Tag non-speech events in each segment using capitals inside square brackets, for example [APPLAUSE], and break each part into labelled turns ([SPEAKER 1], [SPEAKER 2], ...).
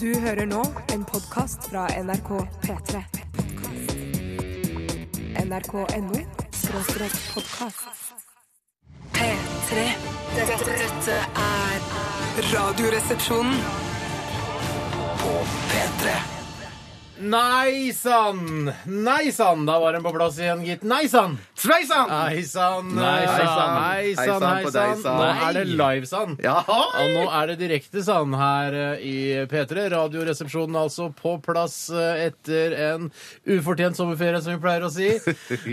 [SPEAKER 1] Du hører nå en podkast fra NRK P3. NRK.no skråstrek podkast. P3. Dette, dette er Radioresepsjonen.
[SPEAKER 2] Nei sann! Nei sann! Da var den på plass igjen, gitt. Nei sann!
[SPEAKER 3] Sveisann!
[SPEAKER 2] Hei sann!
[SPEAKER 3] Nei, sann.
[SPEAKER 2] Hei
[SPEAKER 3] Hei,
[SPEAKER 2] sann!
[SPEAKER 3] sann
[SPEAKER 2] Hei
[SPEAKER 3] på deg,
[SPEAKER 2] sann!
[SPEAKER 3] sann.
[SPEAKER 2] Nå er det live sann.
[SPEAKER 3] Ja,
[SPEAKER 2] Ja, nå er det direkte sann her eh, i P3. Radioresepsjonen altså på plass eh, etter en ufortjent sommerferie, som vi pleier å
[SPEAKER 3] [LAUGHS]
[SPEAKER 2] si.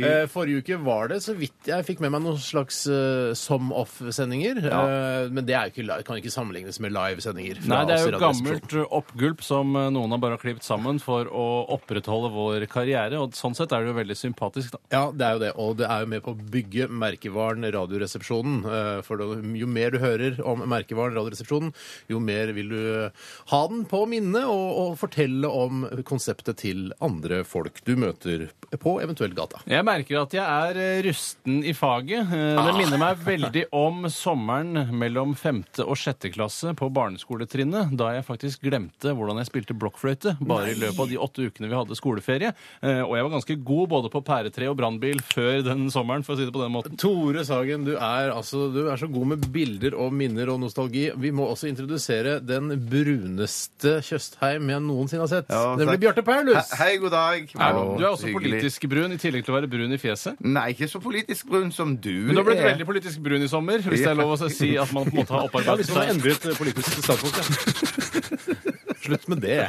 [SPEAKER 2] Eh, Forrige uke var det så vidt jeg fikk med meg noen slags eh, som off-sendinger. Eh, Men det er jo ikke, li- kan ikke sammenlignes med live-sendinger. fra
[SPEAKER 4] Nei, det er jo
[SPEAKER 2] oss i Radioresepsjonen.
[SPEAKER 4] gammelt oppgulp som eh, noen har bare klippet sammen for å opprettholde vår karriere, og sånn sett er det jo veldig sympatisk, da.
[SPEAKER 2] Ja, det er jo det. Og det er jo med på å bygge merkevaren Radioresepsjonen. Eh, For det- jo mer du hører om merkevaren Radioresepsjonen, jo mer vil du eh, ha den på minnet og, og fortelle om konseptet til andre folk du møter på eventuelt gata.
[SPEAKER 4] Jeg merker at jeg er eh, rusten i faget. Eh, Det minner meg veldig om sommeren mellom femte og sjette klasse på barneskoletrinnet, da jeg faktisk glemte hvordan jeg spilte blokkfløyte bare i løpet av de åtte ukene vi hadde skoleferie. Eh, Og jeg var ganske god både på pæretre og brannbil før den sommeren, for å si det på den måten.
[SPEAKER 2] Tore Sagen, du er, altså, du er så god med bilder og minner og nostalgi. Vi må også introdusere den bruneste Tjøstheim jeg noensinne har sett.
[SPEAKER 3] Ja,
[SPEAKER 2] Nemlig
[SPEAKER 3] takk.
[SPEAKER 2] Bjarte Paulus.
[SPEAKER 3] He- Hei, god dag.
[SPEAKER 4] Er du, du er også
[SPEAKER 3] Hyggelig.
[SPEAKER 4] politisk brun, i tillegg til å være brun i fjeset.
[SPEAKER 3] Nei, ikke så politisk brun som du
[SPEAKER 4] Men du har blitt
[SPEAKER 3] er.
[SPEAKER 4] veldig politisk brun i sommer, hvis det er lov å si at man på en måte har
[SPEAKER 2] Ja,
[SPEAKER 4] opparbeidet
[SPEAKER 2] hvis man har
[SPEAKER 4] seg
[SPEAKER 2] endret eh, politisk standpunkt, ja.
[SPEAKER 3] [LAUGHS]
[SPEAKER 2] Slutt med det.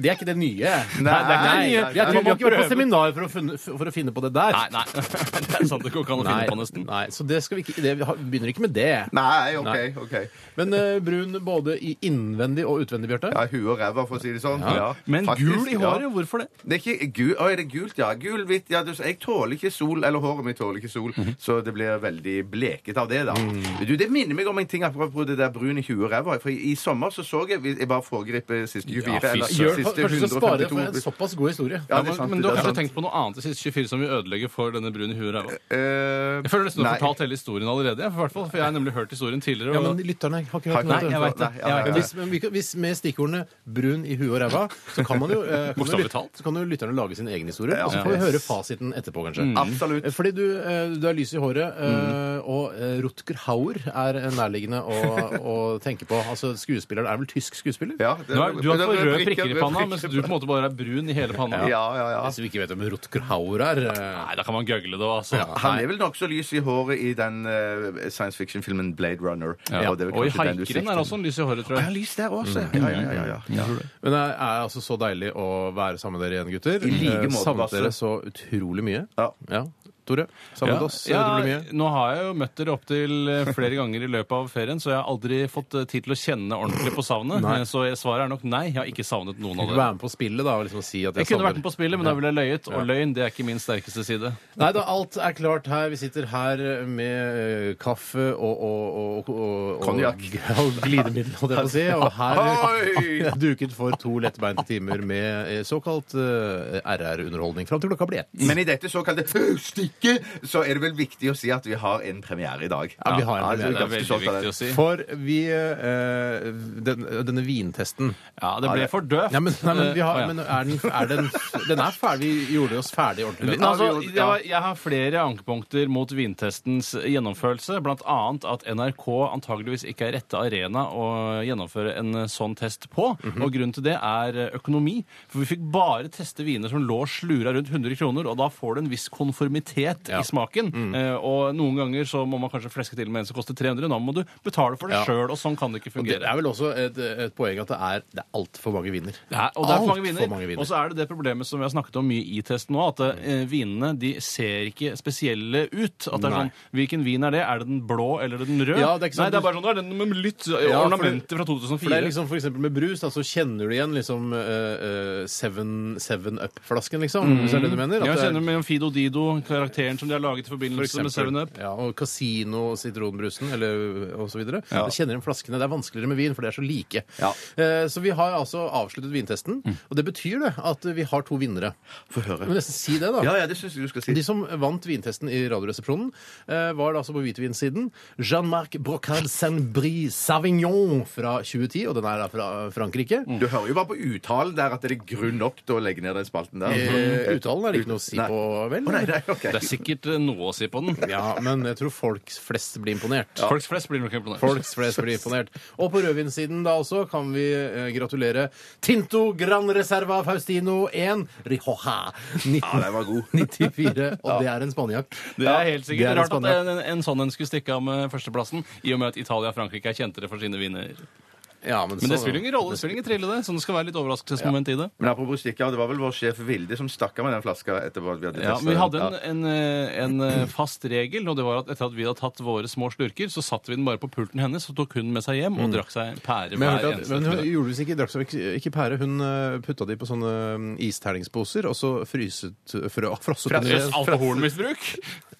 [SPEAKER 2] Det er ikke det nye.
[SPEAKER 3] Nei, det er ikke det nye.
[SPEAKER 2] Jeg tror
[SPEAKER 4] Man må
[SPEAKER 2] man ikke vært
[SPEAKER 4] prøve.
[SPEAKER 2] på seminar for å, funne, for å finne på det der.
[SPEAKER 4] Nei, [LAUGHS] nei. Det er sant det går ikke an å finne på, nesten.
[SPEAKER 2] nei, så det skal vi ikke det, Vi har- begynner ikke med det.
[SPEAKER 3] Nei, OK. ok.
[SPEAKER 2] Men eh, brun både i innvendig og utvendig, Bjarte.
[SPEAKER 3] Ja, Hue og ræva, for å si det sånn. Ja.
[SPEAKER 4] Men
[SPEAKER 3] Faktisk,
[SPEAKER 4] gul i
[SPEAKER 3] ja.
[SPEAKER 4] håret, hvorfor det?
[SPEAKER 3] Det er ikke gul, å, er det gult, ja. Gul, hvitt, ja. Du, jeg tåler ikke sol, eller håret mitt tåler ikke sol,
[SPEAKER 4] Mhm.
[SPEAKER 3] så det blir veldig bleket av det, da.
[SPEAKER 4] Mm.
[SPEAKER 3] Du, det minner meg om en ting apropos det der brun i huet og ræva. For i, i sommer så så jeg Jeg bare foregriper siste 24,
[SPEAKER 4] fy
[SPEAKER 3] eller
[SPEAKER 4] søren.
[SPEAKER 2] Gjør,
[SPEAKER 3] siste
[SPEAKER 2] kanskje du skal spare for en
[SPEAKER 3] 152
[SPEAKER 2] såpass god historie.
[SPEAKER 3] Ja, det
[SPEAKER 4] men,
[SPEAKER 3] er sant.
[SPEAKER 4] men du
[SPEAKER 3] det
[SPEAKER 4] har
[SPEAKER 3] er
[SPEAKER 4] kanskje
[SPEAKER 3] sant.
[SPEAKER 4] tenkt på noe annet i siste 24 som vil ødelegge for denne brune huet ræva?
[SPEAKER 3] Eh,
[SPEAKER 4] Jeg føler nesten du har
[SPEAKER 3] nei.
[SPEAKER 4] fortalt hele historien allerede, jeg, for, hvert fall, for jeg har nemlig hørt historien tidligere.
[SPEAKER 2] Ja,
[SPEAKER 4] Og...
[SPEAKER 2] men lytterne har ikke hørt
[SPEAKER 4] Nei,
[SPEAKER 2] noe om
[SPEAKER 4] jeg
[SPEAKER 2] det.
[SPEAKER 4] vet det.
[SPEAKER 3] Nei,
[SPEAKER 4] Jeg
[SPEAKER 3] ja,
[SPEAKER 4] vet
[SPEAKER 3] ja, ja.
[SPEAKER 4] det.
[SPEAKER 2] Hvis, men vi kan- hvis med stikkordene brun i huet og ræva, så kan man jo, eh, kan jo,
[SPEAKER 4] Bokstavelig
[SPEAKER 2] lyt-
[SPEAKER 4] talt.
[SPEAKER 2] så kan jo lytterne lage sin egen historie.
[SPEAKER 3] Ja.
[SPEAKER 2] Og så får vi
[SPEAKER 3] Yes.
[SPEAKER 2] høre fasiten etterpå, kanskje.
[SPEAKER 3] Absolutt. Mm.
[SPEAKER 2] Eh, Fordi du, eh, du har lys i håret, eh, og eh, Rutger Hauer er eh, nærliggende å, å tenke på. Altså, skuespilleren er vel tysk skuespiller?
[SPEAKER 3] Ja, det-
[SPEAKER 4] Du, er, du har
[SPEAKER 3] det-
[SPEAKER 4] for
[SPEAKER 3] det-
[SPEAKER 4] røde prikker i
[SPEAKER 3] røde
[SPEAKER 4] panna,
[SPEAKER 3] prikker.
[SPEAKER 4] mens du på en måte bare er brun i hele panna.
[SPEAKER 3] Ja, ja, ja.
[SPEAKER 2] Hvis vi ikke vet hvem Rutger Hauer er eh,
[SPEAKER 4] Nei, da kan man gøgle det, altså.
[SPEAKER 3] Han er vel nokså lys i håret i den eh, science fiction-filmen Blade Runner.
[SPEAKER 4] Ja.
[SPEAKER 3] det er vel
[SPEAKER 4] Og i
[SPEAKER 3] kanskje den du
[SPEAKER 4] haikeren
[SPEAKER 3] sikter-
[SPEAKER 4] er også en Mm. lys i håret, tror
[SPEAKER 3] Ja,
[SPEAKER 4] jeg.
[SPEAKER 3] lys der også. Ja, ja, ja, ja, ja.
[SPEAKER 2] Men det er altså så deilig å være sammen med dere igjen, gutter.
[SPEAKER 3] I like
[SPEAKER 2] Eh,
[SPEAKER 3] måte,
[SPEAKER 2] Savnet
[SPEAKER 3] Basse.
[SPEAKER 2] dere så utrolig mye.
[SPEAKER 3] Ja.
[SPEAKER 2] Tore, savnet oss
[SPEAKER 4] Ja,
[SPEAKER 2] utrolig eh, mye.
[SPEAKER 4] nå har jeg jo møtt dere opptil flere ganger i løpet av ferien, så jeg har aldri fått eh, tid til å kjenne ordentlig på savnet. Eh,
[SPEAKER 2] Nei.
[SPEAKER 4] Så jeg- svaret er nok nei. Jeg har ikke savnet
[SPEAKER 2] Du
[SPEAKER 4] noen av
[SPEAKER 2] kunne
[SPEAKER 4] dere.
[SPEAKER 2] være med på spillet da, og liksom si at jeg,
[SPEAKER 4] Jeg kunne
[SPEAKER 2] savner-
[SPEAKER 4] vært med på spillet, men da ville jeg løyet. Og løgn det er ikke min sterkeste side.
[SPEAKER 2] Nei da, alt er klart her. Vi sitter her med eh, kaffe og og- og- og- og- [LAUGHS]
[SPEAKER 3] Konjakk.
[SPEAKER 2] Og glidemiddel, holdt jeg på å si. Og [LAUGHS] her
[SPEAKER 3] Oi!
[SPEAKER 2] er duket for to lettbeinte timer med eh, såkalt eh, RR-underholdning fram til klokka blir ett.
[SPEAKER 3] Men i dette såkalte stykket så er det vel viktig å si at vi har en premiere i dag.
[SPEAKER 2] Ja, vi har en
[SPEAKER 3] altså,
[SPEAKER 2] premiere.
[SPEAKER 4] Det er
[SPEAKER 3] ganske
[SPEAKER 4] veldig
[SPEAKER 3] stolt av
[SPEAKER 4] viktig
[SPEAKER 3] det.
[SPEAKER 4] å si.
[SPEAKER 2] For vi eh, den, Denne vintesten
[SPEAKER 4] Ja, det ble for døvt.
[SPEAKER 2] Nei, men, nei, men, vi har,
[SPEAKER 4] Å, [LAUGHS] ja.
[SPEAKER 2] men er den, er den Den er ferdig. Vi gjorde oss ferdig ordentlig.
[SPEAKER 4] Men
[SPEAKER 3] Ja,
[SPEAKER 4] altså,
[SPEAKER 3] vi gjorde-
[SPEAKER 4] jeg, har- jeg har flere ankepunkter mot vintestens gjennomførelse, blant annet at NRK antageligvis ikke er rette arena å gjennomføre en eh, sånn test på,
[SPEAKER 2] Mhm.
[SPEAKER 4] og grunnen til det er eh, økonomi. For vi fikk bare teste viner som lå slura rundt 100 kroner, og da får du en viss konformitet
[SPEAKER 2] Ja. Mm.
[SPEAKER 4] i smaken. Eh, og noen ganger så må man kanskje fleske til med en som koster 300, nå må du betale for det
[SPEAKER 2] Ja.
[SPEAKER 4] sjøl, og sånn kan det ikke
[SPEAKER 2] Og det
[SPEAKER 4] fungere.
[SPEAKER 2] er vel også et, et poeng at det er, det er altfor mange vinner.
[SPEAKER 4] Ja, og det er for
[SPEAKER 2] Alt
[SPEAKER 4] mange viner. Og så er det det problemet som vi har snakket om mye i testen nå, at eh, vinene de ser ikke spesielle ut. At det er
[SPEAKER 2] Nei.
[SPEAKER 4] sånn, Hvilken vin er det? Er det den blå eller den røde?
[SPEAKER 2] Ja, det er ikke sant.
[SPEAKER 4] Nei, det er bare sånn, det er den med litt
[SPEAKER 2] Ja,
[SPEAKER 4] ornamenter fra
[SPEAKER 2] For det
[SPEAKER 4] 2004.
[SPEAKER 2] er liksom for eksempel med brus, da, så kjenner du igjen liksom eh, eh, Seven, seven Up-flasken, liksom. Hvis det er det du mener?
[SPEAKER 4] Mm. jeg
[SPEAKER 2] At det
[SPEAKER 4] kjenner mellom Fido Dido, karakteren som de har laget i forbindelse med Seven Up.
[SPEAKER 2] Ja, og Casino sitronbrusen eller og så videre.
[SPEAKER 4] Ja.
[SPEAKER 2] Jeg kjenner igjen flaskene. Det er vanskeligere med vin, for de er så like.
[SPEAKER 3] Ja.
[SPEAKER 2] Eh, Så vi har altså avsluttet vintesten,
[SPEAKER 4] Mm.
[SPEAKER 2] og det betyr det at vi har to vinnere.
[SPEAKER 3] Få høre.
[SPEAKER 2] Jeg må nesten si det, da.
[SPEAKER 3] Ja, ja, det syns jeg du skal si.
[SPEAKER 2] De som vant vintesten i Radioresepsjonen, eh, var da altså på hvitvinsiden Jean-Marc Brocal Saint-Brie Savignon fra 2010, og den er da fra Frankrike.
[SPEAKER 3] Du hører jo bare på uttalen der at det er grunn nok til å legge ned den spalten der.
[SPEAKER 2] Eh, uttalen er det ikke noe å si
[SPEAKER 3] Nei.
[SPEAKER 2] på, vel?
[SPEAKER 3] Å, nei, nei, ok.
[SPEAKER 4] Det er sikkert eh, noe å si på den.
[SPEAKER 2] Ja, men jeg tror folk flest blir imponert.
[SPEAKER 4] Folk flest blir nok imponert.
[SPEAKER 2] Folk flest blir imponert. Og på rødvinssiden da også kan vi eh, gratulere Tinto Gran Reserva Faustino 1 Rijoja 19,
[SPEAKER 3] Ja, den var
[SPEAKER 2] [LAUGHS]
[SPEAKER 3] god.
[SPEAKER 2] 94. Og det er en spanjakk.
[SPEAKER 4] Det er helt
[SPEAKER 2] det
[SPEAKER 4] sikkert
[SPEAKER 2] er en
[SPEAKER 4] Rart at
[SPEAKER 2] spanjakk.
[SPEAKER 4] en, en, en sånn en skulle stikke av med førsteplassen, i og med at Italia og Frankrike er kjentere for sine viner.
[SPEAKER 2] Ja, men,
[SPEAKER 4] Men det
[SPEAKER 2] sånn-
[SPEAKER 4] spiller ingen rolle, det spiller ingen trille, det. Så det skal være litt overraskelsesmoment i det.
[SPEAKER 3] Men apropos stikker, det var vel vår sjef Vilde som stakk av med den flaska etter at vi hadde
[SPEAKER 4] Ja,
[SPEAKER 3] testet
[SPEAKER 4] men Vi hadde
[SPEAKER 3] den.
[SPEAKER 4] en, en, eh, en eh, fast regel, og det var at etter at vi hadde tatt våre små slurker, så satte vi den bare på pulten hennes, og tok hun med seg hjem og drakk seg en pære
[SPEAKER 2] Men, jeg
[SPEAKER 4] hver
[SPEAKER 2] hørte at,
[SPEAKER 4] eneste
[SPEAKER 2] men hun
[SPEAKER 4] ettermiddag.
[SPEAKER 2] gjorde visst ikke, drakk seg ikke- ikke pære. Hun eh, putta de på sånne mm, isterningsposer, og så fryset eh, frø, [LAUGHS] frosset hun
[SPEAKER 4] Jøss,
[SPEAKER 2] det.
[SPEAKER 4] Alkoholmisbruk?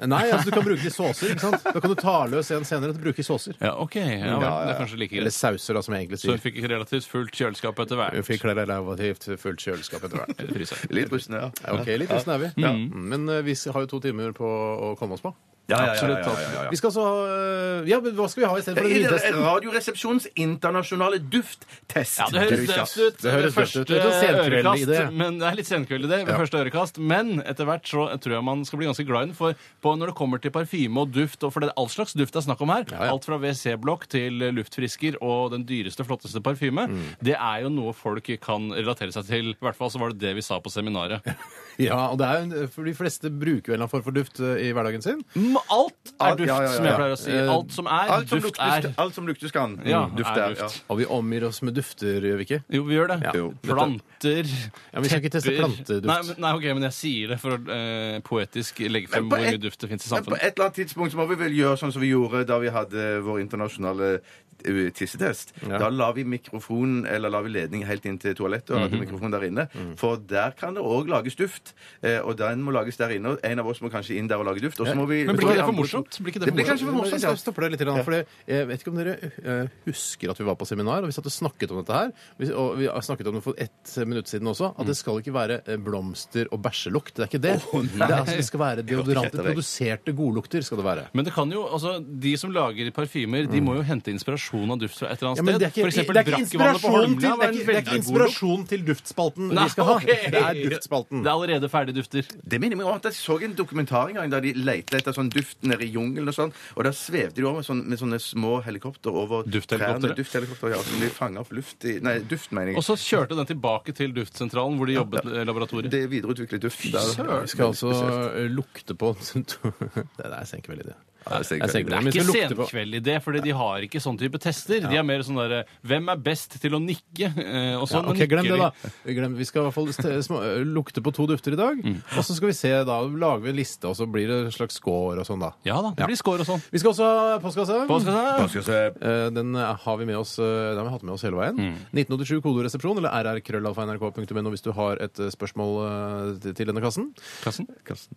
[SPEAKER 2] Nei, altså du kan bruke de i såser. ikke sant? Da kan du ta løs en senere til å bruke i såser.
[SPEAKER 4] Ja, OK. Ja, vel, det er kanskje like
[SPEAKER 2] Eller
[SPEAKER 4] greit.
[SPEAKER 2] sauser, da, som jeg egentlig
[SPEAKER 4] Så hun
[SPEAKER 2] sier.
[SPEAKER 4] fikk relativt fullt kjøleskap etter
[SPEAKER 2] Hun
[SPEAKER 4] hvert.
[SPEAKER 2] fikk relativt fullt kjøleskap etter hvert.
[SPEAKER 4] Eller fryser.
[SPEAKER 3] Litt rusten, ja.
[SPEAKER 2] Ja, [LAUGHS] Ok, litt rusten er vi. Mm. Men eh, vi har jo to timer på å komme oss på.
[SPEAKER 3] Ja, ja,
[SPEAKER 4] Absolutt,
[SPEAKER 3] ja, ja, ja, ja.
[SPEAKER 2] Vi skal så eh, Ja, men hva skal vi ha istedenfor den
[SPEAKER 3] [LAUGHS] I
[SPEAKER 2] vintesten?
[SPEAKER 3] Radioresepsjonens internasjonale dufttest.
[SPEAKER 4] Ja, det høres døvt ut.
[SPEAKER 2] Det høres døvt
[SPEAKER 4] ved
[SPEAKER 2] ut.
[SPEAKER 4] første
[SPEAKER 2] Det er sånn senkveld i
[SPEAKER 4] ørekast,
[SPEAKER 2] det.
[SPEAKER 4] Men det er litt senkveld i det ved første ørekast. Men etter hvert så tror jeg man skal bli ganske glad i den. For på når det kommer til parfyme og duft, og for det er all slags duft det er snakk om her,
[SPEAKER 2] ja.
[SPEAKER 4] alt fra WC-blokk til luftfrisker og den dyreste, flotteste parfyme,
[SPEAKER 2] Mm.
[SPEAKER 4] det er jo noe folk kan relatere seg til. I hvert fall så var det det vi sa på seminaret. [LAUGHS]
[SPEAKER 2] Ja, og det er jo en, eh, For de fleste bruker jo en eller annen form for duft eh, i hverdagen sin.
[SPEAKER 4] Mm, Alt er
[SPEAKER 3] Alt-
[SPEAKER 4] duft,
[SPEAKER 3] ja, ja, ja,
[SPEAKER 4] som jeg
[SPEAKER 3] ja.
[SPEAKER 4] pleier å si.
[SPEAKER 2] Eh,
[SPEAKER 4] Alt som er,
[SPEAKER 3] Alt som,
[SPEAKER 4] duft
[SPEAKER 3] lukter,
[SPEAKER 4] er.
[SPEAKER 3] alt som lukter skal han.
[SPEAKER 4] Ja,
[SPEAKER 3] Mm, duft
[SPEAKER 4] er
[SPEAKER 3] er, ja.
[SPEAKER 4] duft.
[SPEAKER 2] Og vi omgir oss med dufter, gjør vi ikke?
[SPEAKER 4] Jo, vi gjør det.
[SPEAKER 2] Ja.
[SPEAKER 3] Jo.
[SPEAKER 4] Planter,
[SPEAKER 2] Ja, men vi skal ikke teste
[SPEAKER 4] tepper.
[SPEAKER 2] planteduft.
[SPEAKER 4] Nei, men- nei, ok, men jeg sier det for å eh, poetisk legge frem
[SPEAKER 3] på
[SPEAKER 4] hvor
[SPEAKER 3] et-
[SPEAKER 4] mye duft det fins i
[SPEAKER 3] Men på
[SPEAKER 4] samfunnet.
[SPEAKER 3] et eller annet tidspunkt så må vi vel gjøre sånn som vi gjorde da vi hadde vår internasjonale eh, tissetest.
[SPEAKER 2] Ja.
[SPEAKER 3] Da la vi mikrofonen, eller la vi ledningen helt inn til toalettet og hadde
[SPEAKER 4] Mhm.
[SPEAKER 3] mikrofonen der inne. For der kan det òg lages duft. eh, Og den må lages der inne. og En av oss må kanskje inn der og lage duft. Og så må vi
[SPEAKER 4] Men blir ikke det for morsomt? Blir ikke
[SPEAKER 3] Det
[SPEAKER 4] det for
[SPEAKER 3] blir kanskje
[SPEAKER 2] Men Jeg
[SPEAKER 3] for
[SPEAKER 4] morsomt?
[SPEAKER 3] morsomt,
[SPEAKER 2] skal
[SPEAKER 3] ja.
[SPEAKER 2] stoppe deg litt, for jeg vet ikke om dere eh, husker at vi var på seminar, og vi satt og snakket om dette her. Vi- Og vi har snakket om det for ett minutt siden også, at det
[SPEAKER 4] Mm.
[SPEAKER 2] skal ikke være eh, blomster og bæsjelukt. Det er ikke det. det, er, altså, det skal
[SPEAKER 4] [LAUGHS]
[SPEAKER 2] være deodoranter.
[SPEAKER 3] Kjetter deg.
[SPEAKER 2] Produserte godlukter skal det være.
[SPEAKER 4] Men det kan jo, altså, de som lager parfymer, de må jo hente inspirasjon av duft fra et eller
[SPEAKER 2] Mm. Ja,
[SPEAKER 4] annet
[SPEAKER 2] men
[SPEAKER 4] sted.
[SPEAKER 2] det er ikke,
[SPEAKER 4] For eksempel
[SPEAKER 2] det er ikke
[SPEAKER 4] Brakkevannet på
[SPEAKER 2] inspirasjon,
[SPEAKER 4] Holmlia
[SPEAKER 2] til, det er
[SPEAKER 4] var en
[SPEAKER 2] ikke, det er ikke
[SPEAKER 4] veldig god lukt.
[SPEAKER 2] inspirasjon til duftspalten vi skal ha.
[SPEAKER 4] Nei, [LAUGHS] ok.
[SPEAKER 2] Det er duftspalten.
[SPEAKER 4] Det er allerede ferdige dufter.
[SPEAKER 3] Det minner meg om at jeg så en dokumentar en gang der de lette etter sånn duft nede i jungelen og sånn, og da svevde de over sånn, med sånne små helikopter over
[SPEAKER 4] Dufthelikoptere?
[SPEAKER 3] trærne. Dufthelikopter, ja, som de fanga opp luft i Nei, duft, mener
[SPEAKER 4] Og
[SPEAKER 3] jeg.
[SPEAKER 4] så kjørte den tilbake til duftsentralen hvor de jobbet eh, laboratoriet.
[SPEAKER 3] Det videreutviklet duft. der.
[SPEAKER 2] Vi skal altså eh, lukte på [LAUGHS] Det er senkveld i det.
[SPEAKER 3] Ja, det
[SPEAKER 2] Det
[SPEAKER 3] er
[SPEAKER 2] er
[SPEAKER 3] sikkert.
[SPEAKER 2] senkveld,
[SPEAKER 4] Det er
[SPEAKER 2] men vi
[SPEAKER 4] ikke
[SPEAKER 2] skal lukte på-
[SPEAKER 4] senkveld i det, fordi de har ikke sånn type tester. De er mer sånn derre Hvem er best til å nikke? Eh, Og
[SPEAKER 2] Ja,
[SPEAKER 4] sånn
[SPEAKER 2] ok,
[SPEAKER 4] nikker
[SPEAKER 2] Glem det,
[SPEAKER 4] de.
[SPEAKER 2] da. Glem, vi skal i hvert fall ste- små, ø, lukte på to dufter i dag.
[SPEAKER 4] Mm.
[SPEAKER 2] Og så skal vi se, da lager vi en liste, og så blir det en slags score og sånn, da.
[SPEAKER 4] Ja da. Det blir score og sånn.
[SPEAKER 2] Vi skal også ha postkasse.
[SPEAKER 4] Påskesangen.
[SPEAKER 2] Eh, Den eh, har vi med oss eh, Den har vi hatt med oss hele veien.
[SPEAKER 4] Mm.
[SPEAKER 2] 1987 kodoresepsjon eller rrkrøllalfa.nrk.no hvis du har et eh, spørsmål eh, til- til denne kassen.
[SPEAKER 4] Kassen?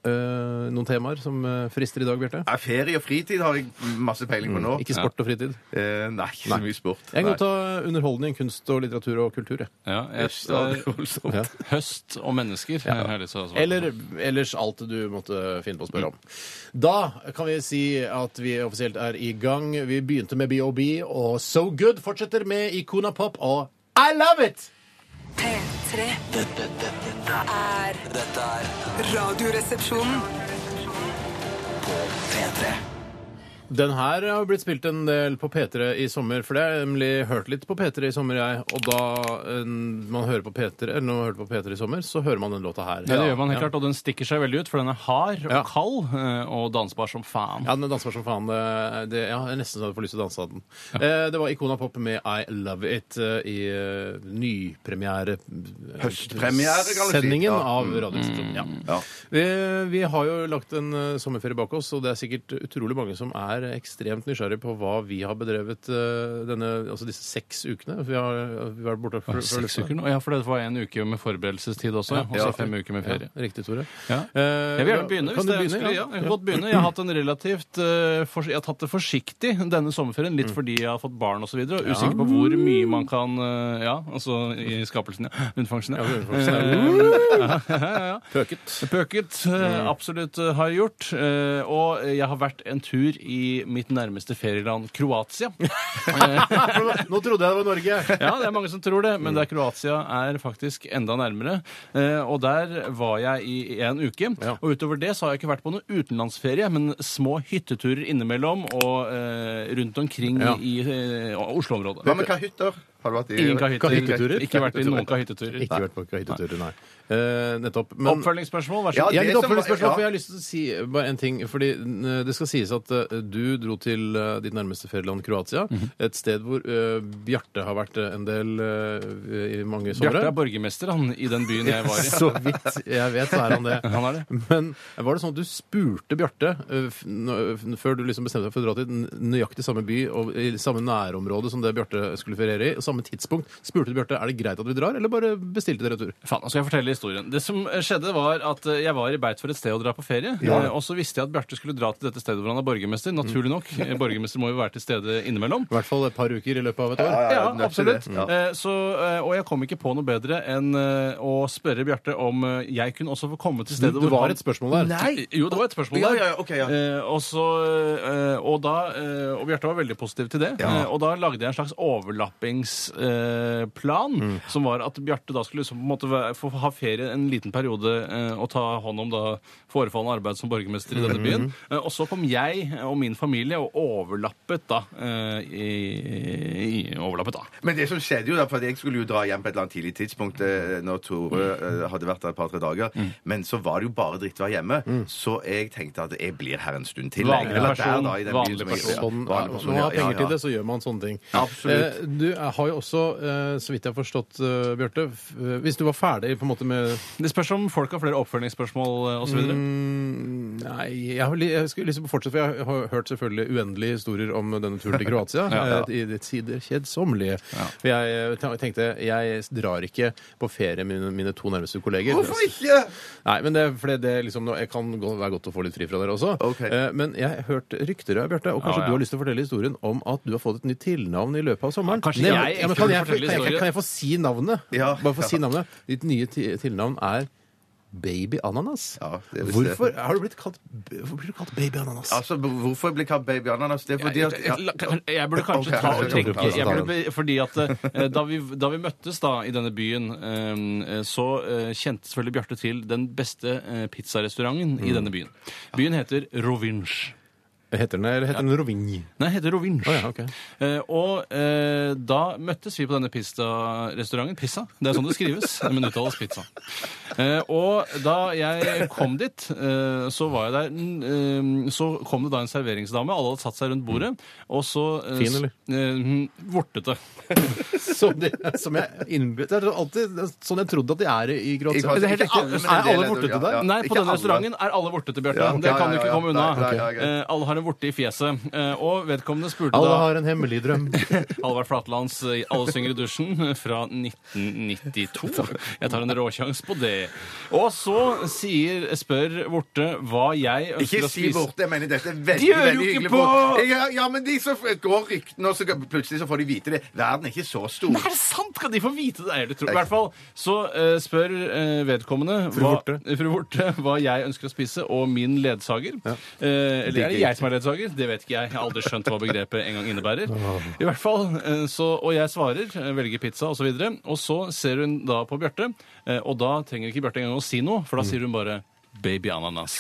[SPEAKER 2] Eh, Noen temaer som eh, frister i dag, Bjarte?
[SPEAKER 3] Ja, ferie og fritid har jeg masse peiling på nå.
[SPEAKER 2] Ikke sport og fritid.
[SPEAKER 3] Eh, nei, ikke så mye sport.
[SPEAKER 2] Mm. Jeg kan
[SPEAKER 3] Nei.
[SPEAKER 2] godt ta underholdning, kunst og litteratur og kultur. jeg.
[SPEAKER 4] Ja,
[SPEAKER 3] Yes, da, det
[SPEAKER 4] et,
[SPEAKER 3] er voldsomt.
[SPEAKER 2] Ja.
[SPEAKER 4] [LAUGHS] høst og mennesker. Jeg har lyst til å svare på.
[SPEAKER 2] Eller ellers alt du måtte finne på å spørre om. Da kan vi si at vi offisielt er i gang. Vi begynte med BOB, og So Good fortsetter med Icona Pop og I Love It!
[SPEAKER 1] P3
[SPEAKER 5] Dette, dette,
[SPEAKER 1] er
[SPEAKER 5] dette er
[SPEAKER 1] Radioresepsjonen.
[SPEAKER 5] P3.
[SPEAKER 2] Den her har blitt spilt en del på P3 i sommer, for det har jeg nemlig hørt litt på P3 i sommer, jeg. Og da eh, man hører på P3, eller når man hører på P3 i sommer, så hører man den låta her.
[SPEAKER 4] Ja, det gjør man helt klart, og den stikker seg veldig ut, for den er hard og
[SPEAKER 2] Ja.
[SPEAKER 4] kald, eh, og dansbar som faen.
[SPEAKER 2] Ja, den danser som faen. Det, det, ja, jeg er nesten så jeg får lyst til å danse av den. Eh, det var Icona Pop med I Love It eh, i eh, nypremiere
[SPEAKER 3] Høstpremiere, kan du si.
[SPEAKER 2] Sendingen
[SPEAKER 3] Ja.
[SPEAKER 2] av
[SPEAKER 4] Mm.
[SPEAKER 2] Radioresepsjonen. Ja.
[SPEAKER 3] Ja.
[SPEAKER 2] Vi, vi har jo lagt en eh, sommerferie bak oss, og det er sikkert utrolig mange som er er ekstremt nysgjerrig på hva vi har bedrevet eh, denne, altså disse seks ukene. Vi har, vi har vært borte fra- fra
[SPEAKER 4] Seks
[SPEAKER 2] lufta.
[SPEAKER 4] uker nå? Ja, for det var en uke med forberedelsestid også. Ja. Og så
[SPEAKER 3] Ja.
[SPEAKER 4] fem uker med ferie.
[SPEAKER 2] Ja, riktig, Tore.
[SPEAKER 4] Ja.
[SPEAKER 2] Eh,
[SPEAKER 4] Jeg vil gjerne
[SPEAKER 2] da-
[SPEAKER 4] begynne.
[SPEAKER 2] kan
[SPEAKER 4] hvis
[SPEAKER 2] du
[SPEAKER 4] det er ønskelig. Ja,
[SPEAKER 2] Ja.
[SPEAKER 4] jeg kan godt begynne. Jeg har hatt en relativt eh, fors- Jeg har tatt det forsiktig denne sommerferien, litt fordi jeg har fått barn osv. Og, så videre, og usikker på hvor mye man kan eh, Ja, altså i skapelsen, ja. [SNIFFS] Unnfangsten, ja. [LAUGHS] Eh,
[SPEAKER 2] Pøket.
[SPEAKER 4] Pøket, eh, absolutt eh, har jeg gjort. Eh, Og jeg har vært en tur i mitt nærmeste ferieland, Kroatia.
[SPEAKER 2] Nå trodde jeg det var Norge!
[SPEAKER 4] Ja, det er mange som tror det, men det er Kroatia er faktisk enda nærmere. Eh, og der var jeg i en uke.
[SPEAKER 2] Ja.
[SPEAKER 4] Og utover det så har jeg ikke vært på noen utenlandsferie, men små hytteturer innimellom og eh, rundt omkring
[SPEAKER 2] Ja.
[SPEAKER 4] i eh, Oslo-området.
[SPEAKER 3] Hva med kahytter? Har du vært i
[SPEAKER 4] Ingen kahytteturer.
[SPEAKER 2] Kahytteturer?
[SPEAKER 4] Ikke vært i noen
[SPEAKER 2] Ikke
[SPEAKER 4] kahytteturer.
[SPEAKER 2] vært på hytteturer, nei. Eh, nettopp. Men
[SPEAKER 4] Oppfølgingsspørsmål, vær så
[SPEAKER 3] Ja,
[SPEAKER 4] god.
[SPEAKER 2] jeg har
[SPEAKER 3] det
[SPEAKER 2] et
[SPEAKER 3] som
[SPEAKER 2] oppfølgingsspørsmål,
[SPEAKER 3] var- ja.
[SPEAKER 2] for jeg har lyst til å si bare en ting. Fordi eh, det skal sies at eh, du dro til eh, ditt nærmeste ferieland, Kroatia.
[SPEAKER 4] Mhm.
[SPEAKER 2] Et sted hvor eh, Bjarte har vært eh, en del eh, i mange somre.
[SPEAKER 4] Bjarte er borgermester han, i den byen jeg var i.
[SPEAKER 2] Så vidt jeg vet, så er
[SPEAKER 4] [LAUGHS]
[SPEAKER 2] han det.
[SPEAKER 4] Han er det.
[SPEAKER 2] Men var det sånn at du spurte Bjarte eh, f- nå- f- før du liksom bestemte deg for å dra til n- nøyaktig samme by og i samme nærområde som det Bjarte skulle feriere i, og samme tidspunkt? Spurte du Bjarte er det greit at vi drar, eller bare bestilte dere tur?
[SPEAKER 4] Faen, nå skal jeg fortelle historien. Det som skjedde var at eh, jeg var i beit for et sted å dra på ferie, eh, og så visste jeg at Bjarte skulle dra til dette stedet hvor han er borgermester. Naturlig nok.
[SPEAKER 3] Mm.
[SPEAKER 4] Eh, Borgermester må jo være til stede innimellom.
[SPEAKER 2] I hvert fall et par uker i løpet av et år.
[SPEAKER 3] Ja,
[SPEAKER 4] Ja,
[SPEAKER 3] den er ikke
[SPEAKER 4] absolutt.
[SPEAKER 3] det. Ja.
[SPEAKER 4] Eh, Så, eh, og jeg kom ikke på noe bedre enn eh, å spørre Bjarte om eh, jeg kunne også få komme til stedet
[SPEAKER 2] Det
[SPEAKER 4] hvor
[SPEAKER 2] var
[SPEAKER 4] han-
[SPEAKER 2] et spørsmål der.
[SPEAKER 4] Nei! Eh, Jo, det var et spørsmål
[SPEAKER 3] Ja,
[SPEAKER 4] der.
[SPEAKER 3] ja, ja, ok, ja.
[SPEAKER 4] Eh, og, så, eh, og, da, eh, og Bjarte var veldig positiv til det. Eh, og da lagde jeg en slags overlappingsplan, eh, plan,
[SPEAKER 3] Mm.
[SPEAKER 4] som var at Bjarte da skulle liksom, på en måte, være- få ha ferie en liten periode eh, og ta hånd om da forefallende arbeid som borgermester i denne
[SPEAKER 3] Mm.
[SPEAKER 4] byen. Eh, og så kom jeg og min familie og overlappet da. Eh, i, i, overlappet da.
[SPEAKER 3] Men det som skjedde jo da, for jeg skulle jo dra hjem på et eller annet tidlig tidspunkt eh, når Tore
[SPEAKER 4] Mm.
[SPEAKER 3] eh, hadde vært der et par-tre dager, men så var det jo bare drittvær hjemme, så jeg tenkte at jeg blir her en stund til. jeg.
[SPEAKER 4] Mm. Vanlig
[SPEAKER 3] Eller der,
[SPEAKER 4] person,
[SPEAKER 3] da, i den
[SPEAKER 4] vanlig
[SPEAKER 3] byen som jeg-
[SPEAKER 4] person.
[SPEAKER 3] Ja,
[SPEAKER 2] Sånn,
[SPEAKER 3] vanlig
[SPEAKER 2] når
[SPEAKER 3] person,
[SPEAKER 2] man
[SPEAKER 3] ja,
[SPEAKER 2] har penger
[SPEAKER 3] ja,
[SPEAKER 2] til
[SPEAKER 3] ja.
[SPEAKER 2] det, så gjør man sånne ting.
[SPEAKER 3] Absolutt.
[SPEAKER 2] Eh, Du eh, har jo også, eh, så vidt jeg har forstått, eh, Bjarte f- eh, Hvis du var ferdig på en måte med
[SPEAKER 4] Det spørs om folk har flere oppfølgingsspørsmål eh, osv.
[SPEAKER 2] Mm, Nei, jeg, har, li- jeg skulle liksom fortsette, for jeg har hørt selvfølgelig uendelige historier om denne turen
[SPEAKER 3] [LAUGHS]
[SPEAKER 2] til Kroatia. eh, I det tider kjedsommelige. For Jeg eh, tenkte jeg drar ikke på ferie med mine, mine to nærmeste kolleger.
[SPEAKER 3] Hvorfor ikke?
[SPEAKER 2] Nei, men det, er fordi det er liksom, nå- jeg kan gå, være godt å få litt fri fra dere også.
[SPEAKER 3] Ok.
[SPEAKER 2] Eh, men jeg har hørt rykter, ja, Bjarte, og kanskje
[SPEAKER 4] Ja, ja.
[SPEAKER 2] du har lyst til å fortelle historien om at du har fått et nytt tilnavn i løpet av sommeren.
[SPEAKER 4] Ja, kanskje
[SPEAKER 2] Nei,
[SPEAKER 4] jeg
[SPEAKER 2] ja, men
[SPEAKER 4] ikke
[SPEAKER 2] kan,
[SPEAKER 4] vil
[SPEAKER 2] jeg, kan,
[SPEAKER 4] fortelle
[SPEAKER 2] jeg,
[SPEAKER 4] historien.
[SPEAKER 2] kan jeg få si navnet?
[SPEAKER 3] Ja.
[SPEAKER 2] Bare få si navnet. Ditt nye ti tilnavn er Baby Ananas.
[SPEAKER 3] Ja, det er visst det.
[SPEAKER 2] hvorfor har du blitt kalt, hvorfor blir du kalt Baby Ananas?
[SPEAKER 3] Altså, hvorfor blir kalt baby ananas? Det er fordi
[SPEAKER 4] Jeg,
[SPEAKER 3] at ja.
[SPEAKER 4] jeg, jeg burde
[SPEAKER 3] [LAUGHS]
[SPEAKER 4] kanskje
[SPEAKER 3] Ok,
[SPEAKER 4] ta og
[SPEAKER 3] kanskje
[SPEAKER 4] tenke
[SPEAKER 3] du kan ta
[SPEAKER 4] jeg burde,
[SPEAKER 3] den.
[SPEAKER 4] be- Fordi at eh, da vi, da vi møttes da i denne byen, eh, så eh, kjente selvfølgelig Bjarte til den beste eh, pizzarestauranten
[SPEAKER 3] Mm.
[SPEAKER 4] i denne byen. Byen heter Rovinj.
[SPEAKER 2] Heter den, eller heter den Rovinj?
[SPEAKER 4] Nei, heter Rovinj.
[SPEAKER 2] Å ja, ok.
[SPEAKER 4] Eh, og eh, da møttes vi på denne pizza-restauranten. Pizza. Det er sånn det skrives, [LAUGHS] men uttales pizza. Eh, og da jeg kom dit, eh, så var jeg der mm, eh, Så kom det da en serveringsdame. Alle hadde satt seg rundt bordet. Og så eh,
[SPEAKER 2] Fin, eller?
[SPEAKER 4] s- Eh, mm, vortete.
[SPEAKER 2] Som, det, som jeg innbyr... Det er alltid sånn jeg trodde at de er i
[SPEAKER 3] I
[SPEAKER 2] Kroatia.
[SPEAKER 3] Kroatia.
[SPEAKER 2] Det er helt-
[SPEAKER 3] Ikke alle, men en
[SPEAKER 2] er alle
[SPEAKER 3] del er det,
[SPEAKER 2] borte
[SPEAKER 3] ja,
[SPEAKER 2] til deg?
[SPEAKER 3] ja.
[SPEAKER 4] Nei, på
[SPEAKER 3] ikke
[SPEAKER 4] denne
[SPEAKER 3] alle.
[SPEAKER 4] restauranten er alle vortete, Bjarte.
[SPEAKER 3] Ja, ok,
[SPEAKER 4] det kan
[SPEAKER 3] ja,
[SPEAKER 4] du
[SPEAKER 3] ja,
[SPEAKER 4] ikke komme unna.
[SPEAKER 3] ja, ja, ja, ja.
[SPEAKER 4] Eh, alle har en vorte i fjeset. Eh, og vedkommende spurte
[SPEAKER 2] Alle
[SPEAKER 4] da
[SPEAKER 2] har en hemmelig drøm.
[SPEAKER 4] Halvard Flatlands eh, 'Alle synger i dusjen' eh, fra
[SPEAKER 3] [LAUGHS]
[SPEAKER 4] 1992. Jeg tar en råsjans på det. Og så sier, spør Vorte hva jeg ønsker
[SPEAKER 3] Ikke
[SPEAKER 4] å
[SPEAKER 3] si
[SPEAKER 4] spise.
[SPEAKER 3] borte. Jeg mener dette er
[SPEAKER 4] De
[SPEAKER 3] veldig
[SPEAKER 4] hører jo
[SPEAKER 3] veldig
[SPEAKER 4] ikke
[SPEAKER 3] hyggelig.
[SPEAKER 4] på!
[SPEAKER 3] folk. Ja, ja, men de som går ryktene, og så kan- plutselig så får de vite det. Verden er ikke så stor.
[SPEAKER 4] Nei, er det sant? Kan de få vite det? Jeg tror. I hvert fall så eh, spør eh, vedkommende
[SPEAKER 2] Fru
[SPEAKER 4] hva-
[SPEAKER 2] Vorte.
[SPEAKER 4] eh, [LAUGHS] fru Vorte hva jeg ønsker å spise, og min ledsager. Eh, eller er det jeg som er ledsager? Det vet ikke jeg. Jeg har aldri skjønt hva begrepet en gang innebærer. I hvert fall, eh, så, Og jeg svarer, eh, velger pizza osv. Og, så videre, og så ser hun da på Bjarte, eh, og da trenger ikke Bjarte engang å si noe, for da sier hun bare Baby ananas.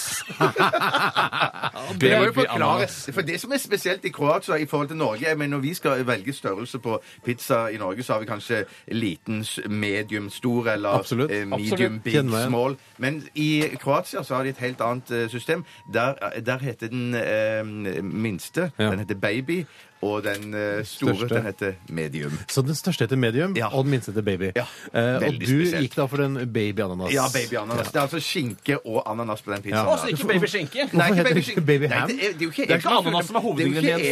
[SPEAKER 3] Det må jo forklares. For det som er spesielt i Kroatia i forhold til Norge jeg mener, Når vi skal velge størrelse på pizza i Norge, så har vi kanskje liten, s- medium, stor eller
[SPEAKER 2] Absolutt.
[SPEAKER 3] eh, medium,
[SPEAKER 2] Absolutt.
[SPEAKER 3] big,
[SPEAKER 2] Kjenner jeg.
[SPEAKER 3] small. Men i Kroatia så har de et helt annet eh, system. Der, der heter den eh, minste Den heter baby. og den eh, store,
[SPEAKER 2] Største.
[SPEAKER 3] den heter medium.
[SPEAKER 2] Så den største heter medium,
[SPEAKER 3] Ja.
[SPEAKER 2] og den minste heter baby.
[SPEAKER 3] Ja,
[SPEAKER 2] Eh, og
[SPEAKER 3] veldig
[SPEAKER 2] du
[SPEAKER 3] spesielt.
[SPEAKER 2] gikk da for den baby ananas.
[SPEAKER 3] Ja, baby ananas. Det er altså skinke og ananas på den pizzaen.
[SPEAKER 2] Ja.
[SPEAKER 3] der.
[SPEAKER 4] Også ikke baby skinke.
[SPEAKER 3] Nei,
[SPEAKER 2] Hvorfor heter det
[SPEAKER 3] ikke baby
[SPEAKER 2] ikke
[SPEAKER 3] skinke.
[SPEAKER 2] baby
[SPEAKER 3] Nei,
[SPEAKER 2] ham?
[SPEAKER 3] det, er, det er jo ikke,
[SPEAKER 4] Det er ikke ananas som er
[SPEAKER 3] Det er jo
[SPEAKER 4] hovedingrediensen.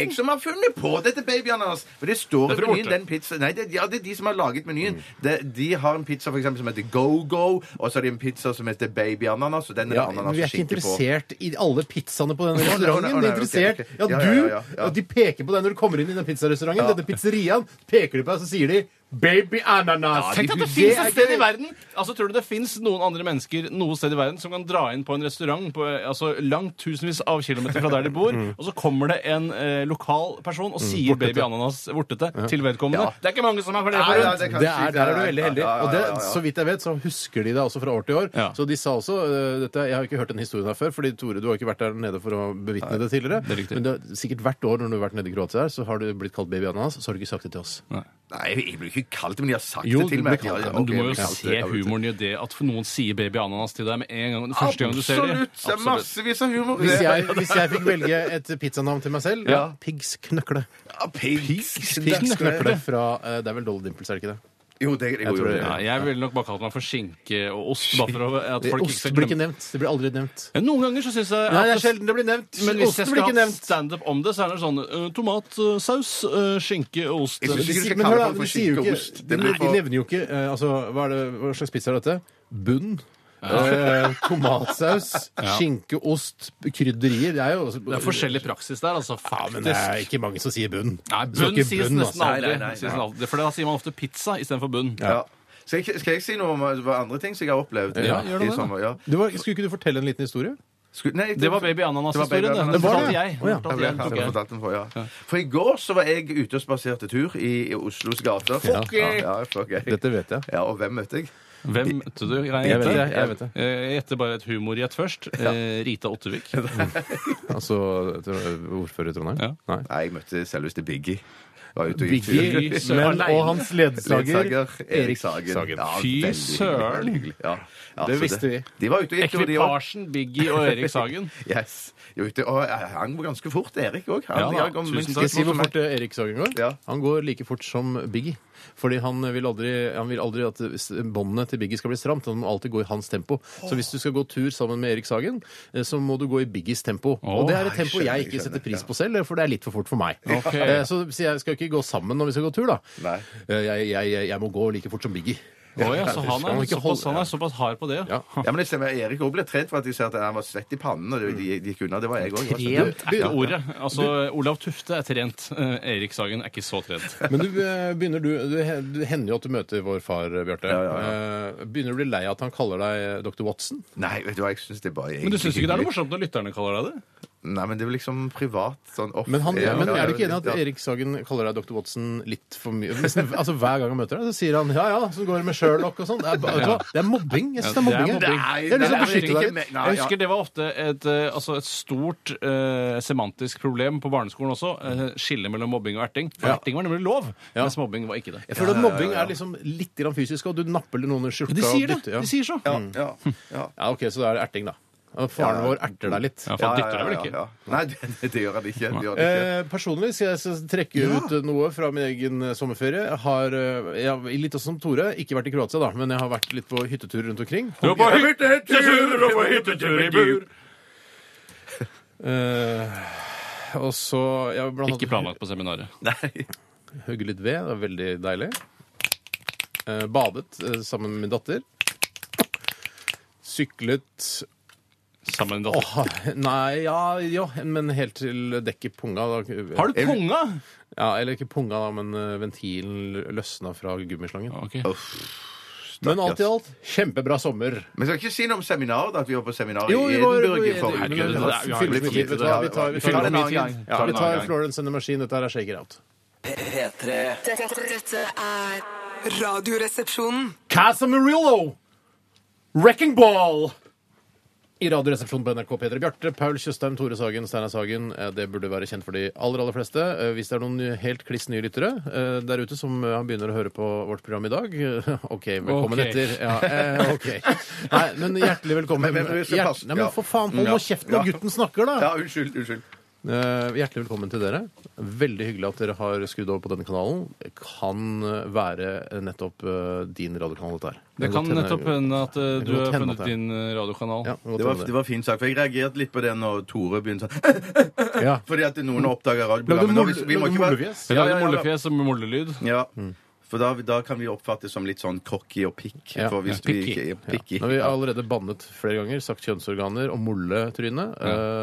[SPEAKER 3] ikke jeg som har funnet på dette baby-ananas. For det står
[SPEAKER 4] Det
[SPEAKER 3] i
[SPEAKER 4] er fra
[SPEAKER 3] menyen.
[SPEAKER 4] Orkla.
[SPEAKER 3] den pizza, Nei, det, ja, det er de som har laget menyen. De, de har en pizza for eksempel, som heter Go-Go, og så har de en pizza som heter baby-ananas, og den er
[SPEAKER 2] Ja,
[SPEAKER 3] det
[SPEAKER 2] men
[SPEAKER 3] ananas
[SPEAKER 2] vi er
[SPEAKER 3] og
[SPEAKER 2] ikke
[SPEAKER 3] skinke på.
[SPEAKER 2] interessert i alle pizzaene på denne
[SPEAKER 3] [LAUGHS] nei,
[SPEAKER 2] restauranten.
[SPEAKER 3] nei,
[SPEAKER 2] Vi er
[SPEAKER 3] nei,
[SPEAKER 2] interessert
[SPEAKER 3] ok, ok.
[SPEAKER 2] Ja,
[SPEAKER 3] Ja,
[SPEAKER 2] du,
[SPEAKER 3] ja, ja, ja.
[SPEAKER 2] og De peker på deg når du kommer inn i den pizzarestauranten, denne pizzeriaen. Peker de på deg, så sier de 'baby ananas'.
[SPEAKER 4] Tenk at det
[SPEAKER 2] er
[SPEAKER 4] fins et sted i
[SPEAKER 2] gøy.
[SPEAKER 4] verden Altså, Tror du det fins noen andre mennesker noe sted i verden som kan dra inn på en restaurant på, eh, altså, langt tusenvis av kilometer fra der de bor, og så kommer det en eh, lokal person og sier baby ananas vortete til vedkommende? Det er ikke mange som har
[SPEAKER 3] Nei,
[SPEAKER 4] flere på
[SPEAKER 3] nei,
[SPEAKER 4] rundt.
[SPEAKER 3] det kan
[SPEAKER 2] Det
[SPEAKER 3] jeg
[SPEAKER 2] er,
[SPEAKER 3] si.
[SPEAKER 2] der er du veldig heldig.
[SPEAKER 3] Ja, ja, ja,
[SPEAKER 2] Og det,
[SPEAKER 3] ja, ja.
[SPEAKER 2] så vidt jeg vet, så husker de det også fra år til år.
[SPEAKER 4] Ja.
[SPEAKER 2] Så de sa også eh, dette, Jeg har ikke hørt den historien her før, fordi Tore, du har ikke vært der nede for å bevitne det tidligere.
[SPEAKER 4] det er riktig.
[SPEAKER 2] Men det, er sikkert hvert år når du har vært nede i Kroatia, her, så har du blitt kalt baby ananas, så har du ikke sagt det til oss.
[SPEAKER 3] Nei, jeg blir ikke kalt det, men de har sagt
[SPEAKER 2] Jo,
[SPEAKER 3] det til
[SPEAKER 2] du
[SPEAKER 3] meg.
[SPEAKER 2] blir kalt det,
[SPEAKER 3] Ja,
[SPEAKER 4] Men du
[SPEAKER 3] ok,
[SPEAKER 4] må
[SPEAKER 3] jeg
[SPEAKER 4] jo
[SPEAKER 3] blir kalt
[SPEAKER 4] se
[SPEAKER 3] det, jeg blir kalt
[SPEAKER 4] humoren i det at noen sier baby ananas til deg med en gang. Den
[SPEAKER 3] det.
[SPEAKER 4] første gang du ser det.
[SPEAKER 3] Absolutt! Det er massevis av humor. i
[SPEAKER 2] Hvis
[SPEAKER 3] det.
[SPEAKER 2] jeg, hvis jeg fikk velge et pizzanavn til meg selv,
[SPEAKER 4] Ja.
[SPEAKER 2] Pigs Knøkle.
[SPEAKER 3] [LAUGHS] Ja, Pigs.
[SPEAKER 2] Pigs Knøkle fra eh, Det er vel Dolly Dimples, er det ikke det?
[SPEAKER 3] Jo, det er
[SPEAKER 2] Jeg tror det
[SPEAKER 4] Ja, jeg ville nok bare kalt meg for skinke og ost. Bare for å-
[SPEAKER 2] [LAUGHS]
[SPEAKER 4] at folk ikke
[SPEAKER 2] Ost
[SPEAKER 4] skal
[SPEAKER 2] blir ikke
[SPEAKER 4] glemme
[SPEAKER 2] nevnt. Det blir aldri nevnt.
[SPEAKER 4] Ja, Noen ganger så syns jeg at
[SPEAKER 2] Nei, det er sjelden det blir nevnt.
[SPEAKER 4] Men hvis jeg
[SPEAKER 2] Osten
[SPEAKER 4] skal
[SPEAKER 2] blir ikke
[SPEAKER 4] ha
[SPEAKER 2] nevnt.
[SPEAKER 4] standup om det, så er det sånn uh, tomat, uh, saus, uh, skinke og ost.
[SPEAKER 3] Jeg
[SPEAKER 2] Men
[SPEAKER 3] synes
[SPEAKER 2] de
[SPEAKER 3] ikke du
[SPEAKER 2] sier-
[SPEAKER 3] skal
[SPEAKER 2] men
[SPEAKER 3] kalle
[SPEAKER 2] hør da,
[SPEAKER 3] folk
[SPEAKER 2] de
[SPEAKER 3] for
[SPEAKER 2] sier jo
[SPEAKER 3] skinke og
[SPEAKER 2] ikke
[SPEAKER 3] ost.
[SPEAKER 2] Nei,
[SPEAKER 3] Det blir
[SPEAKER 2] de
[SPEAKER 3] for-
[SPEAKER 2] nevner jo ikke eh, altså, hva, er det, hva slags pizza er dette? Bunn. Eh, tomatsaus, skinke, ost, krydderier Det er jo
[SPEAKER 4] Det er forskjellig praksis der, altså.
[SPEAKER 2] Ja, men det er
[SPEAKER 4] Faktisk.
[SPEAKER 2] ikke mange som sier bunn.
[SPEAKER 4] Nei,
[SPEAKER 2] Det står
[SPEAKER 4] bunn
[SPEAKER 2] ikke
[SPEAKER 4] sies
[SPEAKER 2] bunn, altså.
[SPEAKER 4] nesten
[SPEAKER 3] Nei,
[SPEAKER 4] aldri.
[SPEAKER 3] nei, nei,
[SPEAKER 4] Sies
[SPEAKER 3] nei.
[SPEAKER 4] aldri. For da sier man ofte pizza istedenfor bunn.
[SPEAKER 3] Ja. Skal, jeg, skal jeg si noe om eh, hva andre ting som jeg har opplevd?
[SPEAKER 2] Ja,
[SPEAKER 3] i
[SPEAKER 4] gjør det da.
[SPEAKER 3] sommer? Ja.
[SPEAKER 2] Du var, skulle ikke du fortelle en liten historie?
[SPEAKER 3] Skulle- nei,
[SPEAKER 4] Det var baby
[SPEAKER 3] Det
[SPEAKER 4] ananas-historien,
[SPEAKER 3] var
[SPEAKER 4] det.
[SPEAKER 3] baby
[SPEAKER 4] Den
[SPEAKER 2] Det var
[SPEAKER 4] fortalte
[SPEAKER 2] det.
[SPEAKER 4] jeg.
[SPEAKER 2] Å, ja.
[SPEAKER 4] Den fortalte jeg.
[SPEAKER 3] Ja,
[SPEAKER 4] tok
[SPEAKER 3] jeg har
[SPEAKER 4] jeg.
[SPEAKER 3] fortalt den for, ja. for i går så var jeg ute og spaserte tur i, i Oslos gater.
[SPEAKER 2] Fuck
[SPEAKER 3] ja, ja, fuck jeg.
[SPEAKER 2] Dette vet jeg.
[SPEAKER 3] Ja, og hvem møtte jeg?
[SPEAKER 4] Hvem møtte du? Kan
[SPEAKER 2] Jeg
[SPEAKER 4] Jeg
[SPEAKER 2] vet
[SPEAKER 4] gjette?
[SPEAKER 2] det, jeg vet det.
[SPEAKER 4] Eh, jeg gjetter bare et humorgjett først. Eh, Rita Ottervik.
[SPEAKER 2] [LAUGHS] Altså ordfører i Trondheim?
[SPEAKER 4] Ja.
[SPEAKER 2] Nei.
[SPEAKER 3] Nei, jeg møtte selveste Biggie. Var ute og gikk tur.
[SPEAKER 2] Biggie
[SPEAKER 4] Fy søren.
[SPEAKER 2] men, og hans ledsager
[SPEAKER 3] Erik Sagen. Ja, veldig
[SPEAKER 4] Fy
[SPEAKER 3] hyggelig,
[SPEAKER 4] søren.
[SPEAKER 3] veldig hyggelig. Ja, ja,
[SPEAKER 2] Det
[SPEAKER 3] så
[SPEAKER 2] visste vi.
[SPEAKER 3] De var ute og gikk tur, de òg.
[SPEAKER 4] Ekvipasjen Biggie og Erik Sagen.
[SPEAKER 2] [LAUGHS]
[SPEAKER 3] Yes. De var ute, og jeg hang ganske fort, Erik òg.
[SPEAKER 4] Ja da, tusen
[SPEAKER 2] Skal jeg si hvor fort eh, Erik Sagen går?
[SPEAKER 3] Ja.
[SPEAKER 2] Han går like fort som Biggie. Fordi han vil aldri, han vil aldri at s- båndene til Biggie skal bli stramt. Han må alltid gå i hans tempo. Så hvis du skal gå tur sammen med Erik Sagen, eh, så må du gå i Biggies tempo. og det er et
[SPEAKER 3] jeg
[SPEAKER 2] tempo jeg
[SPEAKER 3] skjønner, jeg
[SPEAKER 2] ikke
[SPEAKER 3] skjønner,
[SPEAKER 2] setter pris på selv, for det er litt for fort for [LAUGHS] meg.
[SPEAKER 4] Ok.
[SPEAKER 2] Eh, Så sier jeg skal ikke gå sammen når vi skal gå tur, da.
[SPEAKER 3] Nei.
[SPEAKER 2] Eh, Jeg, jeg, jeg må gå like fort som Biggie.
[SPEAKER 4] Å ja, så han
[SPEAKER 2] Skal man
[SPEAKER 4] er
[SPEAKER 2] ikke
[SPEAKER 4] såpass,
[SPEAKER 2] holde-
[SPEAKER 4] han er såpass hard på det,
[SPEAKER 2] Ja.
[SPEAKER 3] Ja, men jeg ser, Erik òg ble trent for at de sa at han var svett i pannen. Og det- de de gikk unna. Det var jeg òg.
[SPEAKER 2] Trent
[SPEAKER 4] Det er ordet. Altså, Olav Tufte er trent. Eh, Erik Sagen er ikke så trent.
[SPEAKER 2] [LAUGHS] Men du eh, begynner du, det he- det hender jo at du møter vår far, eh, Bjarte.
[SPEAKER 3] Ja, ja,
[SPEAKER 2] Eh, Begynner du å bli lei av at han kaller deg eh, Dr. Watson?
[SPEAKER 3] Nei, vet du hva, jeg syns det er bare
[SPEAKER 4] Men du syns ikke det er
[SPEAKER 3] hyggelig.
[SPEAKER 4] noe morsomt når lytterne kaller deg det?
[SPEAKER 3] Nei, men det er jo liksom privat sånn off.
[SPEAKER 2] Men, han,
[SPEAKER 3] Ja,
[SPEAKER 2] men
[SPEAKER 3] ja,
[SPEAKER 2] er du ikke enig i at
[SPEAKER 3] ja.
[SPEAKER 2] Erik Sagen kaller deg Dr. Watson litt for mye? Nesten- Altså Hver gang han møter deg, så sier han ja ja, sånn går det med Sherlock og sånn. Det, er ba- vet du hva? det er mobbing. Jeg synes det er
[SPEAKER 4] Ja, det er
[SPEAKER 2] mobbing. jeg.
[SPEAKER 4] mobbing.
[SPEAKER 3] Nei,
[SPEAKER 2] Jeg har lyst til å
[SPEAKER 3] nei, det er
[SPEAKER 2] beskytte deg
[SPEAKER 3] ikke-
[SPEAKER 2] litt.
[SPEAKER 3] nei,
[SPEAKER 4] Jeg
[SPEAKER 3] ja.
[SPEAKER 4] husker det var ofte et, eh, altså et stort eh, semantisk problem på barneskolen også. Eh, Skillet mellom mobbing og erting. For
[SPEAKER 2] Ja.
[SPEAKER 4] erting var nemlig lov,
[SPEAKER 2] Ja.
[SPEAKER 4] mens mobbing var ikke det.
[SPEAKER 2] Jeg føler at mobbing er liksom litt grann fysisk, og du napper noen i skjorta.
[SPEAKER 4] De
[SPEAKER 2] og
[SPEAKER 4] sier det!
[SPEAKER 2] dytter, ja.
[SPEAKER 4] De sier så.
[SPEAKER 3] Ja, ja,
[SPEAKER 2] [LAUGHS]
[SPEAKER 3] ja.
[SPEAKER 2] Ja, OK, så da er det erting, da. Og Faren vår erter deg litt.
[SPEAKER 4] Ja, for
[SPEAKER 3] Ja,
[SPEAKER 4] han
[SPEAKER 3] ja,
[SPEAKER 4] dytter
[SPEAKER 3] ja,
[SPEAKER 4] deg vel
[SPEAKER 3] ja,
[SPEAKER 4] ikke?
[SPEAKER 3] ja. Nei, [LAUGHS] det, det gjør han ikke. Det gjør han ikke.
[SPEAKER 2] Eh, personlig skal jeg s- trekke ut eh, noe fra min egen eh, sommerferie. Jeg Har, eh, jeg, har- litt også som Tore, ikke vært i Kroatia, da, men jeg har vært litt på hyttetur rundt omkring.
[SPEAKER 4] Du er på hyttetur og på hyttetur i bur.
[SPEAKER 2] Eh, og så jeg har blant
[SPEAKER 4] Ikke planlagt på seminaret.
[SPEAKER 3] Nei.
[SPEAKER 2] hugge litt ved. Det var veldig deilig. Eh, badet eh, sammen med min datter. Syklet
[SPEAKER 4] Sammen med datteren.
[SPEAKER 2] Åh, Nei, ja, ja, men helt til dekket punga. Da.
[SPEAKER 4] Har du punga?
[SPEAKER 2] Ja, eller ikke punga, da, men eh, ventilen løsna fra gummislangen.
[SPEAKER 4] Ok.
[SPEAKER 2] Men alt i alt, kjempebra sommer.
[SPEAKER 3] Men skal ikke si noe om seminaret, da, at vi var på seminar i
[SPEAKER 2] Jo, vi var
[SPEAKER 3] Edinburgh i
[SPEAKER 2] Herregud,
[SPEAKER 3] forrige
[SPEAKER 4] Herregud,
[SPEAKER 2] men-
[SPEAKER 4] det er- vi har
[SPEAKER 2] fyller
[SPEAKER 4] litt
[SPEAKER 2] ikke
[SPEAKER 4] tid
[SPEAKER 2] tid, vet du
[SPEAKER 4] til det.
[SPEAKER 2] hva, vi tar- vi
[SPEAKER 3] Vi tar
[SPEAKER 2] tar-
[SPEAKER 3] en annen gang.
[SPEAKER 2] Ja,
[SPEAKER 3] Tar
[SPEAKER 2] Vi
[SPEAKER 3] en
[SPEAKER 2] tar
[SPEAKER 3] annen gang.
[SPEAKER 2] Florence and the Machine. Dette her er Shake It Out.
[SPEAKER 5] P3
[SPEAKER 1] Dette, dette er Radioresepsjonen.
[SPEAKER 2] Casamarillo! Wrecking Ball! I Radioresepsjonen på NRK P3. Bjarte, Paul Tjøstheim, Tore Sagen, Steinar Sagen. Eh, Det burde være kjent for de aller, aller fleste. Eh, Hvis det er noen nye- helt kliss nye lyttere eh, der ute som eh, begynner å høre på vårt program i dag [LAUGHS] eh, OK, velkommen
[SPEAKER 4] Ok.
[SPEAKER 2] etter. Ja, eh, OK. Nei, men hjertelig velkommen.
[SPEAKER 3] Men- men vi skal
[SPEAKER 2] Hjert-
[SPEAKER 3] passe-
[SPEAKER 2] Nei, men for faen, hold
[SPEAKER 3] Ja.
[SPEAKER 2] nå kjeft når
[SPEAKER 3] Ja.
[SPEAKER 2] gutten snakker, da!
[SPEAKER 3] Ja, unnskyld. unnskyld
[SPEAKER 2] Eh, Hjertelig velkommen til dere. Veldig hyggelig at dere har skrudd over på denne kanalen. Kan eh, være nettopp eh, din radiokanal, dette her.
[SPEAKER 4] Det
[SPEAKER 2] godt
[SPEAKER 4] kan
[SPEAKER 2] hende-
[SPEAKER 4] nettopp hende at eh,
[SPEAKER 2] Det
[SPEAKER 4] du
[SPEAKER 2] kan godt
[SPEAKER 4] har
[SPEAKER 2] hende at
[SPEAKER 4] funnet
[SPEAKER 2] det er-
[SPEAKER 4] din eh, radiokanal.
[SPEAKER 2] Ja,
[SPEAKER 3] Det var, det var fint sagt, for Jeg reagerte litt på det når Tore begynte sånn [LAUGHS]
[SPEAKER 2] ja.
[SPEAKER 3] Fordi at noen oppdager
[SPEAKER 2] Lagde
[SPEAKER 3] radioprogrammet. Nå, vi- vi må ikke være-
[SPEAKER 2] mollefjes.
[SPEAKER 4] Jeg lagde
[SPEAKER 3] Ja, ja, ja, da-
[SPEAKER 4] mollefjes og mollelyd.
[SPEAKER 3] Ja.
[SPEAKER 2] Mm.
[SPEAKER 3] For da, da kan vi oppfattes som litt sånn cocky og pikk.
[SPEAKER 2] Ja.
[SPEAKER 3] For hvis vi
[SPEAKER 4] Ja, picky.
[SPEAKER 3] ikke er picky.
[SPEAKER 2] Nå har vi allerede bannet flere ganger, sagt kjønnsorganer og Eh, molletryne.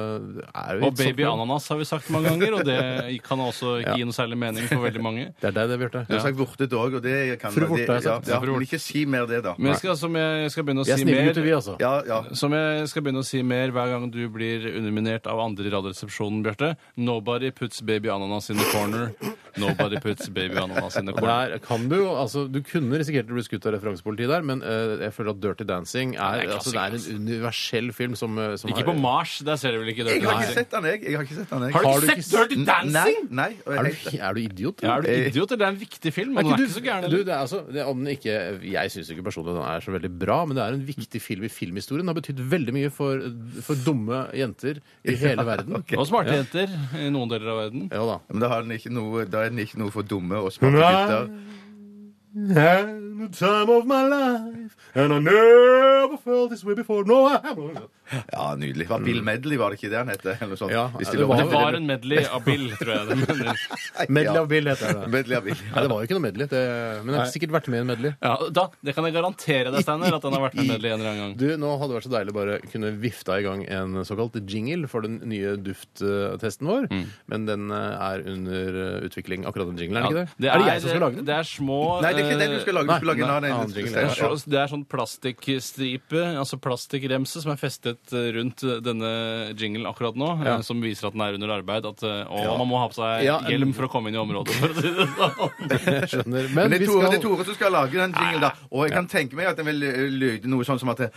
[SPEAKER 4] Og
[SPEAKER 2] sånn,
[SPEAKER 4] baby ananas har vi sagt mange ganger, og det kan også ikke gi noe særlig mening for veldig mange.
[SPEAKER 2] Det er deg det, Bjarte.
[SPEAKER 3] Du har sagt vortet òg, og det kan
[SPEAKER 2] Fru Vorte altså. har jeg
[SPEAKER 3] det, ja,
[SPEAKER 2] sagt.
[SPEAKER 3] ja,
[SPEAKER 2] Fru
[SPEAKER 3] Men ikke si mer det, da.
[SPEAKER 4] Men jeg skal, som jeg, jeg skal begynne å
[SPEAKER 2] Vi er
[SPEAKER 4] si
[SPEAKER 2] snille
[SPEAKER 4] mer
[SPEAKER 2] gutter, vi, altså.
[SPEAKER 3] Ja, ja.
[SPEAKER 4] Som jeg skal begynne å si mer hver gang du blir underminert av andre i Radioresepsjonen, Bjarte. Nobody puts baby ananas in the corner. Nobody puts baby ananas in the
[SPEAKER 2] Og
[SPEAKER 4] corner.
[SPEAKER 2] Der kan du, jo- altså, du kunne risikert å bli skutt av referansepolitiet der, men eh, jeg føler at Dirty Dancing er,
[SPEAKER 4] Det er
[SPEAKER 2] altså, det er en universell film som, eh, som
[SPEAKER 4] Ikke
[SPEAKER 2] har-
[SPEAKER 4] på Mars, der ser du vel ikke
[SPEAKER 3] Jeg
[SPEAKER 4] Dirty
[SPEAKER 3] har ikke
[SPEAKER 4] Dancing?
[SPEAKER 3] sett den, jeg. jeg har ikke sett den, jeg.
[SPEAKER 2] Har du ikke sett
[SPEAKER 4] Dirty
[SPEAKER 3] Nei. nei og
[SPEAKER 2] Er
[SPEAKER 3] jeg er
[SPEAKER 2] du,
[SPEAKER 3] helt,
[SPEAKER 2] er du idiot?
[SPEAKER 4] Ja, er du idiot, eller? Det er en viktig film,
[SPEAKER 2] Eh, Er
[SPEAKER 4] og den er
[SPEAKER 2] ikke
[SPEAKER 4] ikke så gæren.
[SPEAKER 2] du,
[SPEAKER 4] eller?
[SPEAKER 2] det er altså, det, om den ikke, jeg syns ikke personlig den er så veldig bra, men det er en viktig film i filmhistorien. Den har betydd veldig mye for, for dumme jenter i hele verden.
[SPEAKER 4] Og smarte jenter i noen deler av verden.
[SPEAKER 2] Ja da.
[SPEAKER 3] men da, har den ikke noe, da er den ikke noe for dumme og smarte gutter. Ja, nydelig. Var Bill Medley, var det ikke det han het? Eller noe sånt.
[SPEAKER 2] Ja,
[SPEAKER 3] Hvis
[SPEAKER 2] det
[SPEAKER 3] lov-
[SPEAKER 4] Det var en medley av Bill, tror jeg. det mener.
[SPEAKER 2] Medley of Bill heter
[SPEAKER 4] [LAUGHS]
[SPEAKER 2] det.
[SPEAKER 3] Medley av Bill.
[SPEAKER 2] Nei, det var jo ikke noe medley, det, men det har sikkert vært med i en medley.
[SPEAKER 4] Ja, da, det kan jeg garantere deg, Steiner, at den har vært med medley en eller annen gang.
[SPEAKER 2] Du, nå hadde det vært så deilig bare kunne vifta i gang en såkalt jingle for den nye dufttesten vår, men den eh, er under eh, utvikling, akkurat den jinglen, er det ikke det?
[SPEAKER 4] Det
[SPEAKER 2] er det jeg som skal lage den?
[SPEAKER 4] Det er små eh,
[SPEAKER 3] Nei, det er ikke den du skal lage. Du
[SPEAKER 2] Nei,
[SPEAKER 3] skal lage en
[SPEAKER 2] nei,
[SPEAKER 3] annen.
[SPEAKER 2] annen
[SPEAKER 3] en-
[SPEAKER 2] jingle,
[SPEAKER 4] Det
[SPEAKER 2] Ja,
[SPEAKER 4] er,
[SPEAKER 2] ja.
[SPEAKER 4] så, det er sånn plastikkstripe, altså plastikkremse, som er festet eh, rundt denne jinglen akkurat nå, eh,
[SPEAKER 2] Ja.
[SPEAKER 4] som viser at den er under arbeid. At eh, å, man må ha på seg
[SPEAKER 2] Ja,
[SPEAKER 4] hjelm for å komme inn i området. For å si det sånn.
[SPEAKER 2] [LAUGHS] Jeg skjønner.
[SPEAKER 3] Men
[SPEAKER 2] Men
[SPEAKER 3] det
[SPEAKER 2] vi
[SPEAKER 3] er, Tore, det er
[SPEAKER 2] skal
[SPEAKER 3] Tore som skal lage den jinglen, da. Og jeg kan tenke meg at den vil eh, lyde noe sånn som at det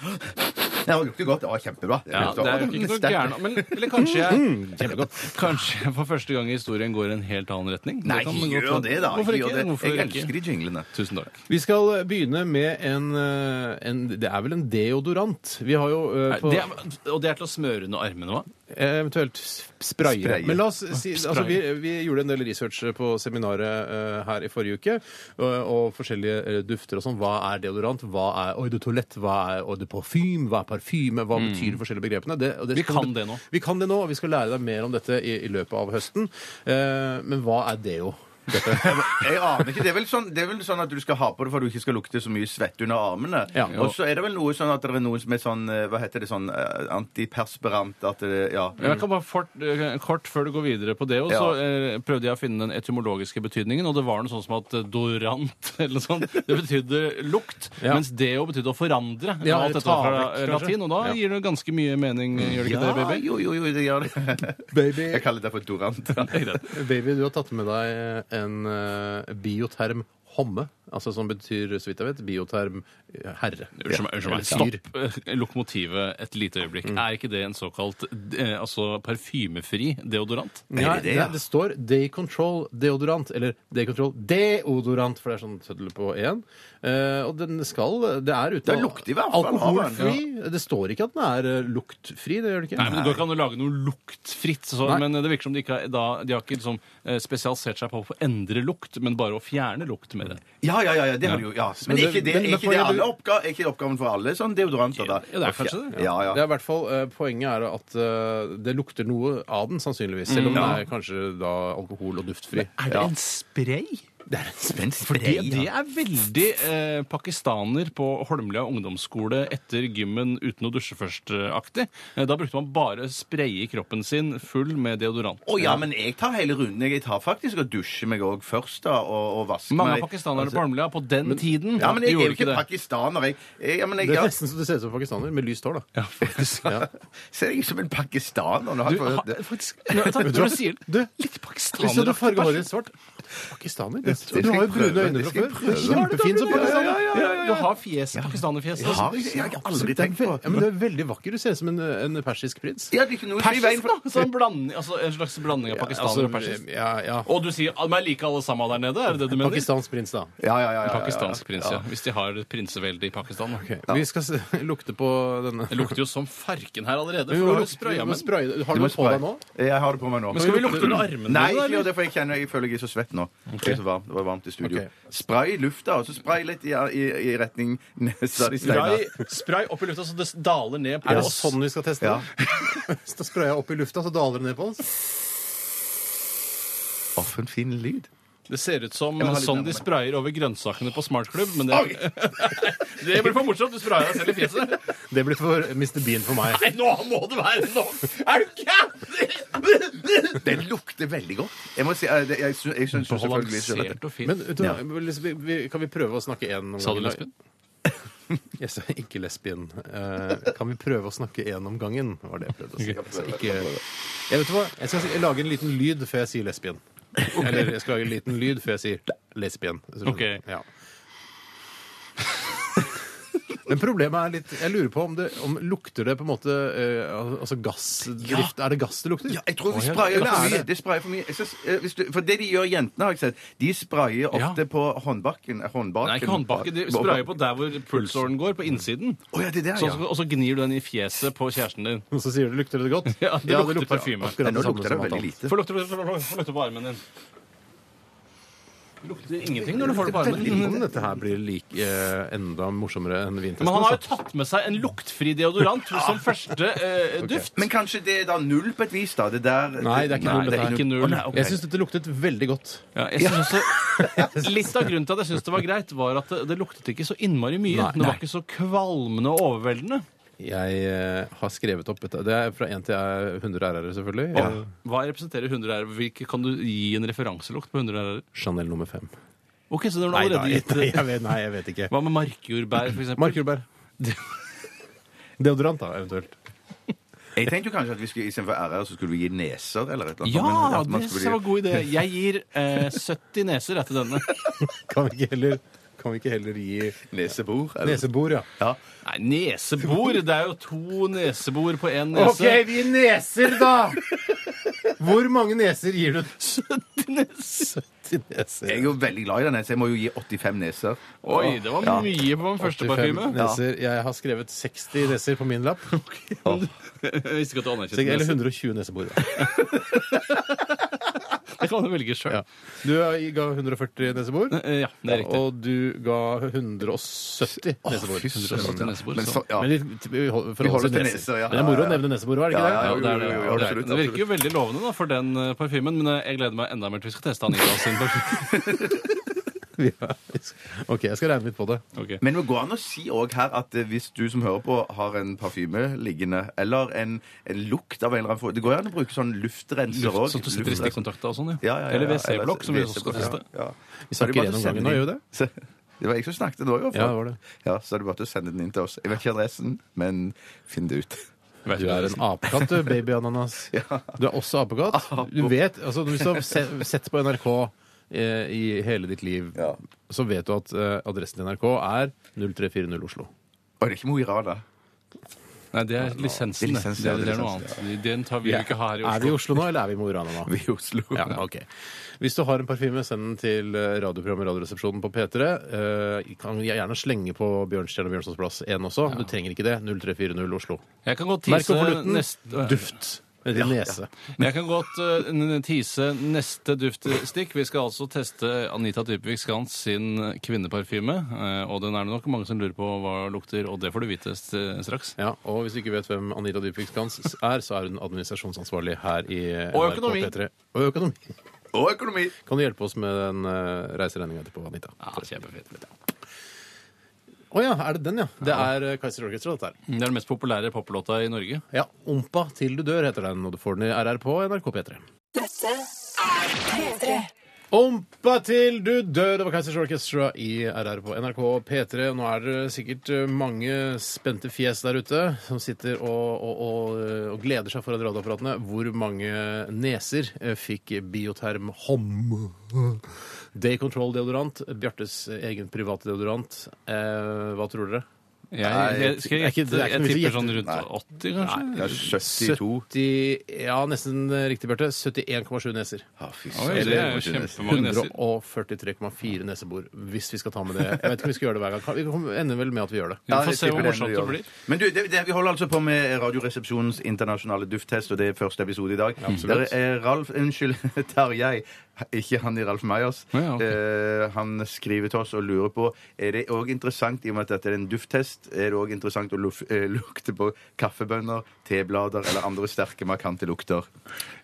[SPEAKER 3] Ja, det lukter godt. Ja, kjempebra.
[SPEAKER 4] Ja, det er jo ikke noe gærent. Men eller kanskje
[SPEAKER 2] Mm,
[SPEAKER 4] jeg Kanskje jeg for første gang i historien går i en helt annen retning. Det
[SPEAKER 3] Nei,
[SPEAKER 4] kan man godt
[SPEAKER 3] gjør
[SPEAKER 4] hende.
[SPEAKER 3] det, da.
[SPEAKER 4] Hvorfor
[SPEAKER 3] Gjør
[SPEAKER 4] ikke?
[SPEAKER 3] det.
[SPEAKER 4] Hvorfor
[SPEAKER 3] Jeg
[SPEAKER 4] ikke?
[SPEAKER 3] elsker de jinglene.
[SPEAKER 4] Tusen takk.
[SPEAKER 2] vi skal begynne med en, eh, en Det er vel en deodorant? Vi har jo eh,
[SPEAKER 4] Nei,
[SPEAKER 2] på,
[SPEAKER 4] Det er, og det er til å smøre under armene òg?
[SPEAKER 2] Eh, eventuelt s- spraye.
[SPEAKER 3] Spraye.
[SPEAKER 2] Men la oss si altså, vi,
[SPEAKER 4] Spraye.
[SPEAKER 2] vi gjorde en del research på seminaret eh, her i forrige uke, og, og forskjellige eh, dufter og sånn. Hva er deodorant? Hva er eau de toalette? Hva er eau de parfyme? Hva er parfyme? Hva betyr de forskjellige begrepene? Det, og
[SPEAKER 4] Vi
[SPEAKER 2] skal
[SPEAKER 4] kan det nå.
[SPEAKER 2] Mm. Vi kan det nå, og vi skal lære deg mer om dette i, i løpet av høsten. Eh, men hva er deo?
[SPEAKER 3] Jeg aner ikke. Det er, vel sånn, det er vel sånn at du skal ha på det for at du ikke skal lukte så mye svette under armene.
[SPEAKER 2] Ja.
[SPEAKER 3] og så er det vel noe sånn at det er noe som er sånn eh, Hva heter det sånn eh, antiperspirant at det, Ja.
[SPEAKER 4] Ja, Jeg kan bare fort, eh, kort før du går videre på det, og så eh, prøvde jeg å finne den etymologiske betydningen, og det var noe sånn som at eh, dorant [LAUGHS] eller noe sånt, det betydde lukt,
[SPEAKER 2] Ja,
[SPEAKER 4] mens deo betydde å forandre.
[SPEAKER 2] Ja,
[SPEAKER 4] og alt
[SPEAKER 2] eller
[SPEAKER 4] dette
[SPEAKER 2] ta
[SPEAKER 4] var fra
[SPEAKER 2] vekk,
[SPEAKER 4] eh,
[SPEAKER 2] kanskje.
[SPEAKER 4] latin, og da
[SPEAKER 2] Ja.
[SPEAKER 4] gir det ganske mye mening, eh, gjør det ikke det, baby?
[SPEAKER 3] jo, jo, jo, det gjør det. [LAUGHS]
[SPEAKER 2] Baby,
[SPEAKER 3] Jeg kaller det for dorant.
[SPEAKER 2] baby, du har tatt med deg en eh, bioterm homme, altså som betyr, så vidt jeg vet, bioterm eh, herre.
[SPEAKER 4] Unnskyld meg,
[SPEAKER 2] Eller
[SPEAKER 4] unnskyld meg.
[SPEAKER 2] Mm. fyr.
[SPEAKER 4] Stopp eh, lokomotivet et lite øyeblikk. Er ikke det en såkalt eh, altså parfymefri deodorant?
[SPEAKER 2] Ja,
[SPEAKER 3] det det,
[SPEAKER 2] det,
[SPEAKER 3] ja?
[SPEAKER 2] det står Day Control deodorant, eller Day Control deodorant, for det er sånn tøddel på én. Eh, og den skal Det er uten
[SPEAKER 3] Det lukter i hvert fall av den,
[SPEAKER 2] alkoholfri. Det står ikke at den er eh, luktfri, det gjør det ikke.
[SPEAKER 4] Nei, men Det går ikke an å lage noe luktfritt. Så,
[SPEAKER 2] Nei.
[SPEAKER 4] men eh, det virker som de ikke har, da, de har ikke liksom, eh, spesialisert seg på å endre lukt, men bare å fjerne lukt med det.
[SPEAKER 3] Ja, ja, ja, ja, det har du jo. Ja. Men er
[SPEAKER 2] det-
[SPEAKER 3] ikke det,
[SPEAKER 2] men-
[SPEAKER 3] er
[SPEAKER 2] men
[SPEAKER 3] ikke det
[SPEAKER 2] poenget-
[SPEAKER 3] alle oppga er ikke det oppgaven for alle sånn deodoranter? da?
[SPEAKER 4] Ja, det er kanskje det,
[SPEAKER 3] Ja,
[SPEAKER 2] Det
[SPEAKER 3] ja.
[SPEAKER 2] er i hvert fall, eh, Poenget er at eh, det lukter noe av den, sannsynligvis. Selv
[SPEAKER 3] Mm,
[SPEAKER 2] om den er kanskje da alkohol- og duftfri.
[SPEAKER 4] Er det en spray?
[SPEAKER 3] Men
[SPEAKER 4] Det,
[SPEAKER 3] spray,
[SPEAKER 4] det
[SPEAKER 3] ja.
[SPEAKER 4] er veldig eh, pakistaner på Holmlia ungdomsskole etter gymmen uten å dusje først-aktig. Eh, da brukte man bare spraye kroppen sin full med deodorant.
[SPEAKER 3] Å ja, men jeg tar hele runden. Jeg tar faktisk og dusjer meg òg først, da, og, og vasker
[SPEAKER 4] Mange
[SPEAKER 3] meg.
[SPEAKER 4] av pakistanerne på Holmlia på den tiden
[SPEAKER 3] Ja, Altså, men jeg er
[SPEAKER 4] gjorde
[SPEAKER 3] jo ikke
[SPEAKER 4] ikke det.
[SPEAKER 3] pakistaner, jeg. jeg, ja, men jeg
[SPEAKER 2] Det er
[SPEAKER 3] ja,
[SPEAKER 2] nesten så du ser ut som pakistaner, med lyst hår, da.
[SPEAKER 4] Ja, faktisk.
[SPEAKER 3] [LAUGHS] ser jeg ut som en pakistaner nå?
[SPEAKER 4] Du,
[SPEAKER 3] har jeg fått-
[SPEAKER 4] har- faktisk, Nå, takk, når du sier det.
[SPEAKER 2] Du,
[SPEAKER 4] Litt
[SPEAKER 2] hvis du hadde
[SPEAKER 4] pakistaneraktig
[SPEAKER 2] farga
[SPEAKER 4] person.
[SPEAKER 2] håret ditt svart Pakistaner? Det Du har jo brune øyne fra
[SPEAKER 3] skal jeg
[SPEAKER 2] før.
[SPEAKER 3] prøve.
[SPEAKER 2] Kjempefin som pakistaner.
[SPEAKER 3] Ja, ja, ja, ja, ja.
[SPEAKER 4] Du har fjes. Pakistanerfjes.
[SPEAKER 3] Jeg har, jeg har aldri
[SPEAKER 2] Det er
[SPEAKER 3] tenkt på
[SPEAKER 2] ve- ja, men du er veldig vakker. Du ser ut som en, eh, en persisk prins.
[SPEAKER 3] Jeg hadde ikke noe i veien
[SPEAKER 4] Persisk,
[SPEAKER 3] for
[SPEAKER 4] da! Så en, blanding, altså en slags blanding av
[SPEAKER 2] altså,
[SPEAKER 4] pakistanere og persisk.
[SPEAKER 2] ja, ja.
[SPEAKER 4] Og du sier at de er like alle sammen der nede? Er det det du mener?
[SPEAKER 2] Pakistansk prins, da.
[SPEAKER 3] Ja, ja, ja, ja, ja, ja.
[SPEAKER 4] Pakistansk prins, ja. Hvis de har et prinsevelde i Pakistan. da.
[SPEAKER 2] Vi skal se, [LAUGHS] lukte på denne.
[SPEAKER 4] Det lukter jo som farken her allerede.
[SPEAKER 2] Vi
[SPEAKER 4] For
[SPEAKER 2] må
[SPEAKER 4] du har jo
[SPEAKER 2] lukte- vi
[SPEAKER 4] spraya
[SPEAKER 2] må
[SPEAKER 4] med
[SPEAKER 2] spraye det. Har
[SPEAKER 3] Du
[SPEAKER 2] du
[SPEAKER 3] må
[SPEAKER 2] det på
[SPEAKER 3] spraye.
[SPEAKER 2] deg nå?
[SPEAKER 3] Jeg har det på meg nå.
[SPEAKER 4] Men skal vi lukte under
[SPEAKER 3] Nei,
[SPEAKER 4] armene? da,
[SPEAKER 3] ikke
[SPEAKER 4] eller?
[SPEAKER 3] gjør det, for jeg kjenner jeg føler jeg er så svett nå. Det, er så varmt, det var varmt i studio.
[SPEAKER 2] Ok.
[SPEAKER 3] Spray i lufta, og så spray litt i, i, i retning nesa di, Steinar.
[SPEAKER 4] Spray, spray opp i lufta så det daler ned. på
[SPEAKER 2] Er det
[SPEAKER 4] oss.
[SPEAKER 2] sånn vi skal teste [LAUGHS]
[SPEAKER 3] Ja.
[SPEAKER 2] det? Da sprayer jeg opp i lufta, så daler det ned på oss.
[SPEAKER 3] Å, for en fin lyd.
[SPEAKER 4] Det ser ut som
[SPEAKER 3] Jeg må ha litt
[SPEAKER 4] sånn de
[SPEAKER 3] nærmere.
[SPEAKER 4] sprayer over grønnsakene på smartklubb. Men det, det blir for morsomt. Du sprayer deg selv i fjeset.
[SPEAKER 2] Det blir for Mr. Bean for meg.
[SPEAKER 4] [LAUGHS] Nei, nå må det være nok! Er du gæren?
[SPEAKER 3] Det lukter veldig godt. Jeg må si, eh, det- jeg, sy- jeg syns jo selvfølgelig selv at det-
[SPEAKER 4] Balansert og
[SPEAKER 2] Men
[SPEAKER 4] fint.
[SPEAKER 2] vet du, hva, vi- vi- kan vi prøve å snakke én om
[SPEAKER 4] Sa du
[SPEAKER 2] gangen?
[SPEAKER 4] lesben?
[SPEAKER 2] Jeg sa ikke lesbien. Eh, kan vi prøve å snakke én om gangen? Var det jeg prøvde å si. Så ikke, jeg vet du hva, jeg skal si- lage en liten lyd før jeg sier lesbien. Eller jeg skal lage en liten lyd før jeg sier lesbien. hvis du skjønner.
[SPEAKER 4] Ok.
[SPEAKER 2] Ja. Men problemet er litt Jeg lurer på om det om lukter det på en måte eh, al- Altså gassdrift Er det gass det lukter?
[SPEAKER 3] Ja, jeg tror vi
[SPEAKER 2] Å, ja,
[SPEAKER 3] sprayer
[SPEAKER 2] det
[SPEAKER 3] for
[SPEAKER 2] er
[SPEAKER 3] mye.
[SPEAKER 2] det.
[SPEAKER 3] Det sprayer for mye. Jeg synes, eh, hvis du, for det de gjør, jentene, har jeg sett, de sprayer ofte
[SPEAKER 4] Ja.
[SPEAKER 3] på håndbakken. eh, håndbaken.
[SPEAKER 4] Nei, ikke håndbakke. De sprayer på Sånn der hvor pulsåren går, på innsiden.
[SPEAKER 3] Å ja, det er der,
[SPEAKER 4] Så,
[SPEAKER 3] ja.
[SPEAKER 4] og så gnir du den i fjeset på kjæresten din.
[SPEAKER 2] Og så sier du lukter det godt?
[SPEAKER 4] [LAUGHS] Ja, det lukter parfyme.
[SPEAKER 2] akkurat
[SPEAKER 3] Nei,
[SPEAKER 2] det
[SPEAKER 3] nå
[SPEAKER 2] samme
[SPEAKER 3] lukter det
[SPEAKER 2] som alt
[SPEAKER 3] veldig
[SPEAKER 2] annet.
[SPEAKER 3] lite.
[SPEAKER 4] Få lukte, få lukte, få lukte på armen din. Det lukter ingenting når du får det på armen.
[SPEAKER 2] Men Dette her blir like, eh, enda morsommere enn vintesten.
[SPEAKER 4] Men han har jo
[SPEAKER 2] altså.
[SPEAKER 4] tatt med seg en luktfri deodorant som første eh, duft.
[SPEAKER 3] Men kanskje det er da null på et vis, da? Det der
[SPEAKER 2] Nei, det er ikke
[SPEAKER 4] Nei,
[SPEAKER 2] null,
[SPEAKER 4] det
[SPEAKER 2] dette
[SPEAKER 4] er
[SPEAKER 2] her.
[SPEAKER 4] ikke null.
[SPEAKER 3] Å, nei, ok.
[SPEAKER 2] Jeg syns dette luktet veldig godt.
[SPEAKER 4] Ja, jeg synes også, [LAUGHS] litt av grunnen til at jeg syntes det var greit, var at det, det luktet ikke så innmari mye.
[SPEAKER 2] Nei, nei.
[SPEAKER 4] det var ikke så kvalmende og overveldende.
[SPEAKER 2] Jeg eh, har skrevet opp dette. Det er fra 1 til eh, 100 RR-er, selvfølgelig. Eh,
[SPEAKER 4] Hva representerer 100 ærer? Hvilke kan du gi en referanselukt på 100 ærer?
[SPEAKER 2] Chanel nummer 5.
[SPEAKER 4] Ok, så det har du allerede gitt.
[SPEAKER 2] jeg vet, nei, jeg vet ikke.
[SPEAKER 4] Hva med markjordbær, for eksempel?
[SPEAKER 2] Mark Jordbær. [LAUGHS] Deodorant, da, eventuelt.
[SPEAKER 3] Jeg tenkte jo kanskje at vi skulle istedenfor RR, så skulle vi gi neser eller et eller annet. Men
[SPEAKER 4] Ja,
[SPEAKER 3] at man
[SPEAKER 4] det
[SPEAKER 3] skulle-
[SPEAKER 4] var en god idé. Jeg gir eh, 70 neser jeg, til denne.
[SPEAKER 2] Kan vi ikke heller, kan vi ikke heller gi
[SPEAKER 3] Nesebor. eller-
[SPEAKER 2] nesebor, ja?
[SPEAKER 3] Ja.
[SPEAKER 4] Nei, nesebor. Det er jo to nesebor på én nese.
[SPEAKER 2] vi gir neser, da! Hvor mange neser gir du?
[SPEAKER 4] 70 neser.
[SPEAKER 2] 70
[SPEAKER 3] Jeg er
[SPEAKER 2] neser.
[SPEAKER 3] jo veldig glad i den, så jeg må jo gi 85 neser.
[SPEAKER 4] Oi, det var mye på den første
[SPEAKER 2] 85
[SPEAKER 4] parfyme.
[SPEAKER 2] neser. Jeg har skrevet 60 neser på min lapp.
[SPEAKER 4] [LAUGHS] Jeg visste ikke at du anerkjente
[SPEAKER 2] Eller
[SPEAKER 4] neser.
[SPEAKER 2] 120 nesebor. da.
[SPEAKER 4] Det kan du velge sjøl.
[SPEAKER 2] Ja. Du ga 140 nesebor.
[SPEAKER 4] Ja, det er riktig.
[SPEAKER 2] Og du ga 170 nesebor.
[SPEAKER 3] fy søren.
[SPEAKER 4] 170 nesebor,
[SPEAKER 3] Men
[SPEAKER 4] så-
[SPEAKER 3] så- ja.
[SPEAKER 2] Men vi, vi holder, for
[SPEAKER 3] Vi holder
[SPEAKER 2] oss
[SPEAKER 3] til
[SPEAKER 2] til
[SPEAKER 3] neser, ja.
[SPEAKER 2] Men det er moro
[SPEAKER 3] Ja,
[SPEAKER 2] å
[SPEAKER 3] ja.
[SPEAKER 2] nevne nesebor hver, er det ikke det?
[SPEAKER 3] Ja, ja, Jo,
[SPEAKER 4] det, er det,
[SPEAKER 3] jo, jo,
[SPEAKER 4] ja, det, er det.
[SPEAKER 3] absolutt,
[SPEAKER 4] det virker jo veldig lovende da, for den eh, parfymen, men eh, jeg gleder meg enda mer til vi skal teste Anita
[SPEAKER 3] [LAUGHS]
[SPEAKER 4] sin parfyme.
[SPEAKER 2] Ja. OK, jeg skal regne litt på det.
[SPEAKER 4] Ok.
[SPEAKER 3] Men det går an å si òg her at eh, hvis du som hører på, har en parfyme liggende, eller en, en lukt av en eller annen form Det går an å bruke sånn luftrenser òg.
[SPEAKER 4] Luft som du sitter i stikkontakter og sånn, ja.
[SPEAKER 3] Ja, ja, ja, ja.
[SPEAKER 4] Eller WC-blokk, som vi også skal
[SPEAKER 3] WC-blokk,
[SPEAKER 4] teste.
[SPEAKER 3] Ja, ja.
[SPEAKER 2] Vi
[SPEAKER 3] Så er det
[SPEAKER 2] snakker
[SPEAKER 3] bare til å
[SPEAKER 2] gjennom
[SPEAKER 3] sende
[SPEAKER 2] gangen nå, gjør vi det?
[SPEAKER 3] den inn. Så- Det var jeg som snakket nå, i hvert
[SPEAKER 2] Ja,
[SPEAKER 3] fall.
[SPEAKER 2] det var det.
[SPEAKER 3] Ja, så er det bare til å sende den inn til oss. Jeg vet ikke adressen, men finn det ut.
[SPEAKER 2] Du er en apekatt,
[SPEAKER 3] [LAUGHS]
[SPEAKER 2] du, babyananas. Du er også apekatt. Du vet, altså Hvis du har se- sett på NRK eh, i hele ditt liv,
[SPEAKER 3] Ja.
[SPEAKER 2] så vet du at eh, adressen til NRK er 0340 Oslo.
[SPEAKER 3] Og det er ikke Mo i Rana.
[SPEAKER 4] Nei, det er lisensen. Det,
[SPEAKER 3] lisensen,
[SPEAKER 4] det,
[SPEAKER 3] ja,
[SPEAKER 4] er noe
[SPEAKER 3] lisensen,
[SPEAKER 4] annet. Den tar vi jo ikke her i
[SPEAKER 2] Er vi i
[SPEAKER 4] Oslo.
[SPEAKER 2] Oslo nå, eller er vi i Mo i
[SPEAKER 4] [LAUGHS]
[SPEAKER 2] Rana nå?
[SPEAKER 3] Vi er i Oslo.
[SPEAKER 2] Ja, ok. Hvis du har en parfyme, send den til eh, radioprogrammet Radioresepsjonen på P3. Eh, kan jeg gjerne slenge på Bjørnstjerne og Bjørnsons plass 1 også. Du trenger ikke det. 0340 Oslo.
[SPEAKER 4] Jeg kan godt
[SPEAKER 2] Merk
[SPEAKER 4] tise
[SPEAKER 2] konvolutten.
[SPEAKER 4] neste
[SPEAKER 2] Duft. Med din nese.
[SPEAKER 4] Jeg kan godt eh, n- tise neste duftstikk. Vi skal altså teste Anita Dybvik Skans sin kvinneparfyme. eh, Og den er det nok mange som lurer på hva lukter, og det får du vite st- straks.
[SPEAKER 2] Ja, og hvis du ikke vet hvem Anita Dybvik Skans er, så er hun administrasjonsansvarlig her i eh,
[SPEAKER 4] Og
[SPEAKER 2] NRK
[SPEAKER 4] økonomi.
[SPEAKER 2] P3. Og økonomi.
[SPEAKER 3] Og økonomi.
[SPEAKER 2] Kan du hjelpe oss med den uh, reiseregninga etterpå, Anita?
[SPEAKER 4] Ja, kjempefint.
[SPEAKER 2] Å ja, er det den, ja? Det er uh, Kaiser Orchestra, dette her.
[SPEAKER 4] Det er den mest populære poplåta i Norge.
[SPEAKER 2] Ja, Ompa til du dør heter den, og du får den i RR på NRK P3. Ompa til du dør! Det var Kaizers Orchestra i RR på NRK P3. Nå er det sikkert eh, mange spente fjes der ute som sitter og, og, og, eh, og gleder seg foran radioapparatene. Hvor mange neser eh, fikk Bioterm Hom Day Control-deodorant, Bjartes egen private deodorant. Eh, hva tror dere?
[SPEAKER 4] Jeg, jeg, skal jeg,
[SPEAKER 2] det er ikke-
[SPEAKER 4] gjette?
[SPEAKER 2] det er ikke
[SPEAKER 4] jeg
[SPEAKER 2] mye
[SPEAKER 4] tipper
[SPEAKER 2] å
[SPEAKER 4] sånn
[SPEAKER 2] gjette.
[SPEAKER 4] rundt 80, kanskje?
[SPEAKER 3] Kanskje 72.
[SPEAKER 2] 70, ja, nesten riktig, Bjarte. 71,7 neser.
[SPEAKER 3] Ja, fy
[SPEAKER 4] Oi,
[SPEAKER 3] søren.
[SPEAKER 4] det er jo kjempemange neser.
[SPEAKER 2] 143,4 nesebor, hvis vi skal ta med det. Jeg vet ikke om vi skal gjøre det hver gang. Kan- Vi kommer- ender vel med at vi gjør det.
[SPEAKER 4] Vi får
[SPEAKER 3] jeg
[SPEAKER 4] se hvor
[SPEAKER 3] tipper
[SPEAKER 4] morsomt det
[SPEAKER 3] gjør.
[SPEAKER 4] blir.
[SPEAKER 3] Men du, det, det, Vi holder altså på med Radioresepsjonens internasjonale dufttest, og det er første episode i dag. Der
[SPEAKER 2] absolutt.
[SPEAKER 3] er Ralf Unnskyld, [LAUGHS] Tarjei. Ikke han i Ralf Meyers.
[SPEAKER 4] Ja, ok.
[SPEAKER 3] eh, han skriver til oss og lurer på Er det òg interessant, i og med at dette er en dufttest, er det òg interessant å luf, eh, lukte på kaffebønner, teblader eller andre sterke, markante lukter?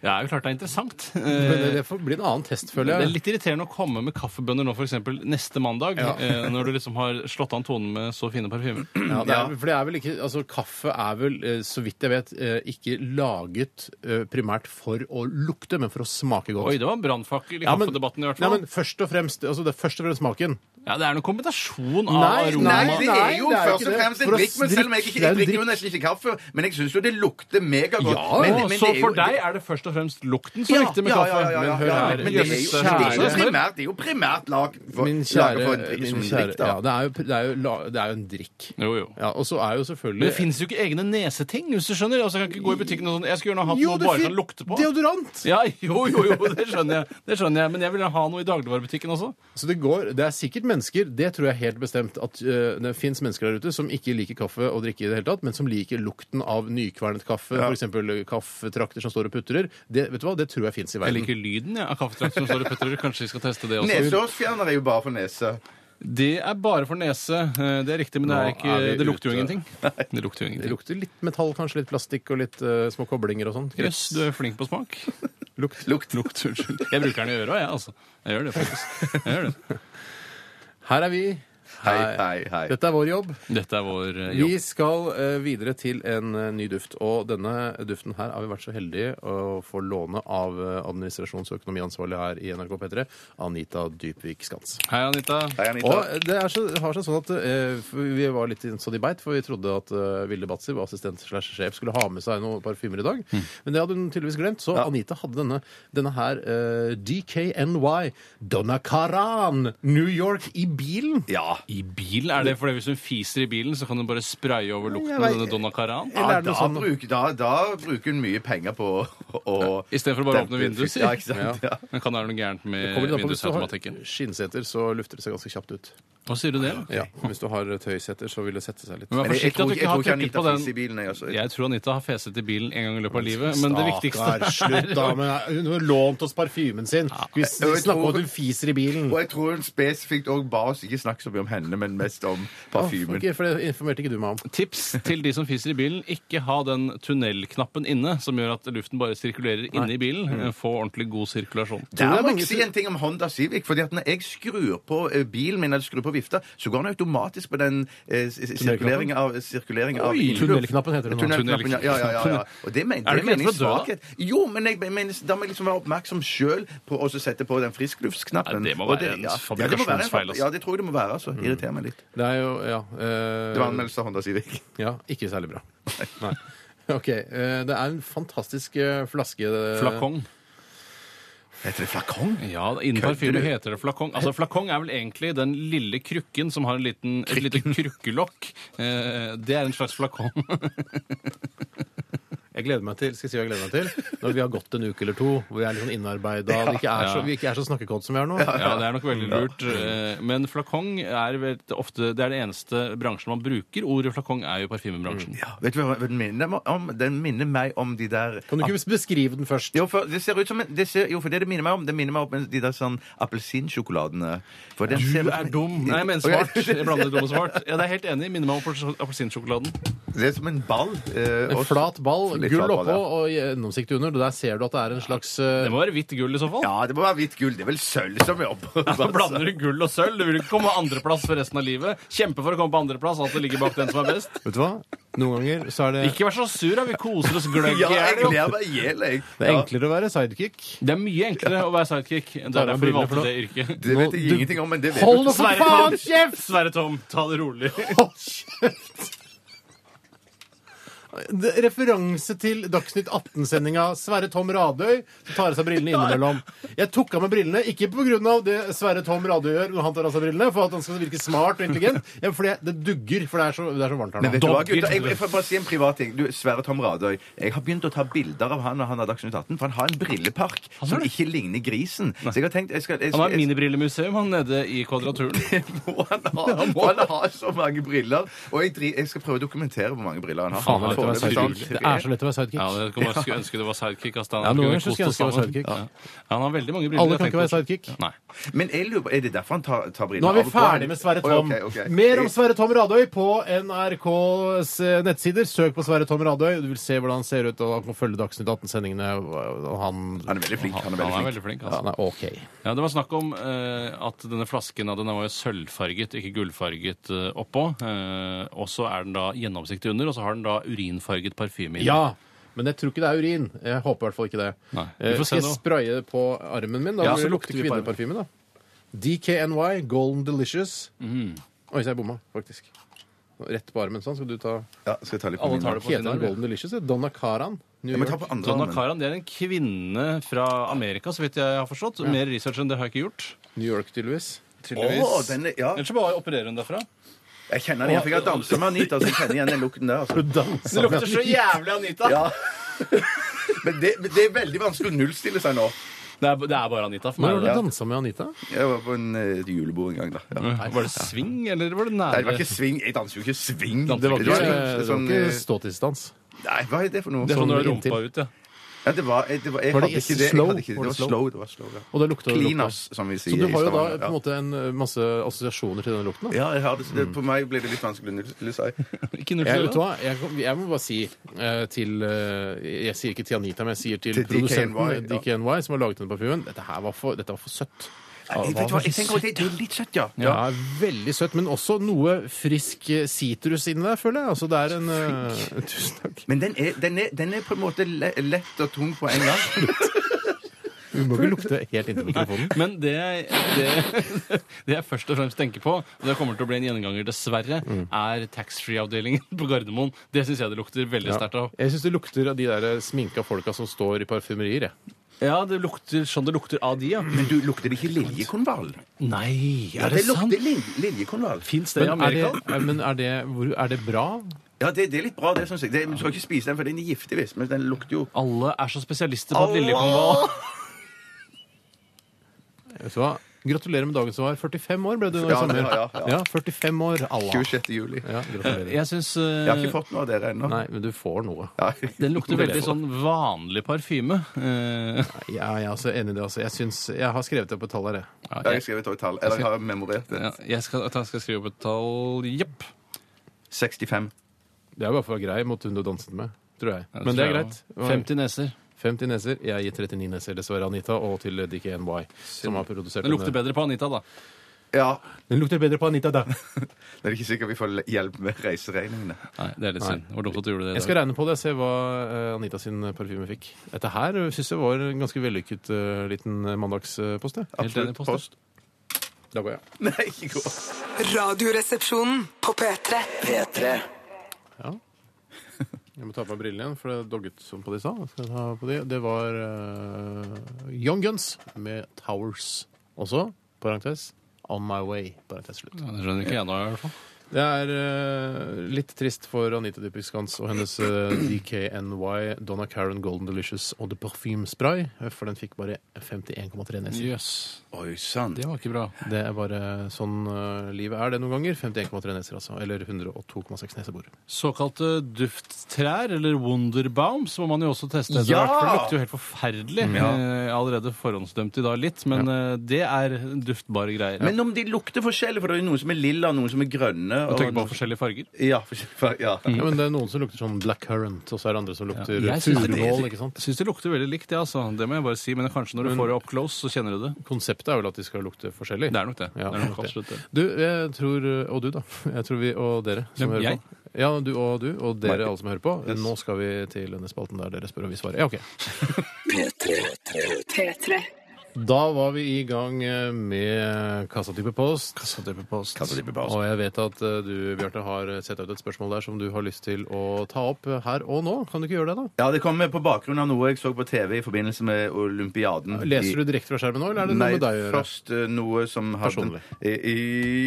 [SPEAKER 4] Ja, det er jo klart det er interessant.
[SPEAKER 2] [LAUGHS] Men
[SPEAKER 4] Eh,
[SPEAKER 2] det- det får bli en annen test, føler
[SPEAKER 4] Det
[SPEAKER 2] jeg.
[SPEAKER 4] er litt irriterende å komme med kaffebønner nå, f.eks. neste mandag, eh, når du liksom har slått an tonen med så fine
[SPEAKER 2] [CLEARS THROAT]
[SPEAKER 4] parfymer.
[SPEAKER 2] Ja, det er, for det er vel ikke, altså Kaffe er vel, eh, så vidt jeg vet, eh, ikke laget eh, primært for å lukte, men for å smake godt.
[SPEAKER 4] Oi, det var en brannfakkel i
[SPEAKER 2] Ja, men-
[SPEAKER 4] kaffedebatten i hvert
[SPEAKER 2] Nei,
[SPEAKER 4] fall.
[SPEAKER 2] men først og fremst, altså det er først og fremst smaken.
[SPEAKER 4] Ja, det er noen kombinasjon av
[SPEAKER 2] Nei,
[SPEAKER 4] aroma
[SPEAKER 3] Nei,
[SPEAKER 2] Nei,
[SPEAKER 3] det er jo
[SPEAKER 2] det er jo
[SPEAKER 3] først
[SPEAKER 2] ikke
[SPEAKER 3] og
[SPEAKER 2] det.
[SPEAKER 3] fremst en
[SPEAKER 2] For å
[SPEAKER 3] drikk, men selv om jeg
[SPEAKER 2] drikke- det
[SPEAKER 3] ikke
[SPEAKER 2] er
[SPEAKER 3] jeg
[SPEAKER 2] en
[SPEAKER 3] drikker jo
[SPEAKER 2] drikk.
[SPEAKER 3] nesten ikke kaffe, men jeg syns jo det lukter megagodt.
[SPEAKER 2] Ja,
[SPEAKER 3] men,
[SPEAKER 4] Å,
[SPEAKER 3] men
[SPEAKER 4] så
[SPEAKER 3] det er jo-
[SPEAKER 4] for deg er det først og fremst lukten som
[SPEAKER 3] Ja,
[SPEAKER 4] er viktig med
[SPEAKER 3] ja,
[SPEAKER 4] kaffe.
[SPEAKER 3] ja, ja, ja,
[SPEAKER 4] men
[SPEAKER 3] ja,
[SPEAKER 4] hør
[SPEAKER 3] ja,
[SPEAKER 4] her,
[SPEAKER 3] men det er jo-
[SPEAKER 4] jøsse,
[SPEAKER 3] det er jo
[SPEAKER 4] kjære-
[SPEAKER 3] primært, det er jo primært lag for,
[SPEAKER 2] Min
[SPEAKER 3] laget
[SPEAKER 2] kjære,
[SPEAKER 3] for en drikk, som
[SPEAKER 2] min
[SPEAKER 3] en
[SPEAKER 2] kjære
[SPEAKER 3] drikk, da.
[SPEAKER 2] ja, det, er jo, det, er jo, la- det er jo en drikk.
[SPEAKER 4] Jo, jo.
[SPEAKER 2] Ja, og så er jo selvfølgelig
[SPEAKER 4] Men det fins jo ikke egne neseting, hvis du skjønner. Altså, jeg kan ikke gå i butikken og sånn Jeg skulle gjerne hatt
[SPEAKER 2] Jo,
[SPEAKER 4] noe
[SPEAKER 2] det
[SPEAKER 4] bare
[SPEAKER 2] fin-
[SPEAKER 4] kan lukte på.
[SPEAKER 2] Deodorant!
[SPEAKER 4] Ja, jo, jo, jo, det skjønner jeg. Det skjønner jeg. Men jeg ville ha noe i dagligvarebutikken også.
[SPEAKER 2] Så det går, det er sikkert mennesker, det tror jeg helt bestemt, at eh, det fins mennesker der ute som ikke liker kaffe og drikke i det hele tatt, men som liker lukten av nykvernet kaffe, for f.eks. kaffetrakter som står og putrer. Det, vet du hva, det tror jeg fins i
[SPEAKER 4] Jeg
[SPEAKER 2] verden.
[SPEAKER 4] liker lyden ja, av kaffetrakt som står i Petterud. Kanskje vi skal teste det også.
[SPEAKER 3] Nesehårsfjerner er jo bare for nese.
[SPEAKER 4] Det er bare for nese. Eh, Det er riktig, men det, er
[SPEAKER 2] Nå
[SPEAKER 4] ikke,
[SPEAKER 2] er vi
[SPEAKER 4] det lukter jo
[SPEAKER 2] ute.
[SPEAKER 4] ingenting. Det lukter jo
[SPEAKER 2] Det
[SPEAKER 4] ingenting.
[SPEAKER 2] lukter litt metall, kanskje litt plastikk og litt eh, små koblinger og sånn.
[SPEAKER 4] Jøss, du er flink på smak.
[SPEAKER 2] Lukt.
[SPEAKER 3] Lukt.
[SPEAKER 4] Lukt, unnskyld. Jeg bruker den i øra, jeg, altså. Jeg gjør det faktisk. Jeg gjør det.
[SPEAKER 2] Her er vi.
[SPEAKER 3] Hei, hei, hei.
[SPEAKER 2] Dette er vår jobb.
[SPEAKER 4] Dette er vår eh,
[SPEAKER 2] Vi
[SPEAKER 4] jobb.
[SPEAKER 2] skal eh, videre til en eh, ny duft. Og denne duften her har vi vært så heldige å få låne av eh, administrasjons- og økonomiansvarlig her i NRK P3, Anita Dybvik Skans.
[SPEAKER 4] Hei, Anita.
[SPEAKER 3] Hei, Anita.
[SPEAKER 2] Og eh, det er så, har seg sånn at eh, for Vi var litt sånn i beit, for vi trodde at eh, Vilde Batzer, vår assistent slash sjef, skulle ha med seg noen parfymer i dag.
[SPEAKER 3] Mm.
[SPEAKER 2] Men det hadde hun tydeligvis glemt, så Anita hadde denne, denne her eh, DKNY Donna Karan New York i bilen.
[SPEAKER 3] Ja.
[SPEAKER 4] I bilen? Er det fordi hvis hun fiser i bilen, så kan hun bare spraye over lukten
[SPEAKER 2] Jeg
[SPEAKER 4] av
[SPEAKER 2] vet-
[SPEAKER 4] denne Donna Karan?
[SPEAKER 2] Eller
[SPEAKER 3] Ja,
[SPEAKER 2] er det
[SPEAKER 3] da,
[SPEAKER 2] noe sånn-
[SPEAKER 3] bruk, da, da bruker hun mye penger på å- å
[SPEAKER 4] I stedet for å bare åpne
[SPEAKER 3] dempe-
[SPEAKER 4] vinduet, sier
[SPEAKER 3] Ja, ikke sant? Ja.
[SPEAKER 4] Men kan det være noe gærent med
[SPEAKER 2] Kommer det an på hvis du har
[SPEAKER 4] vindusautomatikken?
[SPEAKER 2] skinnseter, så lufter det seg ganske kjapt ut.
[SPEAKER 4] Hva sier du det? da?
[SPEAKER 2] Ja, men [LAUGHS] Hvis du har tøyseter, så vil det sette seg litt.
[SPEAKER 4] Men vær
[SPEAKER 3] Men jeg, jeg,
[SPEAKER 4] forsiktig
[SPEAKER 3] tror,
[SPEAKER 4] at du
[SPEAKER 3] jeg
[SPEAKER 4] ikke
[SPEAKER 3] tror ikke
[SPEAKER 4] har trykket
[SPEAKER 3] Anita
[SPEAKER 4] på
[SPEAKER 3] fiser i
[SPEAKER 4] den.
[SPEAKER 3] bilen, jeg. Altså.
[SPEAKER 4] Jeg tror Anita har feset i bilen en gang i løpet av livet, men det
[SPEAKER 2] Stakkar,
[SPEAKER 4] viktigste
[SPEAKER 2] [LAUGHS] slutt da med Hun har lånt oss parfymen sin. Vi s-
[SPEAKER 3] jeg
[SPEAKER 2] snakker om
[SPEAKER 3] tror-
[SPEAKER 2] at hun fiser i bilen.
[SPEAKER 3] Og jeg tror hun spesifikt òg ba oss ikke snakke så mye om henne, men mest om parfymen.
[SPEAKER 2] Ok, for det informerte ikke du meg om.
[SPEAKER 4] [LAUGHS] Tips til de som fiser i bilen, ikke ha den tunnelknappen inne, som gjør at luften bare sirkulerer inne i bilen. Få ordentlig god sirkulasjon.
[SPEAKER 2] Tror Mm. det
[SPEAKER 3] Der
[SPEAKER 2] er
[SPEAKER 3] må
[SPEAKER 2] mange
[SPEAKER 3] jeg si
[SPEAKER 2] som-
[SPEAKER 3] en ting om Honda Civic. fordi at Når jeg skrur på eh, bilen min, eller skrur på vifta, så går den automatisk på den eh, sirkuleringen av, sirkulering av
[SPEAKER 2] Oi,
[SPEAKER 3] innluft.
[SPEAKER 2] tunnelknappen heter det nå.
[SPEAKER 3] Tunnelknappen, ja, ja, ja, ja. Og det mener
[SPEAKER 4] Er
[SPEAKER 3] det mener
[SPEAKER 4] det ikke ment
[SPEAKER 3] jeg
[SPEAKER 4] for å dø, da?
[SPEAKER 3] svakhet. Jo, men jeg mener, da må jeg liksom være oppmerksom sjøl på å så sette på den friskluftknappen.
[SPEAKER 4] Nei, det må
[SPEAKER 3] Og
[SPEAKER 4] være en
[SPEAKER 3] ja. Ja, det må være en
[SPEAKER 4] fabrikasjonsfeil,
[SPEAKER 3] fabri-
[SPEAKER 4] altså.
[SPEAKER 3] Ja, det tror jeg det må være. altså. Irriterer meg litt.
[SPEAKER 2] Det er jo Ja. eh,
[SPEAKER 3] Det var anmeldelse av Honda Civic.
[SPEAKER 2] ja ikke særlig bra. Nei. OK. eh, det er en fantastisk eh, flaske det-
[SPEAKER 4] Flakong.
[SPEAKER 3] Heter det flakong?
[SPEAKER 4] Ja, innen parfyme heter det flakong. Altså, Flakong er vel egentlig den lille krykken som har en liten, et lite krukkelokk. Eh, det er en slags flakong.
[SPEAKER 2] Jeg gleder meg til, skal jeg si hva jeg gleder meg til? Når vi har gått en uke eller to, hvor jeg er litt sånn innarbeida, og det ikke er så,
[SPEAKER 4] Ja.
[SPEAKER 2] vi ikke er så snakkekåte som vi er nå.
[SPEAKER 4] [LAUGHS] Ja, det er nok veldig lurt. Eh, Men flakong er vel ofte Det er det eneste bransjen man bruker. Ordet flakong er jo parfymebransjen.
[SPEAKER 3] Ja, vet du hva den minner meg om? Den minner meg om de der
[SPEAKER 2] Kan du ikke beskrive den først?
[SPEAKER 3] Jo, for det ser ut som en, det ser, jo, for det det minner meg om, det minner meg om en- de der sånn appelsinsjokoladene. For den ser ut
[SPEAKER 4] Du
[SPEAKER 3] som
[SPEAKER 4] er
[SPEAKER 3] en-
[SPEAKER 4] [LAUGHS] dum! Nei, men
[SPEAKER 3] Å, ja.
[SPEAKER 4] smart. Jeg blander dum og smart. Ja, det er jeg helt enig. i. Minner meg om apels- appelsinsjokoladen.
[SPEAKER 3] [LAUGHS] Det er som en ball. eh,
[SPEAKER 2] En
[SPEAKER 3] og-
[SPEAKER 2] flat ball,
[SPEAKER 3] Litt
[SPEAKER 2] gull
[SPEAKER 3] flat ball,
[SPEAKER 2] oppå og gjennomsiktig under. Der ser du at det er en slags eh,
[SPEAKER 4] Det må være hvitt gull i så fall.
[SPEAKER 3] Ja, det må være hvitt gull. Det er vel sølv som er oppå.
[SPEAKER 4] Da blander du gull og sølv. Du vil ikke komme på andreplass for resten av livet. Kjempe for å komme på andreplass. Altså ligge bak den som er best.
[SPEAKER 2] Vet du hva? Noen ganger så er det
[SPEAKER 4] Ikke vær så sur, da. Vi koser oss gløgg i
[SPEAKER 3] Ja, jeg
[SPEAKER 4] hjel. jo.
[SPEAKER 3] gleder meg i hjel, jeg.
[SPEAKER 2] Det er enklere å være sidekick.
[SPEAKER 4] Det er mye enklere å være sidekick. Det er
[SPEAKER 2] av
[SPEAKER 4] derfor vi
[SPEAKER 2] brillene
[SPEAKER 4] valgte
[SPEAKER 2] for
[SPEAKER 4] det yrket.
[SPEAKER 3] Det vet
[SPEAKER 2] Nå-
[SPEAKER 3] jeg ingenting om, men det vet
[SPEAKER 2] Hold
[SPEAKER 4] [LAUGHS]
[SPEAKER 3] du.
[SPEAKER 2] nå for faen kjeft!
[SPEAKER 4] Sverre Tom, ta det rolig.
[SPEAKER 2] Hold kjeft! det, referanse til Dagsnytt 18-sendinga. Sverre Tom Radøy som tar av seg brillene innimellom. Jeg tok av meg brillene, ikke pga. det Sverre Tom Radøy gjør når han tar av seg brillene, for at han skal virke smart og intelligent, men fordi det dugger, for det er så, det er så varmt her nå.
[SPEAKER 3] Men vet du hva,
[SPEAKER 4] Dobbelt.
[SPEAKER 3] gutter, jeg, jeg får bare si en privat ting. Du, Sverre Tom Radøy. Jeg har begynt å ta bilder av han når han har Dagsnytt 18, for han har en brillepark
[SPEAKER 4] har
[SPEAKER 3] som
[SPEAKER 4] det?
[SPEAKER 3] ikke ligner grisen. Så jeg har tenkt jeg skal, jeg
[SPEAKER 4] Han
[SPEAKER 3] skal,
[SPEAKER 4] har et minibrillemuseum han nede i Kvadraturen.
[SPEAKER 3] [LAUGHS] må han ha, må han ha så mange briller. Og jeg, dri- jeg skal prøve å dokumentere hvor mange briller han har.
[SPEAKER 2] Faen, det er lett å være
[SPEAKER 3] Foreløpig
[SPEAKER 4] sidekick.
[SPEAKER 2] sidekick. Det er så lett å være
[SPEAKER 4] [LAUGHS] Ja,
[SPEAKER 2] sidekick.
[SPEAKER 4] det kan man skulle ønske det var sidekick. ass. Han
[SPEAKER 2] Ja, noen
[SPEAKER 4] kunne
[SPEAKER 2] ganger så skulle jeg
[SPEAKER 4] kost oss
[SPEAKER 2] ønske det var
[SPEAKER 4] sammen. Ja. Han har veldig mange briller.
[SPEAKER 2] Alle
[SPEAKER 4] jeg
[SPEAKER 2] kan ikke
[SPEAKER 4] tenkte
[SPEAKER 2] være sidekick.
[SPEAKER 4] på. Nei.
[SPEAKER 3] Men jeg lurer på, er det derfor han tar, tar briller
[SPEAKER 2] Nå er
[SPEAKER 3] av
[SPEAKER 2] vi
[SPEAKER 3] og på?
[SPEAKER 2] ferdig med Sverre
[SPEAKER 3] Oi,
[SPEAKER 2] Tom.
[SPEAKER 3] ok, ok.
[SPEAKER 2] Mer om
[SPEAKER 3] Jeg-
[SPEAKER 2] Sverre Tom Radøy på NRKs eh, nettsider. Søk på Sverre Tom Radøy, og du vil se hvordan han ser ut, og han kan følge Dagsnytt 18-sendingene. og Han,
[SPEAKER 3] Han er veldig flink. Han er
[SPEAKER 4] Han
[SPEAKER 3] veldig
[SPEAKER 4] er
[SPEAKER 3] flink.
[SPEAKER 4] veldig flink.
[SPEAKER 2] ja,
[SPEAKER 4] Altså.
[SPEAKER 2] han er OK.
[SPEAKER 4] Ja, det var snakk om eh, at denne flasken ja, den var jo sølvfarget, ikke gullfarget eh, oppå. Eh, og så er den da gjennomsiktig under, og så har den da urinfarget parfyme inni.
[SPEAKER 2] Ja, men jeg tror ikke det er urin. Jeg håper i hvert fall ikke det.
[SPEAKER 4] Nei, vi
[SPEAKER 2] Eh,
[SPEAKER 4] får se
[SPEAKER 2] Skal jeg
[SPEAKER 4] nå.
[SPEAKER 2] spraye det på armen min? Da
[SPEAKER 3] Ja,
[SPEAKER 2] blir
[SPEAKER 3] så
[SPEAKER 2] det lukte
[SPEAKER 3] lukter vi på armen.
[SPEAKER 2] kvinneparfyme, da. DKNY Golden Delicious.
[SPEAKER 4] Mhm.
[SPEAKER 2] Oi, så jeg bomma, faktisk. Rett på armen. Sånn skal du ta
[SPEAKER 3] Ja, skal jeg ta litt på
[SPEAKER 4] Alle
[SPEAKER 3] min?
[SPEAKER 4] tar det
[SPEAKER 3] hånd?
[SPEAKER 4] sin
[SPEAKER 2] Heter den
[SPEAKER 4] arm, ja.
[SPEAKER 2] Golden Delicious? Donna Karan. New
[SPEAKER 3] Jeg må ta
[SPEAKER 2] York.
[SPEAKER 3] på andre
[SPEAKER 4] Donna
[SPEAKER 3] hånden.
[SPEAKER 4] Karan Sånn, det er en kvinne fra Amerika, så vidt jeg har forstått. Mer research enn det har jeg ikke gjort.
[SPEAKER 2] New York, tydeligvis.
[SPEAKER 3] Å, den er- ja.
[SPEAKER 4] Ellers så bare opererer hun derfra.
[SPEAKER 3] Jeg kjenner den igjen, for jeg har dansa med Anita, så altså- jeg kjenner igjen den lukten der. Altså.
[SPEAKER 4] Det lukter så jævlig Anita!
[SPEAKER 3] Ja. [LAUGHS] Men det, men det er veldig vanskelig å nullstille seg nå.
[SPEAKER 4] Det, er, det er bare Anita for
[SPEAKER 2] Når har
[SPEAKER 4] meg.
[SPEAKER 2] du
[SPEAKER 4] Ja.
[SPEAKER 2] dansa med Anita?
[SPEAKER 3] Jeg var på en, eh, et julebord en gang, da.
[SPEAKER 2] Mm.
[SPEAKER 3] Ja. Nei,
[SPEAKER 4] Var det swing, eller var det
[SPEAKER 3] det var
[SPEAKER 4] nære?
[SPEAKER 3] ikke swing. Jeg danser jo ikke swing.
[SPEAKER 2] Det var ikke,
[SPEAKER 3] sånn-
[SPEAKER 2] det var
[SPEAKER 3] sånn,
[SPEAKER 2] ikke
[SPEAKER 3] eh,
[SPEAKER 2] ståtidsdans.
[SPEAKER 3] Nei, hva er det for noe?
[SPEAKER 4] Det er sånn du har
[SPEAKER 2] sånn inntil.
[SPEAKER 4] rumpa ut, ja.
[SPEAKER 3] Ja, det var, det var, jeg
[SPEAKER 2] Var det
[SPEAKER 3] hadde ikke det.
[SPEAKER 2] slow?
[SPEAKER 3] Jeg hadde ikke det.
[SPEAKER 2] Var
[SPEAKER 3] det
[SPEAKER 2] det slow?
[SPEAKER 3] var slow. Det var slow ja.
[SPEAKER 2] Og det lukta
[SPEAKER 3] Cleaners, altså, som vi sier
[SPEAKER 2] Så du
[SPEAKER 3] i
[SPEAKER 2] har jo da
[SPEAKER 3] Stavanger,
[SPEAKER 2] på en måte Mm. en eh, masse assosiasjoner til den lukten. da.
[SPEAKER 3] ja. ja, jeg har det, så det, på meg ble det litt vanskelig å nullstille seg.
[SPEAKER 4] [LAUGHS] Ikke
[SPEAKER 2] Jeg,
[SPEAKER 4] null
[SPEAKER 2] vet du hva? Jeg, kom- jeg må bare si eh, til eh, Jeg sier ikke til Anita, men jeg sier til,
[SPEAKER 3] Til DKNY,
[SPEAKER 2] produsenten
[SPEAKER 3] ja.
[SPEAKER 2] DKNY, som har laget denne parfymen. Dette her var for, dette var for søtt.
[SPEAKER 3] Nei,
[SPEAKER 2] Det
[SPEAKER 3] vet du
[SPEAKER 2] var
[SPEAKER 3] hva, jeg tenker også, det, det er litt søtt, ja.
[SPEAKER 2] Ja, Veldig søtt, men også noe frisk eh, sitrus inni der, føler jeg. Altså, det er en eh, [LAUGHS] Tusen takk.
[SPEAKER 3] Men den er, den, er, den er på en måte le- lett og tung på en gang.
[SPEAKER 2] Du må ikke lukte helt inntil
[SPEAKER 3] [LAUGHS]
[SPEAKER 2] mikrofonen.
[SPEAKER 4] Men det, det, [LAUGHS] det jeg først og fremst tenker på, og det kommer til å bli en gjenganger dessverre, er taxfree-avdelingen på Gardermoen. Det syns jeg det lukter veldig
[SPEAKER 2] Ja.
[SPEAKER 4] sterkt av.
[SPEAKER 2] Jeg syns det lukter av de der eh, sminka folka som står i parfymerier. jeg.
[SPEAKER 4] Ja, det lukter sånn det lukter av de, ja.
[SPEAKER 3] Men du, lukter det ikke liljekonvall?
[SPEAKER 4] Nei,
[SPEAKER 3] Ja,
[SPEAKER 4] er
[SPEAKER 3] det
[SPEAKER 4] det sant?
[SPEAKER 3] lukter lil, liljekonvall.
[SPEAKER 4] Fins det i
[SPEAKER 2] Men, er det,
[SPEAKER 4] Amerika?
[SPEAKER 2] eh, men er, det, hvor, er det bra?
[SPEAKER 3] Ja, det, det er litt bra, det syns jeg. Det, men du skal ikke spise den, for den er giftig, visst. Men den lukter jo
[SPEAKER 4] Alle er så spesialister på at liljekonvall
[SPEAKER 2] Vet du hva? Gratulerer med dagen som var. 45 år ble du nå i
[SPEAKER 3] Ja,
[SPEAKER 2] sommer.
[SPEAKER 3] ja, ja, ja.
[SPEAKER 2] 45 år. Allah.
[SPEAKER 3] 26. juli.
[SPEAKER 2] Ja, gratulerer.
[SPEAKER 4] Jeg syns
[SPEAKER 3] Jeg har ikke fått noe av dere ennå.
[SPEAKER 2] Nei, men du får noe.
[SPEAKER 3] Nei.
[SPEAKER 4] den
[SPEAKER 2] Det
[SPEAKER 4] lukter
[SPEAKER 2] er
[SPEAKER 4] veldig
[SPEAKER 2] det.
[SPEAKER 4] sånn vanlig parfyme. Eh,
[SPEAKER 2] Ja, jeg er også enig i det. Altså. Jeg, syns, jeg har skrevet det på tallet. jeg.
[SPEAKER 3] [LAUGHS] Jeg har skrevet et tall. Eller jeg har memorert det.
[SPEAKER 4] ja, jeg skal, at jeg skal skrive opp et tall Jepp.
[SPEAKER 3] 65.
[SPEAKER 2] Det er bare for å være grei mot hun du danset med, tror jeg.
[SPEAKER 4] Ja, det
[SPEAKER 2] Men det er
[SPEAKER 4] tror jeg
[SPEAKER 2] greit.
[SPEAKER 4] også. 50 neser.
[SPEAKER 2] 50 neser. Jeg gir 39 neser, dessverre, Anita, og til DKNY, som har produsert
[SPEAKER 4] Den lukter
[SPEAKER 2] denne.
[SPEAKER 4] bedre på Anita, da.
[SPEAKER 3] Ja.
[SPEAKER 2] Den lukter bedre på Anita, da.
[SPEAKER 3] Det er ikke sikkert vi får hjelp med reiseregningene.
[SPEAKER 4] Nei, det er litt synd. Det var dumt at du gjorde det. i
[SPEAKER 2] Jeg
[SPEAKER 4] dag.
[SPEAKER 2] skal regne på det og se hva eh, Anita sin parfyme fikk. Dette her syns jeg var en ganske vellykket eh, liten mandagspost. jeg.
[SPEAKER 4] Helt
[SPEAKER 3] Absolutt.
[SPEAKER 4] enig, Poster.
[SPEAKER 3] Post.
[SPEAKER 2] Da går jeg.
[SPEAKER 3] [LAUGHS] Nei, ikke gå.
[SPEAKER 6] Radioresepsjonen på P3.
[SPEAKER 5] P3
[SPEAKER 2] Ja. Jeg må ta på meg brillene igjen, for det dogget som på de sa. Jeg Skal ta på de. Det var eh, Young Guns med Towers. Også, parentes, On My Way. Parentes slutt.
[SPEAKER 4] Ja, Det skjønner ikke jeg nå, i hvert fall.
[SPEAKER 2] Det er eh, litt trist for Anita Dypik Skans og hennes eh, DKNY Donna Karen Golden Delicious og The Perfume Spray, eh, for den fikk bare 51,3 neser.
[SPEAKER 4] Jøss.
[SPEAKER 3] Oi sann.
[SPEAKER 4] Det var ikke bra.
[SPEAKER 2] Det er bare sånn eh, livet er det noen ganger. 51,3 neser, altså. Eller 102,6 nesebor.
[SPEAKER 4] Såkalte dufttrær, eller wonderbaums, må man jo også teste.
[SPEAKER 3] Ja!
[SPEAKER 4] hvert fall. Det lukter jo helt forferdelig. Eh, Allerede forhåndsdømt i dag litt, men eh, det er duftbare greier.
[SPEAKER 3] Men om de lukter forskjellig, for det er jo noen som er lilla, noen som er grønne
[SPEAKER 4] Du
[SPEAKER 3] og
[SPEAKER 4] tenker på
[SPEAKER 3] noen-
[SPEAKER 4] forskjellige farger?
[SPEAKER 3] Ja, forskjellig farge, ja.
[SPEAKER 2] Ja, men det er noen som lukter sånn black currant, og så er det andre som lukter
[SPEAKER 4] Ja, jeg synes det-
[SPEAKER 2] furunål, ikke sant?
[SPEAKER 4] Jeg syns det lukter veldig likt, det, altså. Det må jeg bare si. Men kanskje når du får det up close, så kjenner du det.
[SPEAKER 2] Konseptet er vel at de skal lukte forskjellig.
[SPEAKER 4] Det er nok det.
[SPEAKER 2] Ja,
[SPEAKER 4] det er nok
[SPEAKER 2] det.
[SPEAKER 4] absolutt det.
[SPEAKER 2] Du, jeg tror Og du, da. Jeg tror vi, Og dere som
[SPEAKER 4] Hvem,
[SPEAKER 2] hører
[SPEAKER 4] jeg?
[SPEAKER 2] på. Ja, du og du, og dere alle som hører på. Nå skal vi til denne spalten der dere spør og vi svarer. Ja, OK.
[SPEAKER 5] P3
[SPEAKER 6] P3.
[SPEAKER 2] Da var vi i gang eh, med Kassatype post.
[SPEAKER 3] Kassatype post.
[SPEAKER 2] Og jeg vet at eh, du, Bjarte, har sett ut et spørsmål der som du har lyst til å ta opp eh, her og nå. Kan du ikke gjøre det, da?
[SPEAKER 3] Ja, det kom på bakgrunn av noe jeg så på TV i forbindelse med olympiaden.
[SPEAKER 2] Leser du direkte fra skjermen nå, eller er det noe
[SPEAKER 3] Nei,
[SPEAKER 2] med deg å gjøre?
[SPEAKER 3] først eh, noe som hadde
[SPEAKER 2] Personlig.
[SPEAKER 3] I, i,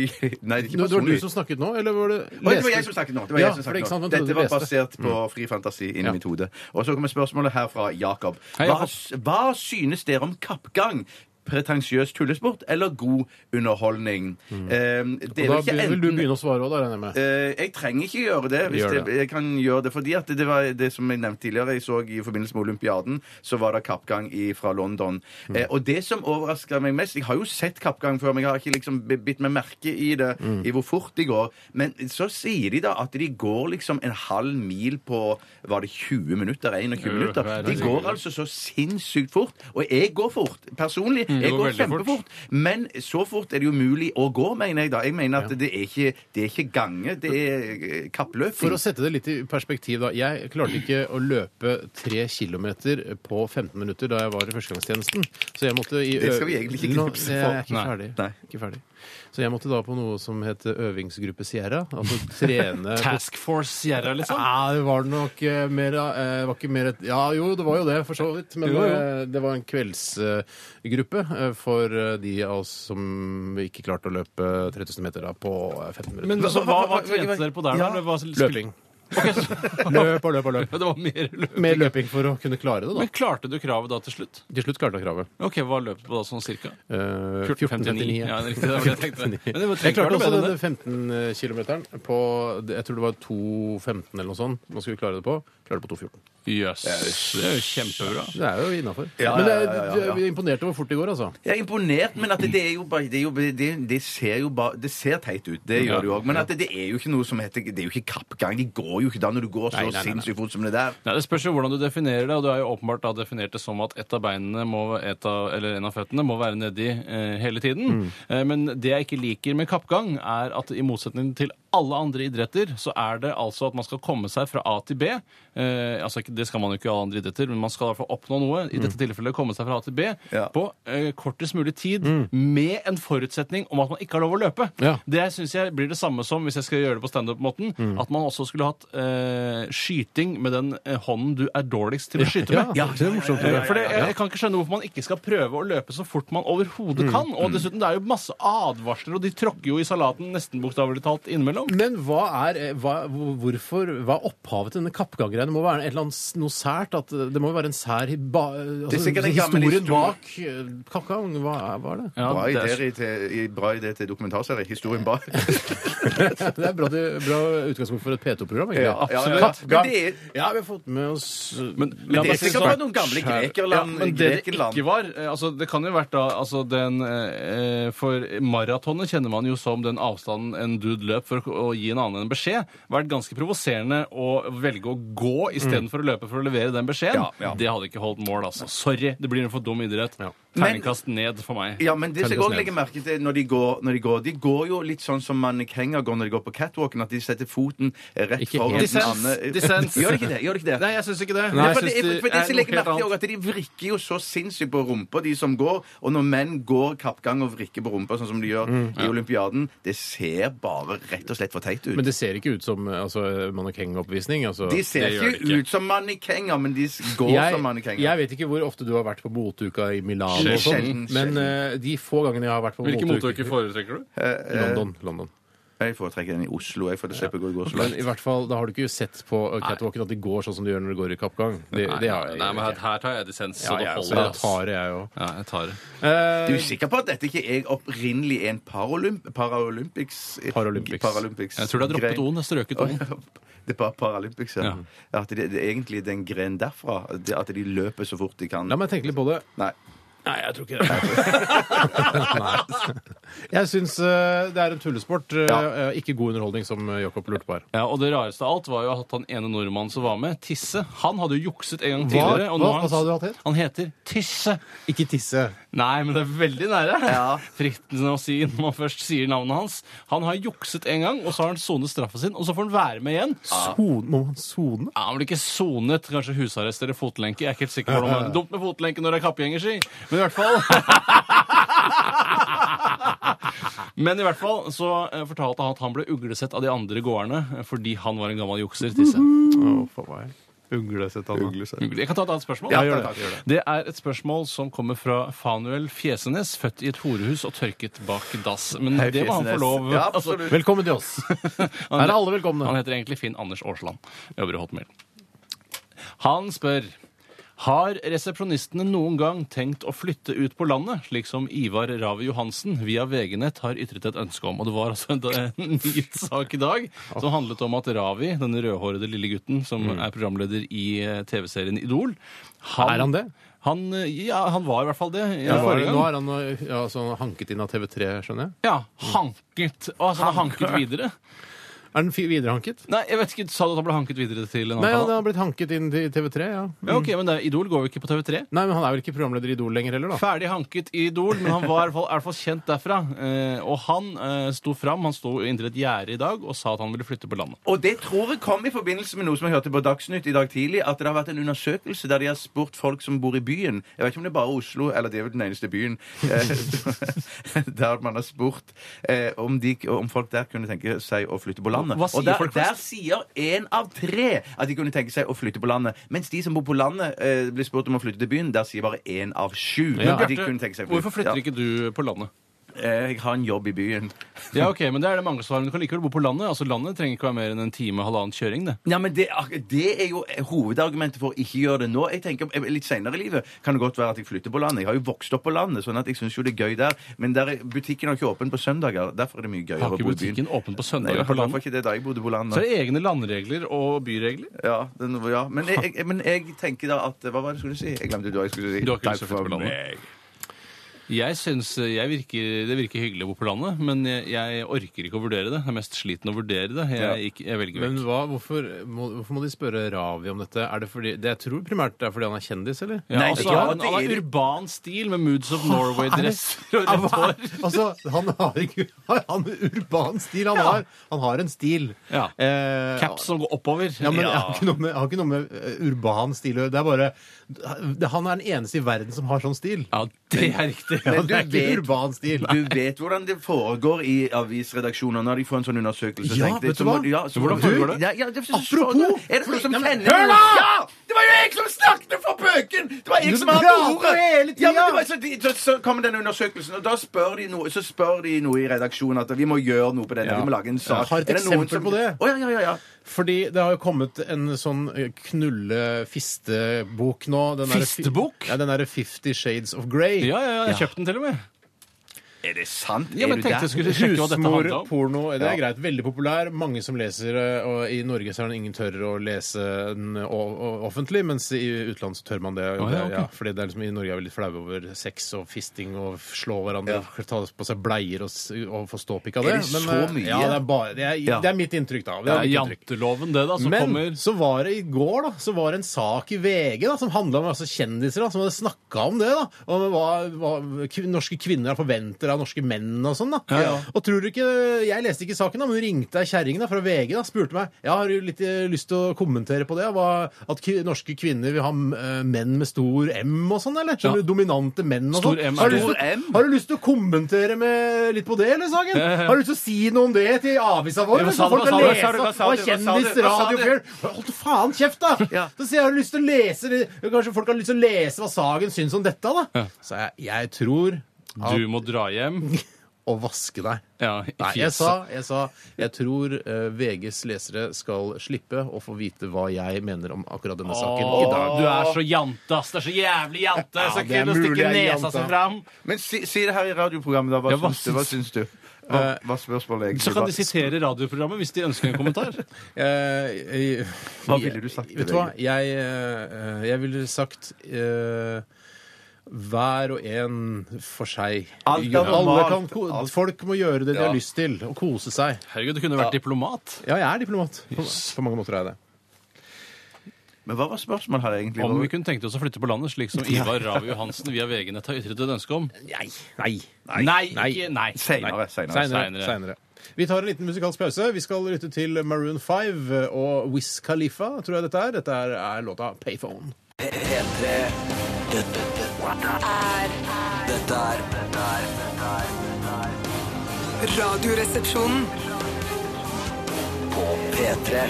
[SPEAKER 3] [LAUGHS] nei, det
[SPEAKER 2] Nå,
[SPEAKER 3] er ikke
[SPEAKER 2] det var du
[SPEAKER 3] personlig.
[SPEAKER 2] som snakket nå, eller var det
[SPEAKER 3] Oi, det var
[SPEAKER 2] leste-
[SPEAKER 3] jeg som snakket nå. Det var
[SPEAKER 2] Ja,
[SPEAKER 3] jeg som
[SPEAKER 2] for det er
[SPEAKER 3] snakket
[SPEAKER 2] ikke sant,
[SPEAKER 3] nå.
[SPEAKER 2] man trodde
[SPEAKER 3] Dette var
[SPEAKER 2] du leste.
[SPEAKER 3] basert på fri fantasi inni
[SPEAKER 2] Ja.
[SPEAKER 3] mitt hode. Og så kommer spørsmålet her fra Jakob.
[SPEAKER 4] Hei,
[SPEAKER 3] Hva,
[SPEAKER 4] Jakob.
[SPEAKER 3] hva synes dere om kappgang? Pretensiøs tullesport eller god underholdning? Eh, det er
[SPEAKER 2] Mm. Og
[SPEAKER 3] vel
[SPEAKER 2] Da
[SPEAKER 3] ikke
[SPEAKER 2] begynner vel du
[SPEAKER 3] enten-
[SPEAKER 2] begynne å svare òg, da, regner jeg med.
[SPEAKER 3] Eh, jeg trenger ikke gjøre det. Hvis
[SPEAKER 2] Gjør det.
[SPEAKER 3] Jeg, jeg kan gjøre det fordi at det var det som jeg nevnte tidligere, jeg så i forbindelse med Olympiaden, så var det kappgang i, fra London.
[SPEAKER 4] Mm.
[SPEAKER 3] Eh, og det som overraska meg mest Jeg har jo sett kappgang før, men jeg har ikke liksom bi- bitt meg merke i det,
[SPEAKER 4] Mm.
[SPEAKER 3] i hvor fort de går. Men så sier de da at de går liksom en halv mil på Var det 20 minutter? 21
[SPEAKER 4] Jo,
[SPEAKER 3] minutter?
[SPEAKER 4] det er
[SPEAKER 3] De
[SPEAKER 4] det
[SPEAKER 3] går
[SPEAKER 4] sikkert.
[SPEAKER 3] altså så sinnssykt fort. Og jeg går fort, personlig. Jeg
[SPEAKER 4] Mm, går
[SPEAKER 3] går
[SPEAKER 4] veldig
[SPEAKER 3] kjempefort.
[SPEAKER 4] fort.
[SPEAKER 3] Men så fort er det jo umulig å gå, mener jeg da. Jeg mener at det, er ikke, det er ikke gange, det er eh, kappløping.
[SPEAKER 2] For å sette det litt i perspektiv, da. Jeg klarte ikke å løpe tre kilometer på 15 minutter da jeg var i førstegangstjenesten. Så jeg måtte i ø-
[SPEAKER 3] Det skal vi egentlig ikke
[SPEAKER 2] Nå,
[SPEAKER 3] tipse
[SPEAKER 2] Jeg er
[SPEAKER 3] folk.
[SPEAKER 2] ikke
[SPEAKER 4] Nei.
[SPEAKER 2] ferdig.
[SPEAKER 3] Nei.
[SPEAKER 2] ikke ferdig. Så jeg måtte da på noe som het øvingsgruppe Sierra. Altså trene på-
[SPEAKER 4] Task Force Sierra, liksom?
[SPEAKER 2] Ja, det var nok eh, mer, eh, var ikke mer et, Ja, jo, det var jo det, for så vidt. Men
[SPEAKER 4] Jo, jo.
[SPEAKER 2] eh, det var en kveldsgruppe for eh, de av oss som ikke klarte å løpe 3000 meter da, på eh, 15 minutter.
[SPEAKER 4] Men så, hva, hva trente dere på der, da?
[SPEAKER 3] Ja.
[SPEAKER 4] Eller hva skulle-
[SPEAKER 2] løping. [LAUGHS] løp og løp og
[SPEAKER 4] [LAUGHS]
[SPEAKER 2] løp.
[SPEAKER 4] Ja, Det var mer løp.
[SPEAKER 2] Mer løping for å kunne klare det, da.
[SPEAKER 4] Men klarte du kravet da til slutt?
[SPEAKER 2] Til slutt klarte jeg kravet.
[SPEAKER 4] Ok, Hva løp du på da, sånn cirka?
[SPEAKER 2] Eh,
[SPEAKER 4] 14.59. Ja, det er riktig, det var det jeg [LAUGHS] tenkte. Men det var-
[SPEAKER 2] jeg klarte
[SPEAKER 4] var det
[SPEAKER 2] også
[SPEAKER 4] bedre
[SPEAKER 2] denne 15 kilometeren på Jeg tror det var 2.15 eller noe sånt. Man skulle klare det på. Klarte det på 2.14.
[SPEAKER 4] Jøss. Det er jo kjempebra.
[SPEAKER 2] Det er jo innafor.
[SPEAKER 3] Ja,
[SPEAKER 2] Men det,
[SPEAKER 3] ja, ja, ja, ja.
[SPEAKER 2] vi er imponert over hvor fort det går, altså.
[SPEAKER 3] Jeg er imponert, men at det er jo bare Det, er jo, det, det ser jo bare Det ser teit ut, det gjør det jo òg, men at det, det er jo ikke noe som heter Det er jo ikke kappgang. De går jo ikke da når du går så
[SPEAKER 2] Nei, nei, nei, nei.
[SPEAKER 3] sinnssykt fort som det der.
[SPEAKER 4] Nei, Det spørs jo hvordan du definerer det, og du har jo åpenbart da definert det som at ett av beinene må, et av, eller en av føttene må være nedi eh, hele tiden. Eh, men det jeg ikke liker med kappgang, er at i motsetning til alle andre idretter, så er det altså at man skal komme seg fra A til B. Eh, altså, ikke- det skal man jo ikke i alle andre idretter, men man skal i hvert fall oppnå noe. I dette tilfellet komme seg fra A til B
[SPEAKER 3] Ja.
[SPEAKER 4] på eh, kortest mulig tid med en forutsetning om at man ikke har lov å løpe.
[SPEAKER 2] Ja.
[SPEAKER 4] Det synes jeg blir det samme som hvis jeg skal gjøre det på standup-måten.
[SPEAKER 2] Mm.
[SPEAKER 4] At man også skulle hatt eh, skyting med den eh, hånden du er dårligst til å skyte med.
[SPEAKER 2] Ja, det er morsomt.
[SPEAKER 4] Eh, For det, jeg, jeg kan ikke skjønne hvorfor man ikke skal prøve å løpe så fort man overhodet
[SPEAKER 2] Mm.
[SPEAKER 4] kan. Og dessuten, det er jo masse advarsler, og de tråkker jo i salaten nesten bokstavelig talt innimellom.
[SPEAKER 2] Men hva er eh, hva, hvor- hvorfor, hva er opphavet til denne kappgang-greia? Det må være et eller annet, s- noe sært? At eh, det må jo være en sær hi- ba, eh,
[SPEAKER 3] Det er
[SPEAKER 2] altså,
[SPEAKER 3] sikkert en gammel
[SPEAKER 2] historien
[SPEAKER 3] historie.
[SPEAKER 2] bak eh, kappgang. Hva er, hva er det?
[SPEAKER 4] Ja,
[SPEAKER 3] Bra
[SPEAKER 4] det er-
[SPEAKER 3] idé til, i- bra idé til dokumentarserie. Historien
[SPEAKER 2] [LAUGHS]
[SPEAKER 3] bak.
[SPEAKER 2] Det er bra, til- bra utgangspunkt for et P2-program.
[SPEAKER 3] Ja,
[SPEAKER 2] egentlig.
[SPEAKER 3] ja, ja, ja. Men
[SPEAKER 2] Kappgang.
[SPEAKER 3] det er
[SPEAKER 2] Ja, vi har fått med oss
[SPEAKER 4] Men,
[SPEAKER 3] Men
[SPEAKER 4] la
[SPEAKER 3] det
[SPEAKER 4] meg
[SPEAKER 3] er
[SPEAKER 4] si
[SPEAKER 3] sikkert
[SPEAKER 4] sånn.
[SPEAKER 3] bare noen gamle grekerland.
[SPEAKER 4] Ja, men det det
[SPEAKER 3] Grekenland.
[SPEAKER 4] ikke var eh, altså Det kan jo vært da altså den, eh, For maratonet kjenner man jo som den avstanden en dude løp for å, å gi en annen en beskjed. Vært ganske provoserende å velge å gå istedenfor å løpe for å levere den beskjeden.
[SPEAKER 3] Ja, ja.
[SPEAKER 4] Det hadde ikke holdt mål, altså. Sorry, det blir en for dum idrett.
[SPEAKER 2] Ja.
[SPEAKER 4] Terningkast ned for meg.
[SPEAKER 3] Ja, men det som jeg
[SPEAKER 2] Telles
[SPEAKER 3] også
[SPEAKER 2] ned.
[SPEAKER 3] legger merke til når de går, når de går De går jo litt sånn som mannekenger går når de går på catwalken, at de setter foten rett
[SPEAKER 2] Ikke
[SPEAKER 3] foran
[SPEAKER 2] helt.
[SPEAKER 3] den
[SPEAKER 4] Dissens,
[SPEAKER 3] andre.
[SPEAKER 4] dissens.
[SPEAKER 3] Gjør de ikke det? Gjør de ikke det?
[SPEAKER 4] Nei, jeg syns ikke det.
[SPEAKER 2] Nei, jeg
[SPEAKER 3] Ja, for, det,
[SPEAKER 4] synes
[SPEAKER 3] for, for det som legger
[SPEAKER 4] helt
[SPEAKER 3] merke til
[SPEAKER 4] annet.
[SPEAKER 3] også, at De vrikker jo så sinnssykt på rumpa, de som går. Og når menn går kappgang og vrikker på rumpa, sånn som de
[SPEAKER 2] Mm.
[SPEAKER 3] gjør i Olympiaden, det ser bare rett og slett for teit ut.
[SPEAKER 2] Men det ser ikke ut som eh, altså, mannekengoppvisning. Altså,
[SPEAKER 3] de ser
[SPEAKER 2] det gjør det
[SPEAKER 3] ikke, ut som mannekenger, men de s- går som
[SPEAKER 2] Jeg,
[SPEAKER 3] mannekenger.
[SPEAKER 2] jeg vet ikke hvor ofte du har vært på motuka i Milano, og sånn,
[SPEAKER 3] Sjelden,
[SPEAKER 2] men
[SPEAKER 3] sjelden.
[SPEAKER 2] eh, de få gangene jeg har vært på
[SPEAKER 4] Hvilke
[SPEAKER 2] motuke
[SPEAKER 4] motuker foretrekker du?
[SPEAKER 3] Eh,
[SPEAKER 2] London, London.
[SPEAKER 3] Jeg foretrekker den i Oslo, jeg, for det slipper å gå- gå så
[SPEAKER 2] Men
[SPEAKER 3] langt.
[SPEAKER 2] i hvert fall, da har du ikke sett på eh, catwalken at de går sånn som de gjør når de går i kappgang. Det, det har jeg
[SPEAKER 4] Nei, men her, her tar jeg dissens.
[SPEAKER 2] Ja,
[SPEAKER 4] så
[SPEAKER 2] jeg,
[SPEAKER 4] da
[SPEAKER 2] også,
[SPEAKER 4] holder
[SPEAKER 2] jeg
[SPEAKER 4] det. ass.
[SPEAKER 2] tar det, jeg òg.
[SPEAKER 4] Ja, jeg tar det.
[SPEAKER 3] Du er sikker på at dette ikke er opprinnelig en paralymp paraolympics?
[SPEAKER 2] Paralympics.
[SPEAKER 3] Paralympics
[SPEAKER 4] Jeg tror det er
[SPEAKER 3] gren.
[SPEAKER 4] droppet O-en. Strøket O-en.
[SPEAKER 3] [LAUGHS] Det er bare Paralympics, ja. At det, det er egentlig den grenen derfra. det- At de løper så fort de kan.
[SPEAKER 2] La meg tenke litt på det.
[SPEAKER 3] Nei.
[SPEAKER 2] Nei, jeg tror ikke det. Jeg syns det er en tullesport. eh,
[SPEAKER 3] Ja.
[SPEAKER 2] eh, Ikke god underholdning, som eh, Jakob lurte på her.
[SPEAKER 4] Ja, og Det rareste av alt var jo at han ene nordmannen som var med, Tisse, han hadde jo jukset en gang
[SPEAKER 2] Hva?
[SPEAKER 4] tidligere. og nå
[SPEAKER 2] Hva?
[SPEAKER 4] har han-
[SPEAKER 2] Hva sa du at het?
[SPEAKER 4] Han heter Tisse.
[SPEAKER 2] Ikke tisse.
[SPEAKER 4] Nei, men det er veldig nære.
[SPEAKER 3] Ja.
[SPEAKER 4] Fristende å si når man først sier navnet hans. Han har jukset en gang, og så har han sonet straffen sin, og så får han være med igjen.
[SPEAKER 2] Sone? Ah. Må man sone? [LAUGHS]
[SPEAKER 4] Ja, Han blir ikke sonet, kanskje husarrest eller fotlenke. Jeg er ikke helt sikker på hvordan man Dumt med fotlenke når det er kappgjenger, si. Men i hvert fall Men i hvert fall så eh, fortalte han at han ble uglesett av de andre gårdene eh, fordi han var en gammel jukser. Tisse.
[SPEAKER 2] Uglesett, Anna.
[SPEAKER 4] Ugle- Jeg kan ta et annet spørsmål.
[SPEAKER 3] Ja,
[SPEAKER 4] gjør
[SPEAKER 3] ta- ta- gjør
[SPEAKER 4] det. det er et spørsmål som kommer fra Fanuel Fjesenes, født i et horehus og tørket bak dass. Men
[SPEAKER 3] Hei,
[SPEAKER 4] det må han få
[SPEAKER 3] Fjesenes.
[SPEAKER 4] lov
[SPEAKER 3] Ja,
[SPEAKER 4] [LAUGHS] altså,
[SPEAKER 3] absolutt.
[SPEAKER 2] [LAUGHS] Velkommen til
[SPEAKER 4] [LAUGHS]
[SPEAKER 2] oss. Her er alle velkomne.
[SPEAKER 4] Han heter egentlig Finn Anders Aarsland. Jobber i Hotmail. Han spør har resepsjonistene noen gang tenkt å flytte ut på landet, slik som Ivar Rave Johansen via VG-nett har ytret et ønske om? Og det var altså en, en nyhetssak i dag som handlet om at Ravi, denne rødhårede lille gutten som er programleder i eh, TV-serien Idol
[SPEAKER 2] Mm. Er han det?
[SPEAKER 4] Han, eh, ja, han var i hvert fall det. i
[SPEAKER 2] Ja,
[SPEAKER 4] forrige gang.
[SPEAKER 2] nå er han eh, ja, så han er hanket inn av TV3, skjønner jeg.
[SPEAKER 4] Ja, hanket. Og altså, han har hanket videre.
[SPEAKER 2] Er den fi- viderehanket?
[SPEAKER 4] Nei, jeg vet ikke, Sa du at han ble hanket videre til en annen
[SPEAKER 2] Nei, han
[SPEAKER 4] kanal?
[SPEAKER 2] har blitt hanket inn til TV3, ja.
[SPEAKER 4] Ja, ok, men det, Idol går jo ikke på TV3.
[SPEAKER 2] Nei, men han er vel ikke programleder i Idol lenger heller, da.
[SPEAKER 4] Ferdig hanket i Idol, men han var i hvert fall, i hvert fall kjent derfra. Eh, og han eh, sto fram, han sto inntil et gjerde i dag og sa at han ville flytte på landet.
[SPEAKER 3] Og det tror jeg kom i forbindelse med noe som jeg hørte på Dagsnytt i dag tidlig, at det har vært en undersøkelse der de har spurt folk som bor i byen Jeg vet ikke om det er bare Oslo, eller det er vel den eneste byen eh, [LAUGHS] Der man har spurt eh, om, de, om folk der kunne tenke seg å flytte på landet.
[SPEAKER 4] Hva sier
[SPEAKER 3] og der,
[SPEAKER 4] folk
[SPEAKER 3] der
[SPEAKER 4] flest?
[SPEAKER 3] sier én av tre at de kunne tenke seg å flytte på landet. Mens de som bor på landet, eh, blir spurt om å flytte til byen. Der sier bare én av sju.
[SPEAKER 4] Men
[SPEAKER 3] at de
[SPEAKER 4] Bjarte,
[SPEAKER 3] kunne tenke seg å flytte.
[SPEAKER 4] hvorfor flytter ikke du på landet?
[SPEAKER 3] ja. eh, Jeg har en jobb i byen.
[SPEAKER 4] Ja, ok, men det er det mange som har, men du kan likevel bo på landet. Altså, Landet trenger ikke være mer enn en time, halvannen kjøring, det.
[SPEAKER 3] Ja, men det, ak- det er jo hovedargumentet for å ikke gjøre det nå. Jeg tenker, eh, Litt seinere i livet kan det godt være at jeg flytter på landet. Jeg har jo vokst opp på landet, sånn at jeg syns jo det er gøy der. Men der er, butikken har ikke åpen på søndager. Derfor er det mye gøyere
[SPEAKER 4] Har
[SPEAKER 3] å
[SPEAKER 4] ikke
[SPEAKER 3] bo i byen.
[SPEAKER 4] butikken åpen på
[SPEAKER 3] Nei,
[SPEAKER 4] søndager
[SPEAKER 3] jeg
[SPEAKER 4] på
[SPEAKER 3] har
[SPEAKER 4] landet?
[SPEAKER 3] ikke det da jeg bodde på
[SPEAKER 4] Så er
[SPEAKER 3] landet.
[SPEAKER 4] det egne landregler og byregler.
[SPEAKER 3] Ja, den, ja. Men, jeg, jeg, men jeg tenker da at Hva var det jeg skulle si? Jeg glemte hva jeg skulle si.
[SPEAKER 4] Du har ikke lyst
[SPEAKER 3] Takk
[SPEAKER 4] til å flytte
[SPEAKER 3] for
[SPEAKER 4] på landet.
[SPEAKER 3] meg.
[SPEAKER 4] Jeg synes jeg virker, Det virker hyggelig å bo på landet, men jeg, jeg orker ikke å vurdere det. Jeg er mest sliten å vurdere det. Jeg,
[SPEAKER 3] Ja.
[SPEAKER 4] ikke, jeg velger
[SPEAKER 2] Men
[SPEAKER 4] vekk.
[SPEAKER 2] hva, hvorfor, må, hvorfor må de spørre Ravi om dette? Er det fordi, det jeg tror primært det er fordi han er kjendis, eller? [LAUGHS]
[SPEAKER 4] Ja,
[SPEAKER 3] Nei,
[SPEAKER 4] altså,
[SPEAKER 3] ja,
[SPEAKER 4] han, han
[SPEAKER 3] det
[SPEAKER 4] har
[SPEAKER 3] er-
[SPEAKER 4] urban stil med Moods of [LAUGHS] Norway-dresser og rødt hår.
[SPEAKER 2] [LAUGHS] altså, han har ikke har han urban stil. Han, har, han har en stil.
[SPEAKER 4] Ja.
[SPEAKER 2] Eh,
[SPEAKER 4] Caps som går oppover.
[SPEAKER 2] Ja, men Jeg har ikke noe med, jeg har ikke noe med eh, urban stil å gjøre. Det er bare det, Han er den eneste i verden som har sånn stil.
[SPEAKER 4] Ja, det er riktig.
[SPEAKER 2] Ja,
[SPEAKER 3] Men du
[SPEAKER 2] det er ikke
[SPEAKER 3] vet-
[SPEAKER 2] urban stil.
[SPEAKER 3] Du vet hvordan det foregår i avisredaksjoner når de får en sånn undersøkelse.
[SPEAKER 2] Ja,
[SPEAKER 3] tenkte jeg.
[SPEAKER 2] vet du
[SPEAKER 3] Så må-
[SPEAKER 2] hva?
[SPEAKER 3] Ja, så
[SPEAKER 2] Hvordan
[SPEAKER 3] må du-
[SPEAKER 2] foregår det?
[SPEAKER 3] Ja, ja, det
[SPEAKER 2] Apropos!
[SPEAKER 3] Er det noen som
[SPEAKER 2] Nei, men
[SPEAKER 3] kjenner
[SPEAKER 2] hør
[SPEAKER 3] noe?
[SPEAKER 2] da!
[SPEAKER 3] Ja! Det var jo jeg som snakket for pøken! Det var jeg
[SPEAKER 2] Du
[SPEAKER 3] som hadde
[SPEAKER 2] prater
[SPEAKER 3] ordet!
[SPEAKER 2] hele tiden.
[SPEAKER 3] Ja, men det var, så, de, så, så kommer denne undersøkelsen, og da spør de noe, så spør de noe i redaksjonen at vi må gjøre noe på denne.
[SPEAKER 2] Ja.
[SPEAKER 3] Vi må lage en sak.
[SPEAKER 2] Jeg har et
[SPEAKER 3] Er noen
[SPEAKER 2] eksempel på det.
[SPEAKER 3] Å, ja, ja, ja, ja.
[SPEAKER 2] Fordi det har jo kommet en sånn knulle-fistebok nå. Den derre fi-
[SPEAKER 4] Fistebok?
[SPEAKER 2] Ja, den derre Fifty Shades of Grey.
[SPEAKER 4] Ja, ja, ja, jeg kjøpte den til og med.
[SPEAKER 3] Er det sant?
[SPEAKER 4] Ja,
[SPEAKER 3] Er
[SPEAKER 4] men
[SPEAKER 3] du
[SPEAKER 4] tenkte
[SPEAKER 3] der?
[SPEAKER 4] jeg skulle sjekke hva dette handlet om.
[SPEAKER 2] porno, det er
[SPEAKER 3] Ja.
[SPEAKER 2] greit. Veldig populær. Mange som leser, eh, og i Norge så er det ingen tør å lese den o- o- offentlig, mens i utlandet så tør man det. Og
[SPEAKER 4] Å, ja,
[SPEAKER 2] det-
[SPEAKER 4] ok.
[SPEAKER 2] ja, fordi det er liksom, i Norge er vi litt flaue over sex og fisting og slå hverandre, ta på seg bleier og, s- og få ståpikk av
[SPEAKER 3] Er
[SPEAKER 2] det.
[SPEAKER 3] det så
[SPEAKER 2] eh,
[SPEAKER 3] mye?
[SPEAKER 2] Ja, det er, bare, det er,
[SPEAKER 3] Ja.
[SPEAKER 2] det er mitt inntrykk, da. Det
[SPEAKER 4] Det
[SPEAKER 2] er
[SPEAKER 4] er
[SPEAKER 2] mitt inntrykk.
[SPEAKER 4] janteloven, det, da, som
[SPEAKER 2] Men
[SPEAKER 4] kommer.
[SPEAKER 2] så var det i går da, så var det en sak i VG da, som handla om altså, kjendiser da, som hadde snakka om det. da, Om hva, hva kv- norske kvinner forventer av norske menn og sånn. da.
[SPEAKER 4] Ja, ja.
[SPEAKER 2] Og tror du ikke, Jeg leste ikke saken, da, men hun ringte ei kjerring da, fra VG da, spurte meg jeg har jo litt eh, lyst til å kommentere på det. Hva, at kvi- norske kvinner vil ha m- eh, menn med stor M og sånn, eller? Skjønner
[SPEAKER 4] Ja.
[SPEAKER 2] du, Dominante menn og
[SPEAKER 4] Stor
[SPEAKER 2] sånn.
[SPEAKER 4] M,
[SPEAKER 2] Har, du
[SPEAKER 4] er
[SPEAKER 2] lyst
[SPEAKER 3] det-
[SPEAKER 2] til-
[SPEAKER 3] Stor M?
[SPEAKER 2] har du lyst til å kommentere med, litt på det, eller, Sagen?
[SPEAKER 4] Ja, ja, ja.
[SPEAKER 2] Har du lyst til å si noe om det til avisa vår?
[SPEAKER 4] Ja, hva
[SPEAKER 2] eller, så
[SPEAKER 4] sa du,
[SPEAKER 2] folk
[SPEAKER 4] hva
[SPEAKER 2] kan
[SPEAKER 4] sa du, hva
[SPEAKER 2] lese
[SPEAKER 4] sa du,
[SPEAKER 3] hva sa
[SPEAKER 2] hva
[SPEAKER 3] du, hva sa du,
[SPEAKER 2] kjendis
[SPEAKER 3] hva sa
[SPEAKER 2] radio
[SPEAKER 3] du?
[SPEAKER 2] Fjell Hold faen kjeft, da!
[SPEAKER 3] Ja.
[SPEAKER 2] Så sier jeg har du lyst til å lese det. Kanskje folk har lyst til å lese hva Sagen syns om dette, da?
[SPEAKER 4] Ja.
[SPEAKER 2] Så jeg, jeg tror
[SPEAKER 4] Du må dra hjem.
[SPEAKER 2] å vaske deg.
[SPEAKER 4] Ja, i
[SPEAKER 2] Nei, jeg
[SPEAKER 4] fjeset.
[SPEAKER 2] sa, jeg sa jeg tror eh, VGs lesere skal slippe å få vite hva jeg mener om akkurat denne saken i dag.
[SPEAKER 4] Åh, Du er så jante, ass. Det er så jævlig jante.
[SPEAKER 2] Ja,
[SPEAKER 4] så
[SPEAKER 2] det er
[SPEAKER 4] kult å
[SPEAKER 2] mulig jeg
[SPEAKER 4] stikke
[SPEAKER 2] er
[SPEAKER 4] nesa
[SPEAKER 2] jante.
[SPEAKER 4] si fram.
[SPEAKER 3] Men si, si det her i radioprogrammet, da. Hva,
[SPEAKER 4] Ja, hva
[SPEAKER 3] syns, du? hva syns du? Hva, hva spørsmålet egentlig
[SPEAKER 4] Så kan
[SPEAKER 3] var?
[SPEAKER 4] de sitere radioprogrammet hvis de ønsker en kommentar.
[SPEAKER 2] Eh, eh,
[SPEAKER 3] Hva ville du sagt til
[SPEAKER 2] Vet du hva? Jeg, eh, jeg ville sagt eh, hver og en for seg.
[SPEAKER 3] Alt er
[SPEAKER 2] Alle
[SPEAKER 3] normalt.
[SPEAKER 2] kan, ko-
[SPEAKER 3] Alt-
[SPEAKER 2] folk må gjøre det de
[SPEAKER 3] Ja.
[SPEAKER 2] har lyst til, og kose seg.
[SPEAKER 4] Herregud, du kunne vært diplomat.
[SPEAKER 2] Ja, jeg er diplomat. På, på mange måter er jeg det.
[SPEAKER 3] Men hva var spørsmålet her egentlig?
[SPEAKER 4] Om vi kunne tenkt oss å flytte på landet, slik som Ivar Ravi Johansen via VG-nett har ytret et ønske om.
[SPEAKER 2] Nei. Nei.
[SPEAKER 4] Nei, ikke nei.
[SPEAKER 3] Seinere. Seinere.
[SPEAKER 2] Seinere.
[SPEAKER 4] Seinere.
[SPEAKER 2] Seinere. Vi tar en liten musikalsk pause. Vi skal lytte til Maroon 5 og Wiz Khalifa, tror jeg dette er. Dette er, er låta Payphone.
[SPEAKER 5] P- P3 Dette, dette, dette er dette er
[SPEAKER 6] Radioresepsjonen.
[SPEAKER 5] På P3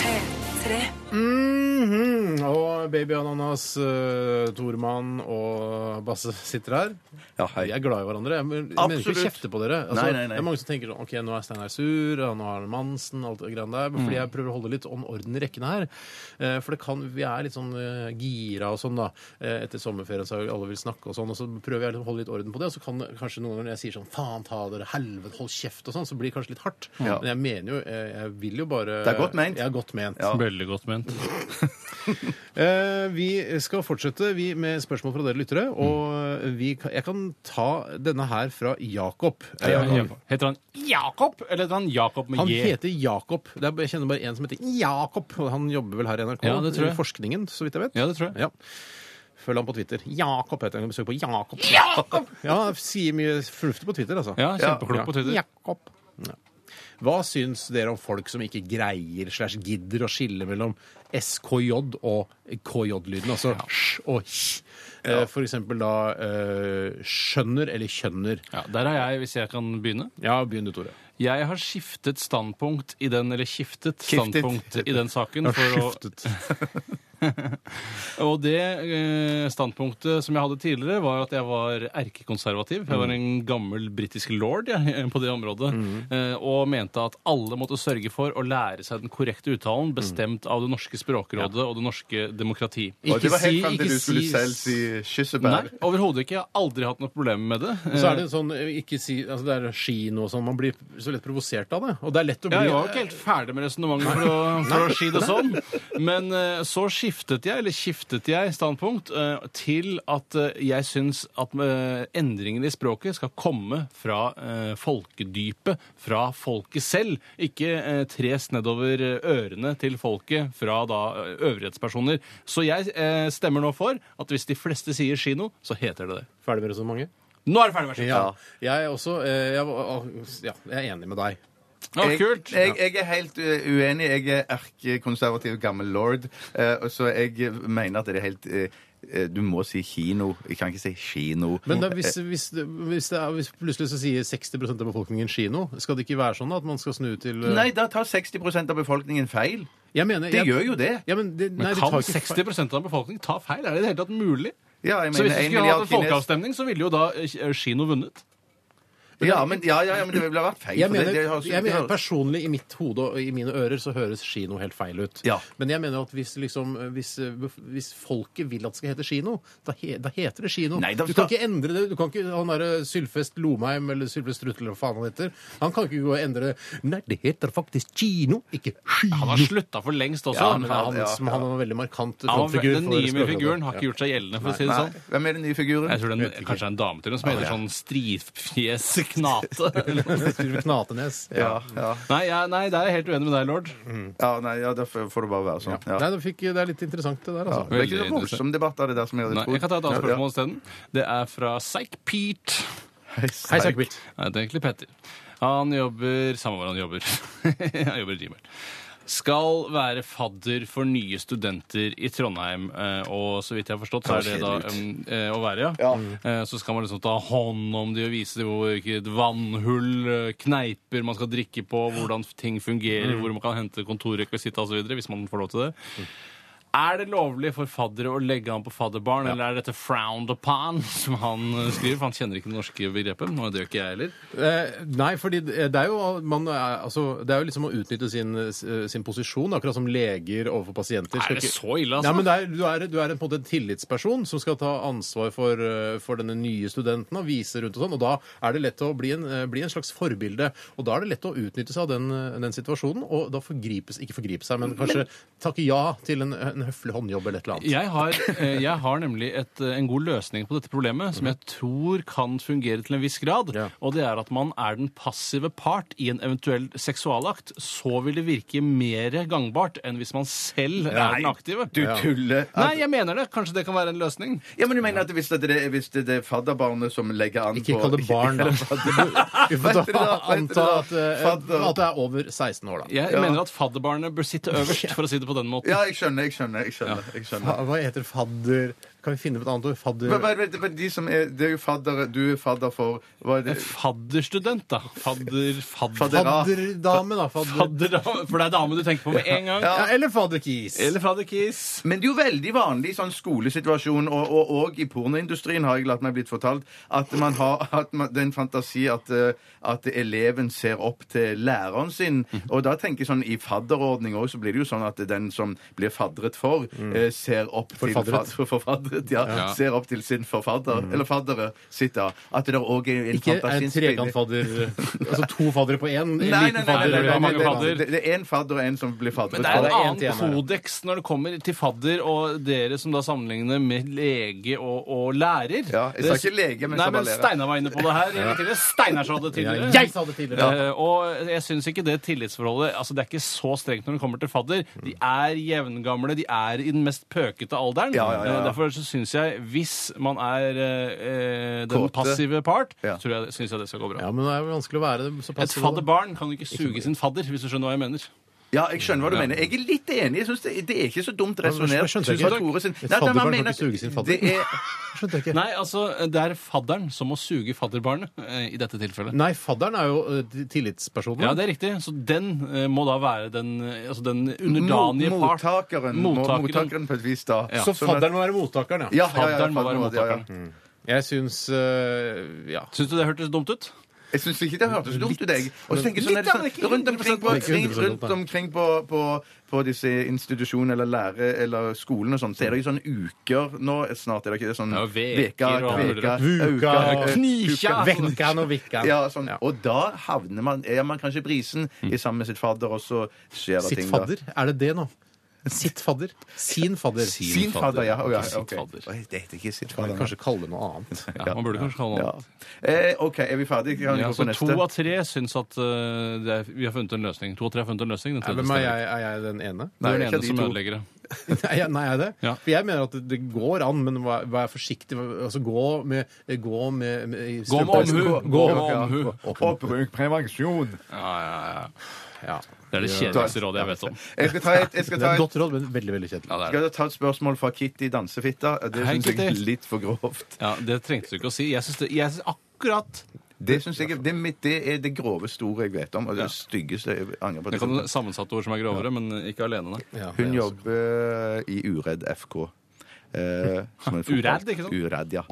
[SPEAKER 6] P3.
[SPEAKER 2] Mhm, Og Baby Ananas, uh, Tormann og Basse sitter her.
[SPEAKER 3] Ja, hei.
[SPEAKER 2] Vi er glad i hverandre. Jeg men- jeg mener ikke å
[SPEAKER 3] Absolutt.
[SPEAKER 2] kjefte på dere. Altså,
[SPEAKER 3] Nei, nei, nei.
[SPEAKER 2] Det er mange som tenker sånn, ok, nå er Steinar sur, og nå har han Mansen, alt det greiene der. Men
[SPEAKER 3] Mm.
[SPEAKER 2] Fordi jeg prøver å holde litt on- orden i rekkene her. Eh, For det kan, vi er litt sånn eh, gira og sånn, da. Eh, Etter sommerferien så er alle vil snakke og sånn. Og så prøver jeg liksom å holde litt orden på det. Og så kan det- kanskje noen ganger når jeg sier sånn faen ta dere, helvete, hold kjeft og sånn, så blir det kanskje litt hardt.
[SPEAKER 3] Ja.
[SPEAKER 2] Men jeg mener jo, eh, jeg vil jo bare
[SPEAKER 3] Det er godt ment.
[SPEAKER 2] Jeg er godt ment.
[SPEAKER 4] Veldig godt ment.
[SPEAKER 2] Eh, vi skal fortsette vi, med spørsmål fra dere lyttere.
[SPEAKER 4] Mm.
[SPEAKER 2] Og eh, vi, kan- jeg kan ta denne her fra Jakob.
[SPEAKER 4] Ja,
[SPEAKER 2] Eh,
[SPEAKER 4] Jakob. Heter han Jakob, eller heter han Jakob med
[SPEAKER 2] Han
[SPEAKER 4] J?
[SPEAKER 2] heter Jakob. Det er, jeg kjenner bare en som heter Jakob. og Han jobber vel her i NRK.
[SPEAKER 4] Ja, det tror jeg.
[SPEAKER 2] I forskningen, så vidt jeg vet.
[SPEAKER 4] Ja, det tror jeg.
[SPEAKER 2] Ja. Følg ham på Twitter. Jakob heter han. Besøk på Jakob. Ja, han sier mye fornuftig på Twitter, altså.
[SPEAKER 4] Ja, kjempeklok på Twitter.
[SPEAKER 2] Jakob. Ja. Hva syns dere om folk som ikke greier slash gidder å skille mellom SKJ og KJ-lyden, altså sj og hj? Eh, For eksempel da eh, skjønner eller kjønner.
[SPEAKER 4] Ja, der er jeg, hvis jeg kan begynne.
[SPEAKER 2] Ja, begynn du, Tore.
[SPEAKER 4] Jeg har skiftet standpunkt i den, eller skiftet standpunkt i den saken.
[SPEAKER 2] Jeg har
[SPEAKER 4] For å,
[SPEAKER 2] skiftet.
[SPEAKER 4] og det eh, standpunktet som jeg hadde tidligere, var at jeg var erkekonservativ. Jeg
[SPEAKER 2] Mm.
[SPEAKER 4] var en gammel britisk lord jeg, [LAUGHS] på det området. Eh, og mente at alle måtte sørge for å lære seg den korrekte
[SPEAKER 2] Mm.
[SPEAKER 4] uttalen, bestemt av det norske språkrådet og det norske demokrati.
[SPEAKER 3] Og det var helt
[SPEAKER 2] si-
[SPEAKER 3] frem til
[SPEAKER 2] ikke
[SPEAKER 3] du skulle
[SPEAKER 2] si-
[SPEAKER 3] selv si
[SPEAKER 4] Nei,
[SPEAKER 3] kyssebær.
[SPEAKER 4] overhodet ikke. Jeg har aldri hatt noe problem med det.
[SPEAKER 2] Og Så er det sånn, eh, ikke si, altså det er kino og sånn, man blir så lett provosert av det. Og det er lett å
[SPEAKER 4] Ja,
[SPEAKER 2] bli
[SPEAKER 4] jeg var jo ikke helt ferdig med resonnementet, for, å- for å si det sånn. Men eh, så skiftet jeg, eller skiftet jeg standpunkt eh, til at eh, jeg syns at eh, endringer i språket skal komme fra eh, folkedypet, fra folket selv. Ikke eh, tres nedover eh, ørene til folket fra da eh, øvrighetspersoner. Så jeg eh, stemmer nå for at hvis de fleste sier kino, så heter det det.
[SPEAKER 2] ferdig med resonnementet.
[SPEAKER 4] Nå er det ferdig, vær så snill.
[SPEAKER 2] Ja. Jeg er også eh, jeg, var- ja, jeg er enig med deg.
[SPEAKER 4] Ja,
[SPEAKER 3] Jeg,
[SPEAKER 4] kult.
[SPEAKER 3] jeg, jeg er helt uh, uenig. Jeg er erkekonservativ gammel lord. eh, og så jeg mener at det er helt eh, eh, Du må si kino. Jeg kan ikke si kino.
[SPEAKER 2] Men da, hvis, hvis, hvis, det er, hvis plutselig så sier 60 av befolkningen kino, skal det ikke være sånn at man skal snu til eh,
[SPEAKER 3] Nei, da tar 60 av befolkningen feil.
[SPEAKER 2] jeg mener,
[SPEAKER 3] Det
[SPEAKER 2] jeg,
[SPEAKER 3] gjør jo det.
[SPEAKER 2] ja, men det, nei,
[SPEAKER 4] Men
[SPEAKER 2] det
[SPEAKER 4] kan
[SPEAKER 2] tar ikke feil.
[SPEAKER 4] 60 av befolkningen ta feil? Er det i det hele tatt mulig?
[SPEAKER 3] Ja, jeg
[SPEAKER 4] Så
[SPEAKER 3] mener, en
[SPEAKER 4] hvis vi skulle hatt
[SPEAKER 3] milliard
[SPEAKER 4] en
[SPEAKER 3] kines-
[SPEAKER 4] folkeavstemning, så ville jo da eh, Kino vunnet.
[SPEAKER 3] Ja, men, ja, ja, ja, men det ville ha vært feil.
[SPEAKER 2] Jeg
[SPEAKER 3] for det-
[SPEAKER 2] mener,
[SPEAKER 3] det har-
[SPEAKER 2] jeg mener personlig i mitt hode og i mine ører så høres kino helt feil ut.
[SPEAKER 3] Ja.
[SPEAKER 2] Men jeg mener at hvis, liksom, hvis, eh, bef- hvis folket vil at det skal hete kino, da, he, da heter det kino.
[SPEAKER 3] Nei, da-
[SPEAKER 2] du kan ikke endre det. Du kan ikke han derre Sylfest Lomheim eller Sylfest Strutle eller hva faen han heter. Han kan ikke gå og endre det. Nei, det heter faktisk kino, ikke kino.
[SPEAKER 4] Han har slutta for lengst også.
[SPEAKER 2] Ja,
[SPEAKER 4] da.
[SPEAKER 2] men
[SPEAKER 4] han,
[SPEAKER 2] han,
[SPEAKER 3] ja,
[SPEAKER 2] som, han var en veldig markant
[SPEAKER 4] han, var-
[SPEAKER 2] frontfigur.
[SPEAKER 4] den
[SPEAKER 2] for altså.
[SPEAKER 4] nye med
[SPEAKER 2] språkrådet.
[SPEAKER 4] figuren har ikke gjort seg gjeldende, for å si det sånn.
[SPEAKER 3] Hvem er den nye figuren?
[SPEAKER 4] Jeg tror den, kanskje er en dame til den som heter sånn Strifjes Knate. eller noe.
[SPEAKER 2] [LAUGHS] Skriver
[SPEAKER 4] [LAUGHS]
[SPEAKER 2] Knatenes.
[SPEAKER 3] Ja, ja.
[SPEAKER 4] Nei, ja, nei, der er jeg helt uenig med deg, lord.
[SPEAKER 3] ja, nei, ja, da får får det bare være sånn. Ja.
[SPEAKER 2] Nei, det, fikk, det er litt interessant, det der.
[SPEAKER 3] Det
[SPEAKER 2] Altså.
[SPEAKER 3] er ikke så voldsom debatt av det der som jeg hadde
[SPEAKER 4] Nei, jeg kan ta et annet spørsmål isteden. Det er fra Psych-Pete.
[SPEAKER 2] Hei,
[SPEAKER 3] spørsmål.
[SPEAKER 2] Sackbit.
[SPEAKER 4] Nei, det er egentlig Petter. Han jobber Samme hvor han jobber. [LAUGHS] han jobber i Gmail. Skal være fadder for nye studenter i Trondheim. eh, Og så vidt jeg har forstått, så er det da um, eh, å være, ja. Eh, Så skal man liksom ta hånd om de og vise dem hvilket vannhull, eh, kneiper man skal drikke på, hvordan ting fungerer, hvor man kan hente kontorrekvisitt osv., hvis man får lov til det. Er det lovlig for faddere å legge an på fadderbarn, eller er dette frowned upon, [LAUGHS] som han eh, skriver? For han kjenner ikke det norske begrepet. og Det gjør ikke jeg heller.
[SPEAKER 2] Eh, nei, fordi det er jo man er, altså, Det er jo liksom å utnytte sin, eh, sin posisjon, akkurat som leger overfor pasienter. Skal
[SPEAKER 4] Er det
[SPEAKER 2] ikke-
[SPEAKER 4] så ille, altså?
[SPEAKER 2] Nei, men det er, du, er, du er en, på en måte en tillitsperson som skal ta ansvar for, eh, for denne nye studenten og vise rundt og sånn, og da er det lett å bli en, eh, bli en slags forbilde. Og da er det lett å utnytte seg av den, eh, den situasjonen, og da forgripes Ikke forgripe seg, men kanskje takke ja til en, en høflig håndjobb eller et eller annet.
[SPEAKER 4] Jeg har, eh, jeg har nemlig et, eh, en god løsning på dette problemet, som jeg tror kan fungere til en viss grad.
[SPEAKER 2] Ja.
[SPEAKER 4] Og det er at man er den passive part i en eventuell seksualakt. Så vil det virke mer gangbart enn hvis man selv er den aktive.
[SPEAKER 3] Du tuller.
[SPEAKER 4] Nei, jeg mener det. Kanskje det kan være en løsning.
[SPEAKER 3] Ja, men du mener at hvis det er, hvis det er fadderbarnet som legger an
[SPEAKER 2] Ikke
[SPEAKER 3] på
[SPEAKER 2] kall det barn, da. [LAUGHS] Vi får
[SPEAKER 3] Vet dere
[SPEAKER 2] da
[SPEAKER 3] da, vet
[SPEAKER 2] anta
[SPEAKER 3] dere da,
[SPEAKER 2] at, eh,
[SPEAKER 3] fadder.
[SPEAKER 2] at det er over 16 år, da.
[SPEAKER 4] Jeg mener at fadderbarnet bør sitte øverst, for å si det på den måten.
[SPEAKER 3] Ja, jeg skjønner. jeg skjønner skjønner. jeg skjønner, jeg skjønner.
[SPEAKER 2] Hva heter fadder? Kan vi finne på et annet ord? Fadder
[SPEAKER 3] Men, men, men, men de som er, det er jo fadder, du er fadder for hva er det?
[SPEAKER 4] Fadderstudent, da. Fadder... Fadder...
[SPEAKER 3] Fadder-
[SPEAKER 2] Fadderdame, da. Fadder.
[SPEAKER 4] fadder da. For det er dame du tenker på med en gang.
[SPEAKER 2] Ja, eller fadderkis.
[SPEAKER 4] Eller fadderkis.
[SPEAKER 3] Men det er jo veldig vanlig i sånn skolesituasjon, og, og, og i pornoindustrien har jeg latt meg blitt fortalt, at man har at man, den fantasi at, eh, at eleven ser opp til læreren sin.
[SPEAKER 2] Mhm.
[SPEAKER 3] Og da tenker jeg sånn i fadderordning òg, så blir det jo sånn at den som blir fadret for, eh, ser opp til
[SPEAKER 2] Mm. Forfadret. Mhm.
[SPEAKER 3] fad- forfadret, ja, ser opp til sin forfadder, eller faddere sitt, da. At det òg er en
[SPEAKER 2] Ikke en
[SPEAKER 3] fantasiinnspilling.
[SPEAKER 2] trekantfadder Altså to faddere på én? En
[SPEAKER 3] Nei, nei,
[SPEAKER 2] liten
[SPEAKER 3] nei, nei,
[SPEAKER 2] fadder?
[SPEAKER 3] nei,
[SPEAKER 4] det er
[SPEAKER 2] eller
[SPEAKER 3] nei,
[SPEAKER 4] mange
[SPEAKER 3] det-
[SPEAKER 2] en-
[SPEAKER 4] fadder.
[SPEAKER 3] det- det er en fadder og en som blir fadret.
[SPEAKER 4] Men det
[SPEAKER 2] Ja,
[SPEAKER 4] er
[SPEAKER 2] det
[SPEAKER 3] for.
[SPEAKER 2] er en
[SPEAKER 4] en
[SPEAKER 2] til
[SPEAKER 4] annen
[SPEAKER 2] igjen her.
[SPEAKER 4] kodeks når det kommer til fadder, og dere som da sammenligner med lege og, og lærer.
[SPEAKER 3] Ja, jeg sa ikke lege, men
[SPEAKER 4] Nei,
[SPEAKER 3] som var
[SPEAKER 4] men
[SPEAKER 3] lærer.
[SPEAKER 4] Steinar var inne på det her. eller tidligere. Steinar sa det tidligere.
[SPEAKER 2] Ja, jeg sa det tidligere.
[SPEAKER 4] Eh, og jeg syns ikke det tillitsforholdet altså Det er ikke så strengt når det kommer til fadder. De er jevngamle, de er i den mest pøkete alderen.
[SPEAKER 3] Ja, ja, ja, ja.
[SPEAKER 4] Eh, Derfor så syns jeg, hvis man er eh, eh, den
[SPEAKER 3] Kåte.
[SPEAKER 4] passive part,
[SPEAKER 3] Ja.
[SPEAKER 4] så tror jeg- syns jeg det skal gå bra.
[SPEAKER 2] Ja, men det er jo vanskelig å være det.
[SPEAKER 4] Et
[SPEAKER 2] såpass
[SPEAKER 4] fadderbarn kan jo ikke suge sin fadder, hvis du skjønner hva jeg mener.
[SPEAKER 3] Ja, jeg skjønner hva du mener. Jeg er litt enig. Jeg synes det, det er ikke så dumt
[SPEAKER 2] Men jeg
[SPEAKER 3] resonnert.
[SPEAKER 2] skjønte ikke.
[SPEAKER 3] Tusen takk, Tore sin-
[SPEAKER 2] Et
[SPEAKER 3] Nei, nei,
[SPEAKER 2] fadderbarn
[SPEAKER 3] men
[SPEAKER 2] kan
[SPEAKER 3] jeg mener
[SPEAKER 2] ikke suge sin
[SPEAKER 3] at
[SPEAKER 2] fadder.
[SPEAKER 3] det er-
[SPEAKER 2] Skjønte jeg ikke.
[SPEAKER 4] Nei, altså, det er fadderen som må suge fadderbarnet eh, i dette tilfellet.
[SPEAKER 2] Nei, fadderen er jo ø, t- tillitspersonen.
[SPEAKER 4] Ja, det er riktig. Så den eh, må da være den, eh, altså den underdanige
[SPEAKER 3] Mot-
[SPEAKER 4] part.
[SPEAKER 3] Mottakeren, må-
[SPEAKER 4] Mottakeren.
[SPEAKER 3] mottakeren på et vis, da.
[SPEAKER 4] Ja.
[SPEAKER 2] Så
[SPEAKER 3] Sånn
[SPEAKER 2] fadderen
[SPEAKER 3] at-
[SPEAKER 2] må være mottakeren, ja.
[SPEAKER 3] ja, ja, ja,
[SPEAKER 4] Fadderen må være
[SPEAKER 3] fadderen, ja, ja.
[SPEAKER 4] mottakeren.
[SPEAKER 2] Jeg syns ø, Ja.
[SPEAKER 4] Syns du det hørtes dumt ut?
[SPEAKER 3] Jeg syns ikke det hørtes dumt ut, jeg. Og så tenker jeg
[SPEAKER 4] Litt,
[SPEAKER 3] sånn, er det
[SPEAKER 4] men ikke
[SPEAKER 3] sånn rundt omkring, på,
[SPEAKER 2] 100%
[SPEAKER 3] kring,
[SPEAKER 2] dumt,
[SPEAKER 3] rundt
[SPEAKER 2] da.
[SPEAKER 3] omkring på, på, på disse institusjonene eller lære- eller skolen og sånn, så er det jo sånne uker nå snart, er det ikke det? Sånn
[SPEAKER 4] Ja, veker og andre.
[SPEAKER 2] Vuka,
[SPEAKER 3] uker,
[SPEAKER 4] Knisja!
[SPEAKER 2] Venkan og Vikkan.
[SPEAKER 3] Ja, sånn. Og da havner man, er man kanskje i brisen i sammen med sitt fadder, og så skjer det
[SPEAKER 2] Sitt
[SPEAKER 3] ting. da.
[SPEAKER 2] fadder? Er det det nå? Sitt
[SPEAKER 3] [LAUGHS]
[SPEAKER 2] fadder? Sin fadder?
[SPEAKER 3] Sin fadder, ja. å, ja,
[SPEAKER 4] Ikke sitt
[SPEAKER 3] ok.
[SPEAKER 4] fadder.
[SPEAKER 3] Oi, Det heter ikke sitt
[SPEAKER 2] Kan
[SPEAKER 3] fadder.
[SPEAKER 2] vi
[SPEAKER 3] nei.
[SPEAKER 2] kanskje kalle det noe annet.
[SPEAKER 4] Ja, man burde kanskje kalle det noe
[SPEAKER 3] Ja.
[SPEAKER 4] annet.
[SPEAKER 3] Eh, OK, er vi ferdige? Kan vi
[SPEAKER 4] Ja,
[SPEAKER 3] gå
[SPEAKER 4] så
[SPEAKER 3] på
[SPEAKER 4] to
[SPEAKER 3] neste?
[SPEAKER 4] av tre syns at eh, det er, vi har funnet en løsning. To av tre har funnet en løsning.
[SPEAKER 2] Ja,
[SPEAKER 4] Den tredje
[SPEAKER 2] Hvem er
[SPEAKER 4] stemmer
[SPEAKER 2] jeg? Er jeg den ene?
[SPEAKER 4] ikke. Du
[SPEAKER 3] Nei,
[SPEAKER 4] er den
[SPEAKER 3] ikke
[SPEAKER 4] ene
[SPEAKER 3] de
[SPEAKER 4] som
[SPEAKER 3] to.
[SPEAKER 4] ødelegger det.
[SPEAKER 2] [LAUGHS] Nei, jeg- nei, er jeg det?
[SPEAKER 4] Ja.
[SPEAKER 2] For jeg mener at det, det går an, men vær, vær forsiktig. Altså, gå med Gå med, med i
[SPEAKER 4] Gå med
[SPEAKER 2] strømpeøksen.
[SPEAKER 4] omhu!
[SPEAKER 2] Gå,
[SPEAKER 4] Gå
[SPEAKER 2] gå,
[SPEAKER 4] med omhu.
[SPEAKER 3] Og bruk prevensjon.
[SPEAKER 4] Ja, ja, ja.
[SPEAKER 2] Ja.
[SPEAKER 4] Det er det kjedeligste rådet jeg vet om.
[SPEAKER 3] Jeg skal ta et, jeg skal
[SPEAKER 2] Det er
[SPEAKER 3] ta
[SPEAKER 2] et
[SPEAKER 3] et
[SPEAKER 2] godt råd, men veldig veldig kjedelig.
[SPEAKER 4] Ja, det er det.
[SPEAKER 3] skal jeg ta et spørsmål fra Kitty Dansefitta. Det
[SPEAKER 4] Hei,
[SPEAKER 3] syns jeg er
[SPEAKER 4] Kitty.
[SPEAKER 3] litt for grovt.
[SPEAKER 4] Ja, Det trengte du ikke å si. Jeg syns det jeg synes akkurat
[SPEAKER 3] Det, synes jeg, det, er mitt- det er det groveste ordet jeg vet om, og det styggeste jeg angrer på.
[SPEAKER 4] Det kan sammensatte ord som er grovere, men ikke alene. Nei.
[SPEAKER 2] Ja, det er
[SPEAKER 3] Hun
[SPEAKER 2] også-
[SPEAKER 3] jobber i Uredd FK. Eh, som en fotball-
[SPEAKER 4] Uredd, ikke sant?
[SPEAKER 3] Uredd, ja.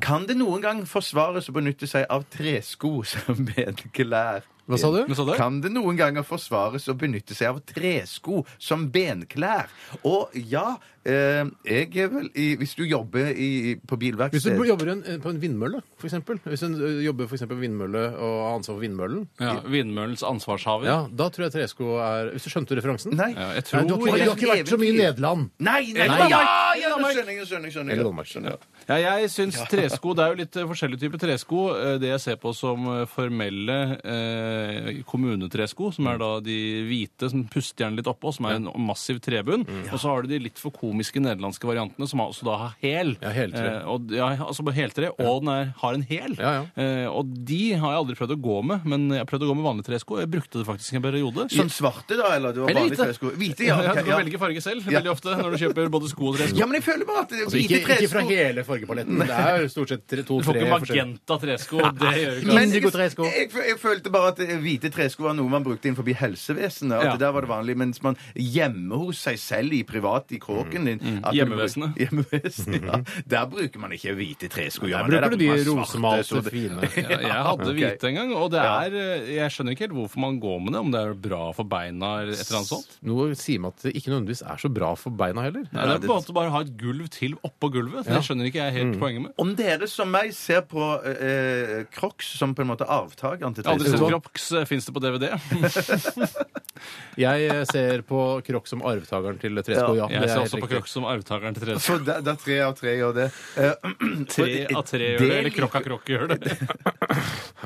[SPEAKER 3] Kan det noen gang forsvares å benytte seg av tresko [LAUGHS] som benklær?
[SPEAKER 2] Hva sa du?
[SPEAKER 4] Men så det?
[SPEAKER 3] Kan det noen ganger forsvares å benytte seg av tresko som benklær? Og ja, eh, jeg er vel i, Hvis du jobber i,
[SPEAKER 2] Hvis
[SPEAKER 3] på
[SPEAKER 2] du
[SPEAKER 3] bilverksted
[SPEAKER 2] jobber i en, på en vindmølle, for eksempel. Hvis du jobber for eksempel på en vindmølle og har ansvar for vindmøllen,
[SPEAKER 4] Ja, Vindmøllens ansvarshaver.
[SPEAKER 2] ja, da tror jeg tresko er Hvis du skjønte referansen?
[SPEAKER 3] Nei.
[SPEAKER 4] Ja, jeg
[SPEAKER 2] Nei,
[SPEAKER 4] tror
[SPEAKER 2] du, har ikke, du har ikke vært så mye i Nederland.
[SPEAKER 3] Nei, nei,
[SPEAKER 4] Nei,
[SPEAKER 3] nei, ja,
[SPEAKER 4] Danmark!
[SPEAKER 3] ja, nå skjønner jeg, nå skjønner jeg, skjønner jeg.
[SPEAKER 2] Eller Danmark.
[SPEAKER 3] Skjønner jeg.
[SPEAKER 4] Ja, jeg syns tresko Det er jo litt eh, forskjellige typer tresko. Eh, Det jeg ser på som eh, formelle eh, kommunetresko, som er da de hvite som puster gjerne litt oppå, som er en massiv trebunn. Og så har du de litt for komiske nederlandske variantene, som også da har hæl.
[SPEAKER 2] Ja, heltre.
[SPEAKER 4] Eh, og, ja, altså på heltre, og den er, har en hæl.
[SPEAKER 2] Ja, ja.
[SPEAKER 4] Eh, og de har jeg aldri prøvd å gå med, men jeg har prøvd å gå med vanlige tresko. Jeg brukte det faktisk en periode.
[SPEAKER 3] Sånn svarte, da? Eller du har
[SPEAKER 4] Eller
[SPEAKER 3] vanlige
[SPEAKER 4] hvite.
[SPEAKER 3] tresko? Hvite,
[SPEAKER 4] sånn- [LAUGHS]
[SPEAKER 3] ja.
[SPEAKER 4] ja,
[SPEAKER 3] ok,
[SPEAKER 4] du kan
[SPEAKER 3] ja.
[SPEAKER 4] velge farge selv
[SPEAKER 3] Ja.
[SPEAKER 4] veldig ofte når du kjøper både sko og tresko.
[SPEAKER 3] ja, men jeg føler bare at
[SPEAKER 2] Altså,
[SPEAKER 3] hvite
[SPEAKER 2] ikke, ikke
[SPEAKER 3] tresko
[SPEAKER 2] fra hele fargepaletten. men Det er jo stort sett tre-
[SPEAKER 4] Du får
[SPEAKER 2] to-tre
[SPEAKER 4] ikke magenta tresko. Det gjør du ikke.
[SPEAKER 3] Men jeg,
[SPEAKER 2] Indigo-tresko.
[SPEAKER 3] jeg, jeg følte bare at eh, hvite tresko var noe man brukte innenfor helsevesenet. At
[SPEAKER 4] Ja.
[SPEAKER 3] der var det vanlig, Mens man hjemme hos seg selv i privat i kråken din at du
[SPEAKER 4] Mm. Hjemmevesenet.
[SPEAKER 3] bruk- [LAUGHS] Hjemmevesenet, ja. Der bruker man ikke hvite tresko. gjør
[SPEAKER 2] Der
[SPEAKER 3] man det?
[SPEAKER 2] bruker du de
[SPEAKER 3] bruker man svarte,
[SPEAKER 2] rosemalte,
[SPEAKER 3] så
[SPEAKER 4] eh,
[SPEAKER 3] det-
[SPEAKER 2] fine
[SPEAKER 4] [LAUGHS] Ja, jeg hadde
[SPEAKER 3] ok.
[SPEAKER 4] hvite en gang, og det er, eh, jeg skjønner ikke helt hvorfor man går med det, om det er bra for beina eller et eller annet sånt.
[SPEAKER 2] Noe sier meg at det ikke nødvendigvis er så bra for beina heller.
[SPEAKER 4] Nei, det er på en måte bare å ha et gulv til oppå gulvet. Det skjønner ikke jeg helt poenget med.
[SPEAKER 3] Om dere som meg ser på eh, Crocs som på en måte avtakeren til
[SPEAKER 4] Jeg har aldri sett
[SPEAKER 3] tresko
[SPEAKER 4] Crocs. Fins det på DVD?
[SPEAKER 2] Jeg eh, ser på Krokk som arvtakeren til tresko, ja. det
[SPEAKER 4] Jeg
[SPEAKER 2] er
[SPEAKER 4] ser
[SPEAKER 2] helt
[SPEAKER 4] også på
[SPEAKER 2] riktig.
[SPEAKER 4] Crocs som arvtakeren til
[SPEAKER 3] Så
[SPEAKER 4] tresko.
[SPEAKER 3] det det er tre av tre gjør det. Eh, [CLEARS THROAT]
[SPEAKER 4] Tre av tre gjør det, eller
[SPEAKER 3] liker-
[SPEAKER 4] Krokk av Krokk gjør det.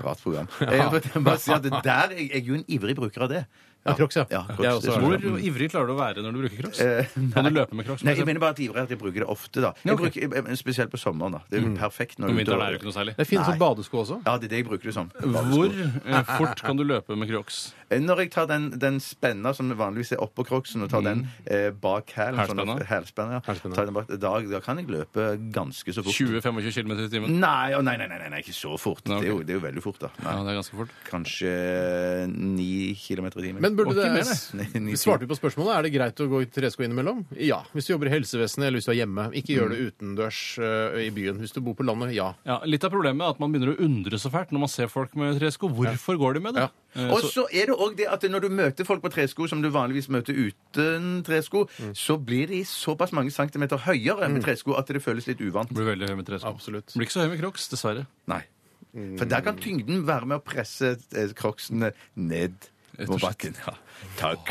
[SPEAKER 3] Rart program. Jeg vil bare si at der er jeg er jo en ivrig bruker av det.
[SPEAKER 2] Ja, Crocs, ja.
[SPEAKER 3] Ja, Crocs,
[SPEAKER 2] Jeg også
[SPEAKER 3] det
[SPEAKER 2] har
[SPEAKER 3] tror
[SPEAKER 2] det.
[SPEAKER 3] jeg.
[SPEAKER 4] Hvor ivrig klarer du å være når du bruker crocs? Kan du løpe med crocs?
[SPEAKER 3] Nei, jeg mener bare at ivrig er at jeg bruker det ofte, da. Jeg
[SPEAKER 4] ok.
[SPEAKER 3] bruker, jeg- jeg- spesielt på sommeren. da. Det er jo perfekt når
[SPEAKER 4] Om
[SPEAKER 3] du
[SPEAKER 4] vinteren er det jo ikke noe særlig.
[SPEAKER 2] Det finnes
[SPEAKER 3] Nei.
[SPEAKER 2] jo badesko også.
[SPEAKER 3] Ja, det er det jeg bruker det som. Eh,
[SPEAKER 4] Hvor eh, fort kan du løpe med crocs?
[SPEAKER 3] Når jeg tar den, den spenna som vanligvis er oppå crocsen, og tar den eh, bak hælen sånn at-
[SPEAKER 4] Mm. Hælspenna?
[SPEAKER 3] Hælspenna, ja.
[SPEAKER 2] Hælspenna.
[SPEAKER 3] Tar den bak, da, da kan jeg løpe ganske så fort.
[SPEAKER 4] 20-25 km i timen?
[SPEAKER 3] Nei, å, nei, nei, nei, nei, nei, ikke så fort.
[SPEAKER 4] Nei, ok.
[SPEAKER 3] det, er jo, det er jo veldig fort, da.
[SPEAKER 4] Ja,
[SPEAKER 3] Nei.
[SPEAKER 4] det er ganske fort.
[SPEAKER 3] Kanskje ni kilometer i timen.
[SPEAKER 2] Men burde
[SPEAKER 4] Og
[SPEAKER 2] det
[SPEAKER 4] ikke mer,
[SPEAKER 3] det. Ni- ni-
[SPEAKER 2] Vi svarte jo på spørsmålet. Er det greit å gå i tresko innimellom? Ja. Hvis du jobber i helsevesenet eller hvis du er hjemme. Ikke gjør det
[SPEAKER 4] Mm.
[SPEAKER 2] utendørs ø, i byen. Hvis du bor på landet, ja.
[SPEAKER 4] Ja, litt av problemet er at man begynner å undre så fælt når man ser folk med tresko. Hvorfor går de med det?
[SPEAKER 2] Ja.
[SPEAKER 4] Eh,
[SPEAKER 3] Og
[SPEAKER 4] så-
[SPEAKER 3] så er det òg det at når du møter folk på tresko som du vanligvis møter uten tresko,
[SPEAKER 4] Mm.
[SPEAKER 3] så blir de såpass mange centimeter høyere med tresko at det føles litt uvant.
[SPEAKER 4] Blir veldig høy med tresko.
[SPEAKER 2] Absolutt.
[SPEAKER 4] Blir ikke så høy med crocs, dessverre.
[SPEAKER 3] Nei.
[SPEAKER 4] Mm.
[SPEAKER 3] For der kan tyngden være med å presse eh, crocsene ned på bakken. Ja. Takk.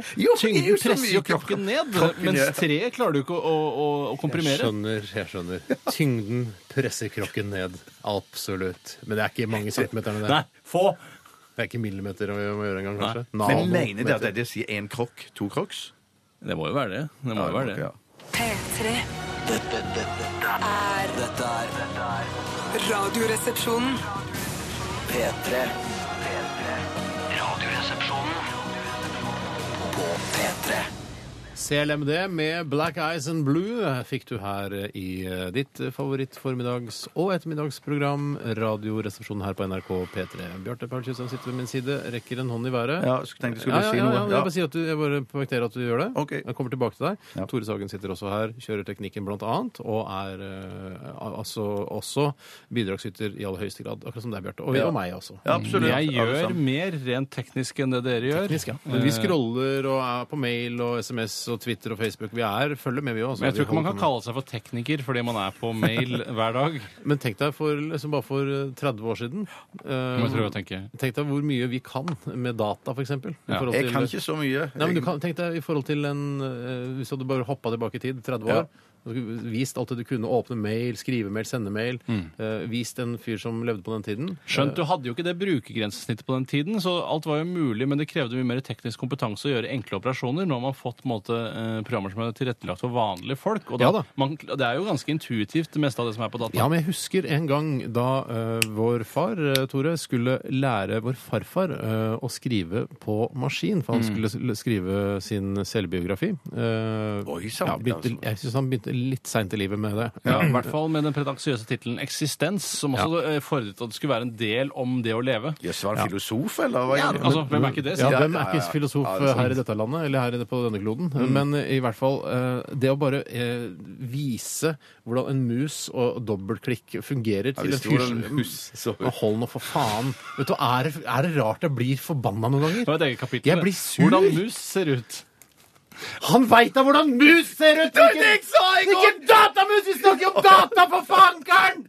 [SPEAKER 3] Jo, for det er jo
[SPEAKER 4] tyngden
[SPEAKER 3] så
[SPEAKER 4] presser jo
[SPEAKER 3] mykt.
[SPEAKER 4] krokken ned,
[SPEAKER 3] Krokken, ja.
[SPEAKER 4] mens treet klarer du ikke å, å, å komprimere.
[SPEAKER 2] skjønner, jeg skjønner. Tyngden presser krokken ned. Absolutt. Men det er ikke mange centimeterne
[SPEAKER 4] Nei,
[SPEAKER 2] der.
[SPEAKER 4] få!
[SPEAKER 2] Det er ikke millimeter vi må gjøre engang, kanskje.
[SPEAKER 3] Men
[SPEAKER 2] Nanometer.
[SPEAKER 3] mener dere at det sier én krokk, to crocs?
[SPEAKER 4] Det må jo være det. Det må jo være det.
[SPEAKER 3] Ja.
[SPEAKER 6] P3.
[SPEAKER 5] Dette, dette, dette er Dette er dette er
[SPEAKER 6] Radioresepsjonen.
[SPEAKER 5] P3. P3. Radioresepsjonen på P3.
[SPEAKER 2] CLMD med Black Eyes and Blue fikk du her i eh, ditt favorittformiddags- og ettermiddagsprogram. Radioresepsjonen her på NRK P3. Bjarte Paul Kjøstheim sitter ved min side, rekker en hånd i været.
[SPEAKER 3] Ja, så tenkte jeg
[SPEAKER 2] Ja,
[SPEAKER 3] skulle
[SPEAKER 2] ja,
[SPEAKER 3] si
[SPEAKER 2] ja, ja,
[SPEAKER 3] noe.
[SPEAKER 2] men
[SPEAKER 3] Ja.
[SPEAKER 2] Jeg bare sier at du, jeg bare poengterer at du gjør det.
[SPEAKER 3] Ok.
[SPEAKER 2] Jeg kommer tilbake til deg.
[SPEAKER 3] Ja.
[SPEAKER 2] Tore Sagen sitter også her, kjører teknikken blant annet, og er eh, al- altså også bidragsyter i aller høyeste grad. Akkurat som deg, Bjarte. Og,
[SPEAKER 3] Ja.
[SPEAKER 2] og meg også.
[SPEAKER 3] Ja, absolutt.
[SPEAKER 4] Jeg
[SPEAKER 3] alle
[SPEAKER 4] gjør
[SPEAKER 3] sammen.
[SPEAKER 4] mer rent teknisk enn det dere gjør.
[SPEAKER 2] Teknisk, ja. Men vi scroller og er på mail og SMS og Twitter og Facebook. Vi er, følger med, vi òg.
[SPEAKER 4] Men jeg tror ikke man kan kalle seg for tekniker fordi man er på mail hver dag.
[SPEAKER 2] Men tenk deg for, liksom bare for eh, 30 år siden. eh,
[SPEAKER 4] Må jeg prøve å tenke.
[SPEAKER 2] tenk deg hvor mye vi kan med data, f.eks.
[SPEAKER 4] Ja.
[SPEAKER 3] Jeg kan ikke så mye.
[SPEAKER 2] Nei, men du kan, tenk deg i forhold til en eh, Hvis du hadde bare hoppa tilbake i tid, 30
[SPEAKER 3] Ja.
[SPEAKER 2] år og skulle Vist alt det du kunne. Åpne mail, skrive mail, sende mail.
[SPEAKER 4] Mm.
[SPEAKER 2] eh, vist en fyr som levde på den tiden.
[SPEAKER 4] Skjønt, du hadde jo ikke det brukergrensesnittet på den tiden, så alt var jo mulig, men det krevde mye mer teknisk kompetanse å gjøre enkle operasjoner. Nå har man fått på en måte, eh, programmer som er tilrettelagt for vanlige folk, og da,
[SPEAKER 2] Ja da.
[SPEAKER 4] man, det er jo ganske intuitivt det meste av det som er på data.
[SPEAKER 2] Ja, men jeg husker en gang da eh, vår far, eh, Tore, skulle lære vår farfar eh, å skrive på maskin. For han
[SPEAKER 3] Mm.
[SPEAKER 2] skulle s- skrive sin selvbiografi. Eh,
[SPEAKER 3] Oi, sant,
[SPEAKER 2] ja, begynte,
[SPEAKER 3] altså.
[SPEAKER 2] jeg syns han begynte litt seint i livet med det.
[SPEAKER 4] Ja, I hvert fall med den pretensiøse tittelen 'Eksistens', som også eh, fordret at det skulle være en del om det å leve.
[SPEAKER 3] Jøss, var han filosof, eller? Hva er det?
[SPEAKER 4] Altså, hvem er ikke det?
[SPEAKER 2] Ja,
[SPEAKER 4] sier jeg?
[SPEAKER 2] hvem er
[SPEAKER 3] ja,
[SPEAKER 2] ikke
[SPEAKER 3] ja.
[SPEAKER 2] filosof eh,
[SPEAKER 3] Ja, det er sant. Mm.
[SPEAKER 2] her i dette landet, eller her på denne kloden? Men i hvert fall eh, det å bare eh, vise hvordan en mus og dobbeltklikk fungerer til en
[SPEAKER 3] hvis det
[SPEAKER 2] fyr
[SPEAKER 3] var en
[SPEAKER 2] som-
[SPEAKER 3] mus, så-
[SPEAKER 2] Men Hold nå, for faen. Vet du, er, det- er det rart jeg blir forbanna noen ganger?
[SPEAKER 4] Det var et eget kapittel.
[SPEAKER 2] Jeg
[SPEAKER 4] det.
[SPEAKER 2] blir sur.
[SPEAKER 4] Hvordan mus ser ut.
[SPEAKER 2] Han veit da hvordan mus ser ut! Det ikke datamus! Vi snakker om data, for fankeren!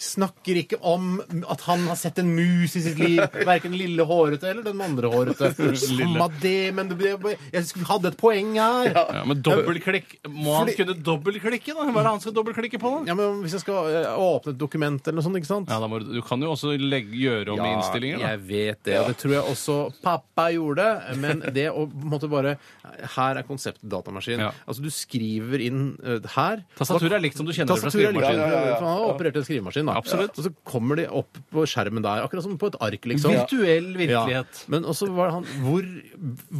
[SPEAKER 2] Snakker ikke om at han har sett en mus i sitt liv. Verken lille hårete eller den andre
[SPEAKER 4] [LAUGHS]
[SPEAKER 2] hårete. Samme det, men det ble, jeg skulle- hadde et poeng her. Ja.
[SPEAKER 4] Ja, Men dobbeltklikk Må han
[SPEAKER 2] Fordi-
[SPEAKER 4] kunne dobbeltklikke, da? Hva er det han skal dobbeltklikke på, da?
[SPEAKER 2] men Hvis jeg skal eh, åpne et dokument eller noe sånt, ikke sant?
[SPEAKER 4] Ja, da må du, du kan jo også legge, gjøre om i innstillinger. Da.
[SPEAKER 2] jeg vet det. Og det tror jeg også pappa gjorde. Men det å på en måte bare Her er konseptet datamaskin.
[SPEAKER 4] Ja.
[SPEAKER 2] Altså, du skriver inn eh, her
[SPEAKER 4] Tastaturet er likt som du kjenner det fra
[SPEAKER 2] Tastaturet er likt.
[SPEAKER 4] skrivemaskin.
[SPEAKER 2] For Han har operert en skrivemaskin, da.
[SPEAKER 4] Absolutt.
[SPEAKER 2] Og så kommer de opp på skjermen der, akkurat som på et ark, liksom.
[SPEAKER 4] Virtuell virkelighet.
[SPEAKER 2] Ja. Men også var han Hvor,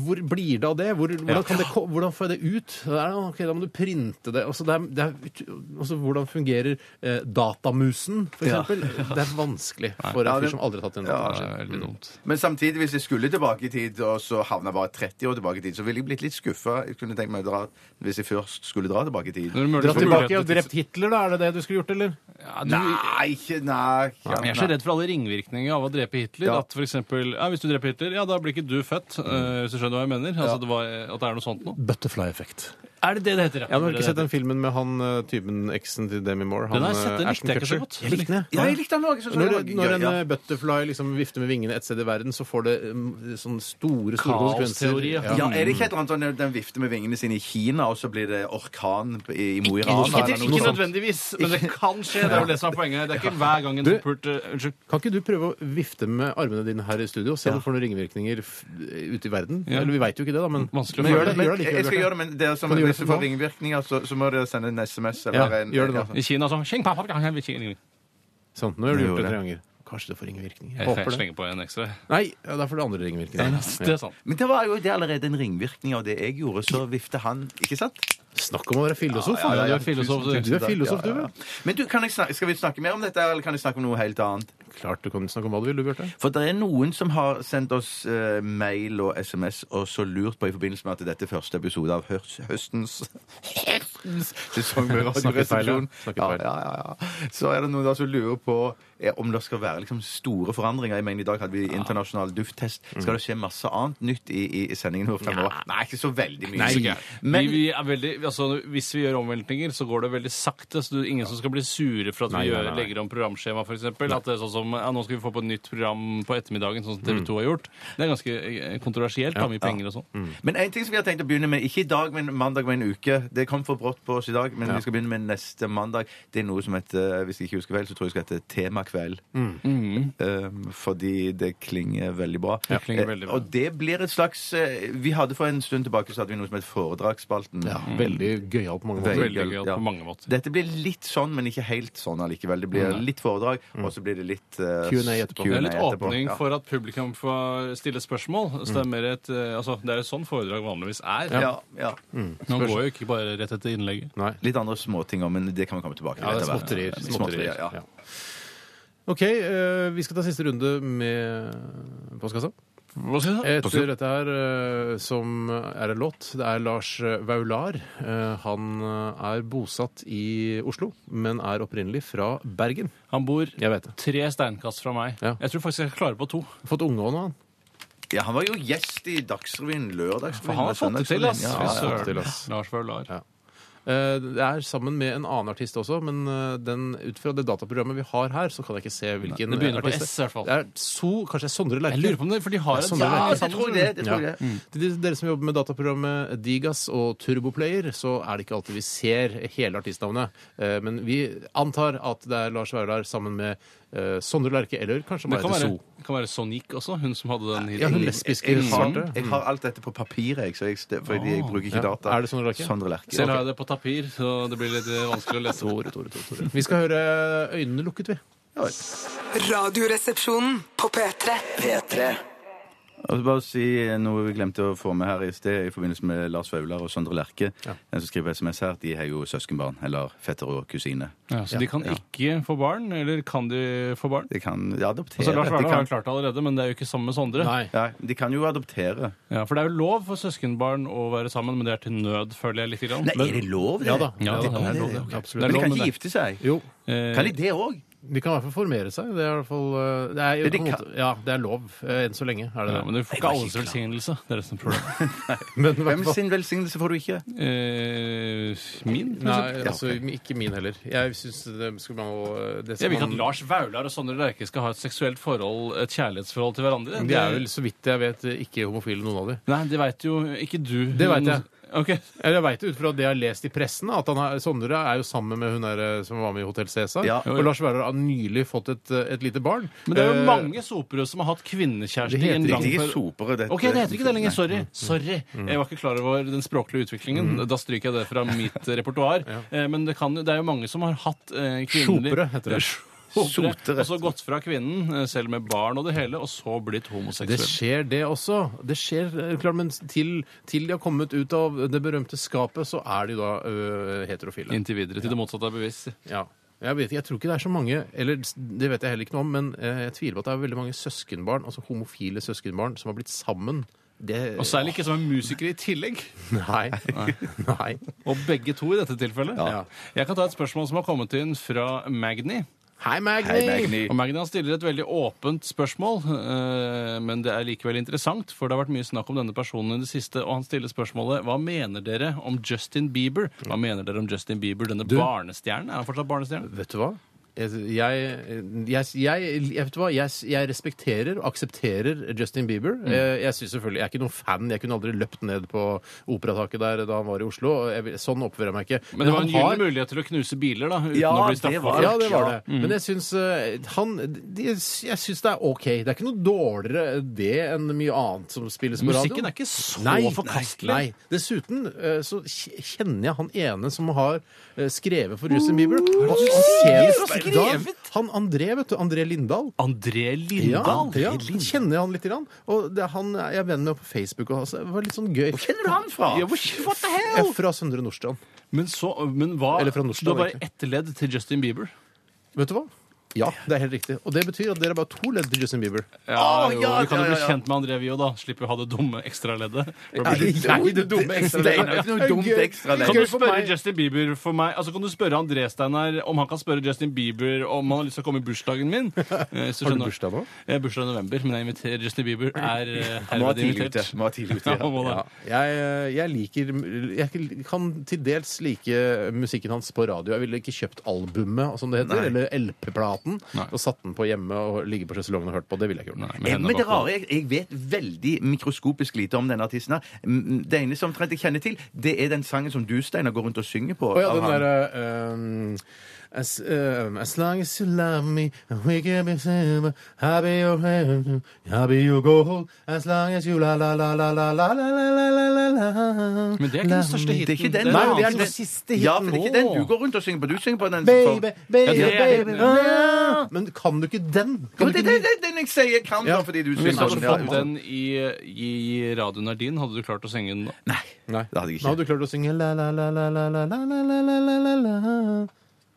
[SPEAKER 2] hvor blir det av det? Hvor, hvordan, kan det ko- hvordan får jeg det ut? Det er, ok, da må du printe det. Også, det, er, det er, ut- også, hvordan fungerer eh, datamusen, for eksempel? Det er vanskelig for en fyr som aldri har tatt en
[SPEAKER 4] Det
[SPEAKER 2] datamaskin.
[SPEAKER 4] er veldig dumt.
[SPEAKER 3] Men samtidig, hvis jeg skulle tilbake i tid, og så havna bare 30 år tilbake i tid, så ville jeg blitt litt skuffa. Jeg kunne tenkt meg å dra hvis jeg først skulle dra tilbake i tid.
[SPEAKER 4] Når du møter-
[SPEAKER 2] Dratt
[SPEAKER 4] får
[SPEAKER 2] tilbake og
[SPEAKER 4] mulighet til-
[SPEAKER 2] drept Hitler, da? Er det det du skulle gjort, eller?
[SPEAKER 4] Ja, du,
[SPEAKER 3] Nei, ikke Nei.
[SPEAKER 4] Ja, men jeg er så redd for alle ringvirkningene av å drepe Hitler.
[SPEAKER 3] Ja.
[SPEAKER 4] At for eksempel, ja, Hvis du dreper Hitler, ja, da blir ikke du født. eh, hvis du skjønner hva jeg mener. Altså, det var, at det er noe sånt noe.
[SPEAKER 2] Butterfly-effekt.
[SPEAKER 4] Er det det det heter?
[SPEAKER 2] Jeg har ikke sett den filmen med han eh, typen eksen til Demi Moore. Han,
[SPEAKER 4] Den har jeg sett, den
[SPEAKER 2] eh, Ashton
[SPEAKER 4] likte jeg ikke så
[SPEAKER 2] Kutcher.
[SPEAKER 4] godt.
[SPEAKER 2] Jeg likte den.
[SPEAKER 3] Ja, sånn jeg likte han òg.
[SPEAKER 2] Når, når en eh, butterfly liksom vifter med vingene et sted i verden, så får det mm, sånne store, store konsekvenser.
[SPEAKER 4] Kaosteori, ja.
[SPEAKER 3] Ja, Er det ikke et eller annet sånn at den vifter med vingene sine i Kina, og så blir det orkan i Mo i Rana?
[SPEAKER 4] Ikke,
[SPEAKER 3] eller noe sånt?
[SPEAKER 4] ikke nødvendigvis, men det kan skje. Det er jo det som er poenget. Det er ikke hver gang en
[SPEAKER 2] Du-
[SPEAKER 4] pult eh, Unnskyld.
[SPEAKER 2] Kan ikke du prøve å vifte med armene dine her i studio? Se om du får noen ringvirkninger f- ute i verden?
[SPEAKER 4] Ja.
[SPEAKER 2] Eller vi veit jo ikke det, da, men,
[SPEAKER 4] Vanskelig å
[SPEAKER 2] men
[SPEAKER 4] gjøre
[SPEAKER 2] gjør det,
[SPEAKER 3] Men
[SPEAKER 2] gjør det
[SPEAKER 3] jeg skal gjøre det, men dere
[SPEAKER 2] Kan
[SPEAKER 3] som,
[SPEAKER 2] du gjøre
[SPEAKER 3] hvis
[SPEAKER 2] det
[SPEAKER 3] du
[SPEAKER 2] for
[SPEAKER 3] får
[SPEAKER 2] nå?
[SPEAKER 3] ringvirkninger, så, så må dere sende en SMS
[SPEAKER 2] Ja,
[SPEAKER 3] eller en
[SPEAKER 2] gjør det da.
[SPEAKER 4] I Kina sånn «Tjing, pa, pa, pa, pa, tjing, tjing».
[SPEAKER 2] Sånn, nå har du
[SPEAKER 3] Jeg
[SPEAKER 2] gjort det
[SPEAKER 3] gjorde
[SPEAKER 2] tre ganger. Kanskje det får ringvirkninger.
[SPEAKER 4] Jeg
[SPEAKER 2] Håper det.
[SPEAKER 4] slenger på en ekstra.
[SPEAKER 2] Nei, ja, da får det andre ringvirkninger.
[SPEAKER 4] Det er sant.
[SPEAKER 3] Men det var jo det allerede en ringvirkning av det jeg gjorde, så vifter han Ikke sant?
[SPEAKER 2] Snakk om å være filosof!
[SPEAKER 4] Ja,
[SPEAKER 2] da.
[SPEAKER 4] du er filosof,
[SPEAKER 2] du.
[SPEAKER 4] du.
[SPEAKER 2] er filosof, du,
[SPEAKER 3] Ja, ja. Men du, kan jeg snakke, skal vi snakke mer om dette, eller kan jeg snakke om noe helt annet?
[SPEAKER 2] Klart du kan snakke om hva du vil, du, Bjarte.
[SPEAKER 3] For det er noen som har sendt oss eh, mail og SMS og så lurt på i forbindelse med at dette er første episode av hørs, høstens Høstens sesong med
[SPEAKER 2] Snakket
[SPEAKER 3] [LAUGHS]
[SPEAKER 2] feil, ja.
[SPEAKER 3] Radioresepsjonen.
[SPEAKER 2] Snakket
[SPEAKER 3] Ja,
[SPEAKER 2] feil.
[SPEAKER 3] ja, ja, ja. Så er det noen da som lurer på eh, om det skal være liksom, store forandringer. Jeg mener, I dag hadde vi internasjonal dufttest. Skal det skje masse annet nytt i, i, i sendingen vår fremover? Nei, ikke så veldig mye.
[SPEAKER 4] Nei.
[SPEAKER 3] Men-
[SPEAKER 4] vi, vi er veldig, altså, hvis vi gjør omveltninger, så går det veldig sakte. Så det er ingen som skal bli sure for at
[SPEAKER 2] Nei,
[SPEAKER 4] vi
[SPEAKER 2] nei,
[SPEAKER 4] gjør,
[SPEAKER 2] nei.
[SPEAKER 4] legger om programskjema, f.eks. At det er sånn som ja, nå skal vi få på et nytt program på ettermiddagen, sånn som TV 2 har gjort. Det er ganske eh, kontroversielt. Har mye penger og sånn.
[SPEAKER 3] Men en ting som vi har tenkt å begynne med, ikke i dag, men mandag om en uke Det kom for brått på oss i dag, men vi skal begynne med neste mandag. Det er noe som heter, eh, hvis jeg ikke husker feil, så tror jeg det skal hete Temakveld.
[SPEAKER 4] Mm.
[SPEAKER 3] Um, fordi det klinger veldig bra.
[SPEAKER 4] Det klinger veldig bra.
[SPEAKER 3] Eh, Og det blir et slags eh, Vi hadde for en stund tilbake så hadde vi noe som het Foredragsspalten.
[SPEAKER 2] Veldig gøyalt på mange måter.
[SPEAKER 4] Veldig gøy på mange måter.
[SPEAKER 3] Dette blir litt sånn, men ikke helt sånn allikevel. Det blir litt foredrag,
[SPEAKER 4] Mm.
[SPEAKER 3] og så blir det litt eh,
[SPEAKER 2] Q&A etterpå.
[SPEAKER 4] Det er litt
[SPEAKER 3] etterpå.
[SPEAKER 4] åpning
[SPEAKER 3] Ja.
[SPEAKER 4] for at publikum får stille spørsmål. Så det er mer et, eh, altså, det er jo sånn foredrag vanligvis er.
[SPEAKER 3] Ja, ja.
[SPEAKER 4] Nå går jo ikke bare rett etter innlegget.
[SPEAKER 2] Nei.
[SPEAKER 3] Litt andre småting òg, men det kan vi komme tilbake til.
[SPEAKER 2] Ja, det er
[SPEAKER 3] etter hvert.
[SPEAKER 2] småtterier.
[SPEAKER 3] Småtterier, ja.
[SPEAKER 2] Ja. OK, eh, vi skal ta siste runde med postkassa.
[SPEAKER 4] Hva skal jeg si?
[SPEAKER 2] Etter dette her, eh, som er en låt, det er Lars Vaular. Eh, Han er bosatt i Oslo, men er opprinnelig fra Bergen.
[SPEAKER 4] Han bor
[SPEAKER 2] Jeg vet det.
[SPEAKER 4] tre steinkast fra meg.
[SPEAKER 2] Ja.
[SPEAKER 4] Jeg tror faktisk jeg klarer på to.
[SPEAKER 2] Fått unge òg nå, han.
[SPEAKER 3] Ja, han var jo gjest i Dagsrevyen lørdagsrevyen.
[SPEAKER 4] For han har
[SPEAKER 3] og
[SPEAKER 4] fått det til, ass.
[SPEAKER 3] Søndagsrevyen. Ja, ja,
[SPEAKER 4] Fy
[SPEAKER 3] ja.
[SPEAKER 4] søren.
[SPEAKER 2] fått det til, ass.
[SPEAKER 4] Lars Vaular.
[SPEAKER 2] Ja. Eh, Det er sammen med en annen artist også, men eh, den, ut fra det dataprogrammet vi har her, så kan jeg ikke se hvilken
[SPEAKER 4] Det begynner på
[SPEAKER 2] artist
[SPEAKER 4] S i hvert fall.
[SPEAKER 2] Det er so, kanskje det er Sondre Lerche.
[SPEAKER 4] Jeg lurer på om det, for de har
[SPEAKER 2] Det er
[SPEAKER 4] et
[SPEAKER 2] sånn
[SPEAKER 4] ja,
[SPEAKER 2] det
[SPEAKER 3] Ja, det tror jeg det. det tror jeg.
[SPEAKER 4] Mm.
[SPEAKER 2] Til de- dere som jobber med dataprogrammet Digas og Turboplayer, så er det ikke alltid vi ser hele artistnavnet. Eh, Men vi antar at det er Lars Vaular sammen med eh, Sondre Lerche, eller kanskje
[SPEAKER 4] Det
[SPEAKER 2] Marit
[SPEAKER 4] kan være,
[SPEAKER 2] So.
[SPEAKER 4] det kan være Sonic også, hun som hadde den
[SPEAKER 2] Ja, hun
[SPEAKER 4] hiten.
[SPEAKER 2] lesbiske
[SPEAKER 3] Jeg, har,
[SPEAKER 2] svarte.
[SPEAKER 3] jeg har alt dette på papir, jeg, så jeg, fordi
[SPEAKER 4] Ah,
[SPEAKER 3] jeg bruker ikke
[SPEAKER 2] Ja.
[SPEAKER 3] data.
[SPEAKER 2] Er det Sondre Lerche?
[SPEAKER 3] Sondre Lerche.
[SPEAKER 4] Selv har jeg det på tapir, så det blir litt eh, vanskelig å lese.
[SPEAKER 2] Tore, Tore, Tore, Tore. Vi skal høre eh, Øynene lukket, vi.
[SPEAKER 6] Radioresepsjonen på P3.
[SPEAKER 5] P3
[SPEAKER 3] Og så bare si noe vi glemte å få med her i sted i forbindelse med Lars Vaular og Sondre Lerche. Den som skriver på SMS her, de har jo søskenbarn, eller fetter og kusine.
[SPEAKER 4] Ja, så de kan ikke få barn, eller kan de få barn?
[SPEAKER 3] De kan ja, adoptere.
[SPEAKER 4] Altså, Lars
[SPEAKER 3] De
[SPEAKER 4] Vaular har
[SPEAKER 3] kan,
[SPEAKER 4] jo klart det allerede, men det er jo ikke sammen med Sondre.
[SPEAKER 3] ja, de kan jo adoptere.
[SPEAKER 4] Ja, for det er jo lov for søskenbarn å være sammen, men det er til nød, føler jeg litt. Grann.
[SPEAKER 3] Nei, er det lov, det?
[SPEAKER 2] Ja da.
[SPEAKER 4] Ja, det er lov, det.
[SPEAKER 2] ok.
[SPEAKER 4] Absolutt.
[SPEAKER 3] Men
[SPEAKER 4] Det
[SPEAKER 3] de kan
[SPEAKER 4] er lov, men
[SPEAKER 3] ikke
[SPEAKER 4] det-
[SPEAKER 3] gifte seg?
[SPEAKER 2] Jo,
[SPEAKER 4] Eh,
[SPEAKER 3] Kan de det òg?
[SPEAKER 2] de kan i hvert fall formere seg. Det er i hvert fall eh, det er,
[SPEAKER 3] de
[SPEAKER 2] på en
[SPEAKER 3] kan-
[SPEAKER 2] måte, Ja, det er lov eh, enn så lenge. Er det
[SPEAKER 4] Ja, men
[SPEAKER 2] det.
[SPEAKER 4] du får ikke alles velsignelse. Det er resten av problemet.
[SPEAKER 2] [LAUGHS] Men i hvert
[SPEAKER 3] Hvem
[SPEAKER 2] fall-
[SPEAKER 3] sin velsignelse får du ikke?
[SPEAKER 4] Eh, min? for eksempel?
[SPEAKER 2] Nei, altså ikke min heller. Jeg syns det skal man det skal
[SPEAKER 4] Jeg vil ikke
[SPEAKER 2] man-
[SPEAKER 4] at Lars Vaular og Sondre Lerche skal ha et seksuelt forhold, et kjærlighetsforhold til hverandre.
[SPEAKER 2] De er vel, så vidt jeg vet, ikke homofile, noen av de.
[SPEAKER 4] Nei, det veit jo ikke du.
[SPEAKER 2] Det vet jeg.
[SPEAKER 4] Ok.
[SPEAKER 2] Eller Jeg veit ut fra det jeg har lest i pressen, at han er, Sondre er jo sammen med hun der, eh, som var med i Hotell Cæsar.
[SPEAKER 3] Ja.
[SPEAKER 2] Og Lars Vaular har nylig fått et, eh, et lite barn.
[SPEAKER 4] Men det er
[SPEAKER 2] Eh,
[SPEAKER 4] jo mange sopere som har hatt kvinnekjæreste
[SPEAKER 2] Det
[SPEAKER 4] i
[SPEAKER 2] heter
[SPEAKER 4] en
[SPEAKER 3] Det
[SPEAKER 4] lang
[SPEAKER 3] er ikke
[SPEAKER 4] per-
[SPEAKER 3] sopere, dette.
[SPEAKER 4] Ok, det heter ikke det lenger. Sorry. Sorry.
[SPEAKER 2] Mm.
[SPEAKER 4] Jeg var ikke klar over den språklige utviklingen. Da stryker jeg det fra
[SPEAKER 2] [LAUGHS]
[SPEAKER 4] mitt repertoar. Eh, Men det, kan, jo- det er jo mange som har hatt eh, kvinnelig
[SPEAKER 2] Sjopere heter det.
[SPEAKER 4] Sjopere.
[SPEAKER 3] Sotere.
[SPEAKER 4] Og så gått fra kvinnen, eh, selv med barn og det hele, og så blitt homoseksuell.
[SPEAKER 2] Det skjer, det også. Det skjer, eh, klart, Men til, til de har kommet ut av det berømte skapet, så er de da eh, heterofile.
[SPEAKER 4] Inntil videre. Til det motsatte er bevis.
[SPEAKER 2] Ja. Jeg, vet, ikke, jeg tror ikke det er så mange, eller det vet jeg heller ikke noe om, men eh, jeg tviler på at det er veldig mange søskenbarn, altså homofile søskenbarn, som har blitt sammen. Det,
[SPEAKER 4] Og særlig ikke som en musiker i tillegg.
[SPEAKER 2] Nei. Nei.
[SPEAKER 4] Og begge to i dette tilfellet.
[SPEAKER 2] Ja.
[SPEAKER 4] Jeg kan ta et spørsmål som har kommet inn fra Magni.
[SPEAKER 2] Hei,
[SPEAKER 3] Hei,
[SPEAKER 2] Magni!
[SPEAKER 3] Magni.
[SPEAKER 4] Og Magnan stiller et veldig åpent spørsmål, eh, men det er likevel interessant, for det har vært mye snakk om denne personen i det siste, og han stiller spørsmålet hva mener dere om Justin Bieber? Hva mener dere om Justin Bieber, denne barnestjernen? Er han fortsatt barnestjernen?
[SPEAKER 2] Vet du hva? Jeg, jeg, jeg, jeg, jeg vet du hva? Jeg, jeg respekterer og aksepterer Justin Bieber.
[SPEAKER 4] Mm.
[SPEAKER 2] Jeg, jeg synes selvfølgelig, jeg er ikke noen fan. Jeg kunne aldri løpt ned på operataket der da han var i Oslo. og Jeg, vil- sånn oppfører jeg meg ikke.
[SPEAKER 4] Men det var
[SPEAKER 2] han
[SPEAKER 4] en
[SPEAKER 2] har-
[SPEAKER 4] gyllen mulighet til å knuse biler, da, uten
[SPEAKER 3] Ja,
[SPEAKER 4] å bli
[SPEAKER 3] det
[SPEAKER 4] straffet.
[SPEAKER 3] var-
[SPEAKER 2] Ja, det var det.
[SPEAKER 4] Mm.
[SPEAKER 2] Men jeg syns eh, han de, Jeg syns det er OK. Det er ikke noe dårligere det enn mye annet som spilles på radio.
[SPEAKER 4] Musikken er ikke så
[SPEAKER 2] nei,
[SPEAKER 4] forkastelig.
[SPEAKER 2] Nei, nei. Dessuten eh, så kj- kjenner jeg han ene som har eh, skrevet for Justin Bieber. Og han ser
[SPEAKER 4] skrevet?
[SPEAKER 2] litt- Da- Han André, vet du. André Lindahl.
[SPEAKER 4] André Lindahl?
[SPEAKER 2] ja. Kjenner jeg han litt. Grann. Og det, er han jeg er venn med på Facebook. Og, altså, det var litt sånn gøy.
[SPEAKER 3] Kjenner du han fra?
[SPEAKER 4] Ja, hvor- what the
[SPEAKER 2] Jeg
[SPEAKER 4] hell?
[SPEAKER 2] er fra Søndre Nordstrand.
[SPEAKER 4] Men så, men hva
[SPEAKER 2] Eller fra Nordsjøen,
[SPEAKER 4] Du har bare
[SPEAKER 2] egentlig.
[SPEAKER 4] ett ledd til Justin Bieber.
[SPEAKER 2] Vet du hva? Ja, det er helt riktig. Og det betyr at dere er bare to ledd til Justin Bieber.
[SPEAKER 4] Ja,
[SPEAKER 3] Å,
[SPEAKER 4] jo,
[SPEAKER 3] ja,
[SPEAKER 4] vi kan
[SPEAKER 3] ja,
[SPEAKER 4] jo bli
[SPEAKER 3] ja, ja.
[SPEAKER 4] kjent med André, vi òg, da. Slipper å ha det dumme ekstraleddet.
[SPEAKER 2] Nei, det dumme ekstra
[SPEAKER 3] Det er ikke noe dumt ekstra
[SPEAKER 4] Kan du
[SPEAKER 2] Gøy
[SPEAKER 3] lenger.
[SPEAKER 2] for
[SPEAKER 4] spørre
[SPEAKER 2] meg.
[SPEAKER 4] Justin Bieber for meg Altså kan du spørre André Steinar om han kan spørre Justin Bieber om han har lyst til å komme i bursdagen
[SPEAKER 2] [LAUGHS]
[SPEAKER 4] min? Eh, Har
[SPEAKER 2] bursdag nå?
[SPEAKER 4] Jeg har bursdag i november, men jeg inviterer Justin Bieber. Er eh,
[SPEAKER 3] Må ha
[SPEAKER 4] herved
[SPEAKER 3] tidlig ute.
[SPEAKER 4] invitert.
[SPEAKER 3] Må ha tidlig ute.
[SPEAKER 4] [LAUGHS] Ja, han må det.
[SPEAKER 2] Ja, jeg, eh, jeg liker Jeg kan til dels like musikken hans på radio. Jeg ville ikke kjøpt albumet, som det heter,
[SPEAKER 3] Nei.
[SPEAKER 2] eller LP-platen,
[SPEAKER 4] Nei.
[SPEAKER 2] og satt den på hjemme og ligge på sjeselongen og hørt på. Det ville jeg ikke gjort.
[SPEAKER 4] Nei, med
[SPEAKER 3] Eh,
[SPEAKER 4] hendene
[SPEAKER 3] Men det
[SPEAKER 4] bak hodet.
[SPEAKER 3] rare, jeg, jeg vet veldig mikroskopisk lite om denne artisten. her. Mm, Det ene som omtrent jeg kjenner til, det er den sangen som du, Steinar, går rundt og synger på.
[SPEAKER 2] Å ja,
[SPEAKER 3] av
[SPEAKER 2] den
[SPEAKER 3] han.
[SPEAKER 2] derre ehm, as, ehm, as long as you love me, we can be together. I'll be your friend, I'll be your goal. As long as you la la la la la la la la la la la
[SPEAKER 4] Men det er ikke den største hiten.
[SPEAKER 3] Det er ikke den.
[SPEAKER 4] Det er
[SPEAKER 2] Nei,
[SPEAKER 4] en
[SPEAKER 2] det er
[SPEAKER 4] annen
[SPEAKER 2] den
[SPEAKER 4] som-
[SPEAKER 2] siste hiten.
[SPEAKER 3] Ja, for det er ikke den du
[SPEAKER 2] Åh.
[SPEAKER 3] går rundt og synger på. Du synger på den
[SPEAKER 2] eh, Baby, baby,
[SPEAKER 4] Ja, det er-
[SPEAKER 2] baby Ah. ja. Men kan du ikke den?
[SPEAKER 3] Ja,
[SPEAKER 2] Kan du
[SPEAKER 3] men
[SPEAKER 2] ikke
[SPEAKER 3] det det
[SPEAKER 2] den?
[SPEAKER 3] er den, jeg sier jeg kan,
[SPEAKER 2] Ja.
[SPEAKER 3] da, fordi du
[SPEAKER 4] Hvis
[SPEAKER 3] synger
[SPEAKER 4] du hadde
[SPEAKER 3] på
[SPEAKER 4] fått den i, i Radio Nardin, hadde du klart å synge den da?
[SPEAKER 3] Nei.
[SPEAKER 2] Nei.
[SPEAKER 3] Det hadde jeg ikke.
[SPEAKER 2] Nå hadde du klart å synge la la la la la la la la la la la la la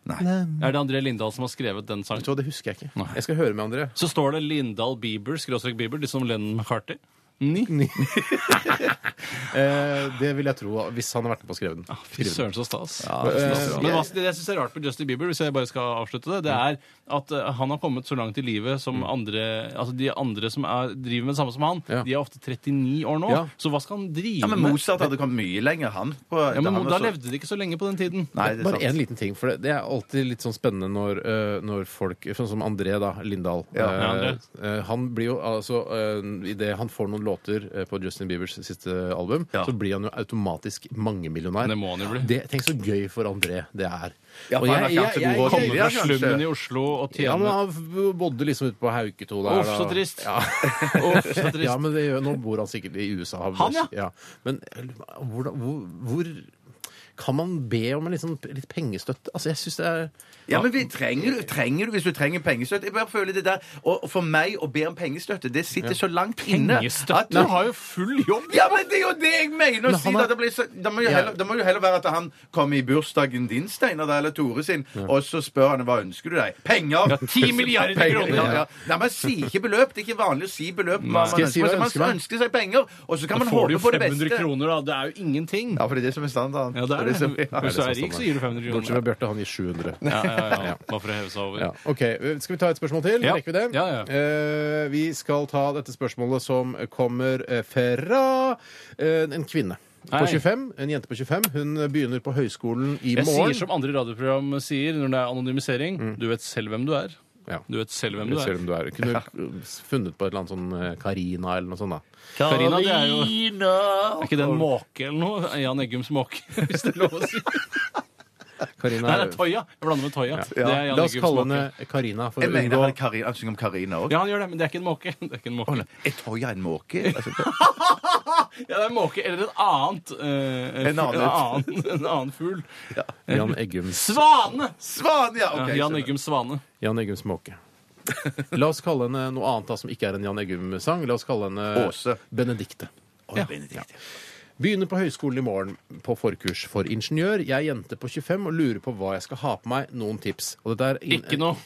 [SPEAKER 3] Nei.
[SPEAKER 4] Er det André Lindahl som har skrevet den
[SPEAKER 2] Vet du
[SPEAKER 4] sangen?
[SPEAKER 2] hva, det husker jeg ikke. Jeg skal høre med André.
[SPEAKER 4] Så står det Lindahl Bieber, skråstrek Bieber, litt som Lennon McCarthy. Ni.
[SPEAKER 2] Eh, det vil jeg tro, hvis han har vært med på å skrive den.
[SPEAKER 4] Fy søren, så stas.
[SPEAKER 2] stas, ja.
[SPEAKER 4] Men hva det jeg syns er rart med Justin Bieber, hvis jeg bare skal avslutte det, det er at eh, han har kommet så langt i livet som andre Altså de andre som er, driver med det samme som han,
[SPEAKER 2] Mm. Ja.
[SPEAKER 4] de er ofte 39 år nå.
[SPEAKER 2] Ja.
[SPEAKER 4] Så hva skal han drive
[SPEAKER 3] Ja, men
[SPEAKER 4] med?
[SPEAKER 3] Mozart hadde kommet mye lenger, han. På,
[SPEAKER 4] Ja, men
[SPEAKER 3] han
[SPEAKER 4] Da
[SPEAKER 3] også-
[SPEAKER 4] levde de ikke så lenge på den tiden.
[SPEAKER 3] Nei, det er
[SPEAKER 2] Bare en
[SPEAKER 3] sant.
[SPEAKER 2] liten ting, for det, det er alltid litt sånn spennende når, eh, når folk Sånn som André da, Lindahl.
[SPEAKER 3] Ja.
[SPEAKER 2] Eh,
[SPEAKER 4] Ja, André.
[SPEAKER 2] eh, han blir jo altså eh, i Idet han får noen låter eh, på Justin Biebers siste album,
[SPEAKER 3] Ja.
[SPEAKER 2] så blir han jo automatisk mangemillionær.
[SPEAKER 4] Det må han jo bli.
[SPEAKER 2] Det- Tenk så gøy for André det er.
[SPEAKER 3] Ja, for
[SPEAKER 2] Og
[SPEAKER 3] han har
[SPEAKER 2] jeg-
[SPEAKER 3] ikke hatt så
[SPEAKER 2] jeg-
[SPEAKER 3] god råd
[SPEAKER 2] jeg-
[SPEAKER 4] Komme
[SPEAKER 3] Ja,
[SPEAKER 4] fra
[SPEAKER 3] kanskje.
[SPEAKER 4] slummen i Oslo og
[SPEAKER 2] Ja,
[SPEAKER 4] [LAUGHS]
[SPEAKER 2] men
[SPEAKER 4] tjene
[SPEAKER 2] han bodde liksom ute på Hauketo der.
[SPEAKER 4] Uff,
[SPEAKER 2] da.
[SPEAKER 4] så trist.
[SPEAKER 2] Ja.
[SPEAKER 4] Uff, så trist.
[SPEAKER 2] ja, men det gjør, Nå bor han sikkert i USA.
[SPEAKER 4] Han, ja.
[SPEAKER 2] Men hvordan, hvor, hvor kan man be om en liksom, litt pengestøtte? Altså, jeg syns det er
[SPEAKER 3] Ja, men vi trenger, du- trenger du hvis du trenger pengestøtte? Jeg bare føler det der, og og For meg å be om pengestøtte, det sitter så langt inne at
[SPEAKER 4] Pengestøtte? Du har jo full jobb!
[SPEAKER 3] Ja, men det er jo det jeg mener å
[SPEAKER 2] Men
[SPEAKER 3] si!
[SPEAKER 2] han
[SPEAKER 3] da.
[SPEAKER 2] er-
[SPEAKER 3] Det, blir så, det, må jo
[SPEAKER 2] Ja.
[SPEAKER 3] heller, det må jo heller være at han kommer i bursdagen din, Steinar, da, eller Tore sin, og så spør han hva ønsker du deg? Penger!
[SPEAKER 4] Ja,
[SPEAKER 3] [LAUGHS]
[SPEAKER 4] 10 milliarder kroner.
[SPEAKER 3] Ja, ja. Nei, man sier ikke beløp. Det er ikke vanlig å si beløp. Hva
[SPEAKER 2] Skal
[SPEAKER 3] man
[SPEAKER 2] jeg si hva jeg
[SPEAKER 3] ønsker, men
[SPEAKER 2] ønsker
[SPEAKER 3] man
[SPEAKER 2] meg?
[SPEAKER 3] ønsker seg penger, og så
[SPEAKER 4] Da
[SPEAKER 3] kan man
[SPEAKER 4] får
[SPEAKER 3] håpe
[SPEAKER 4] du jo
[SPEAKER 3] på det
[SPEAKER 4] 500
[SPEAKER 3] beste.
[SPEAKER 4] kroner, da. Det er jo ingenting.
[SPEAKER 3] Ja, for det er det som er standarden.
[SPEAKER 4] Ja, det er
[SPEAKER 3] som-
[SPEAKER 4] det.
[SPEAKER 3] ja.
[SPEAKER 4] Hvis du er rik, så gir du 500 kroner.
[SPEAKER 2] Bortsett fra Bjarte, han gir 700.
[SPEAKER 4] Ja, ja, ja. Bare for å heve seg over.
[SPEAKER 2] Ja, ok, Skal vi ta et spørsmål til?
[SPEAKER 4] Ja.
[SPEAKER 2] Rekker vi det?
[SPEAKER 4] Ja, ja.
[SPEAKER 2] Eh, vi skal ta dette spørsmålet som kommer eh, fra eh, en kvinne. På
[SPEAKER 4] Hei.
[SPEAKER 2] 25, En jente på 25. Hun begynner på høyskolen i
[SPEAKER 4] Jeg
[SPEAKER 2] morgen.
[SPEAKER 4] sier som andre radioprogram sier når det er anonymisering. Du vet selv hvem du er.
[SPEAKER 2] Ja.
[SPEAKER 4] Du vet selv hvem du
[SPEAKER 2] Selv
[SPEAKER 4] er.
[SPEAKER 2] om du er Kunne funnet på et eller annet sånn eh, Carina eller noe sånt, da.
[SPEAKER 4] Karina, det er jo Er ikke det en måke eller noe? Jan Eggums måke, [LAUGHS] hvis det er lov å si.
[SPEAKER 2] Carina
[SPEAKER 4] Nei, det er Toya. Jeg blander med Toya. Det er Jan
[SPEAKER 2] La oss
[SPEAKER 4] Eggums
[SPEAKER 2] kalle
[SPEAKER 4] måke.
[SPEAKER 2] henne Carina. For
[SPEAKER 3] Jeg
[SPEAKER 2] å
[SPEAKER 3] mener
[SPEAKER 2] unngå-
[SPEAKER 3] han, Karina, han synger om Karina òg.
[SPEAKER 4] Ja, han gjør det, men det er ikke en måke. [LAUGHS] Det er ikke en måke.
[SPEAKER 3] Jeg tror jeg er en måke. Altså,
[SPEAKER 4] Ja, det er en måke eller et annet eh,
[SPEAKER 3] En annen.
[SPEAKER 4] En annen, [LAUGHS] en annen fugl.
[SPEAKER 2] Jan Eggums,
[SPEAKER 4] Svane!
[SPEAKER 2] [LAUGHS]
[SPEAKER 3] Svan, ja!
[SPEAKER 4] Ja,
[SPEAKER 3] ok,
[SPEAKER 4] Jan
[SPEAKER 3] skjønner.
[SPEAKER 4] Eggum Svane.
[SPEAKER 2] Jan Eggums
[SPEAKER 4] [LAUGHS]
[SPEAKER 2] måke. La oss kalle henne noe annet da som ikke er en Jan Eggum-sang. La oss kalle henne
[SPEAKER 3] Åse.
[SPEAKER 2] Benedikte.
[SPEAKER 3] Å, Benedikte.
[SPEAKER 2] Begynner på høyskolen i morgen på forkurs for Mm. ingeniør. Jeg er jente på 25 og lurer på hva jeg skal ha på meg. Noen tips. Og dette er inn-
[SPEAKER 4] Ikke noe.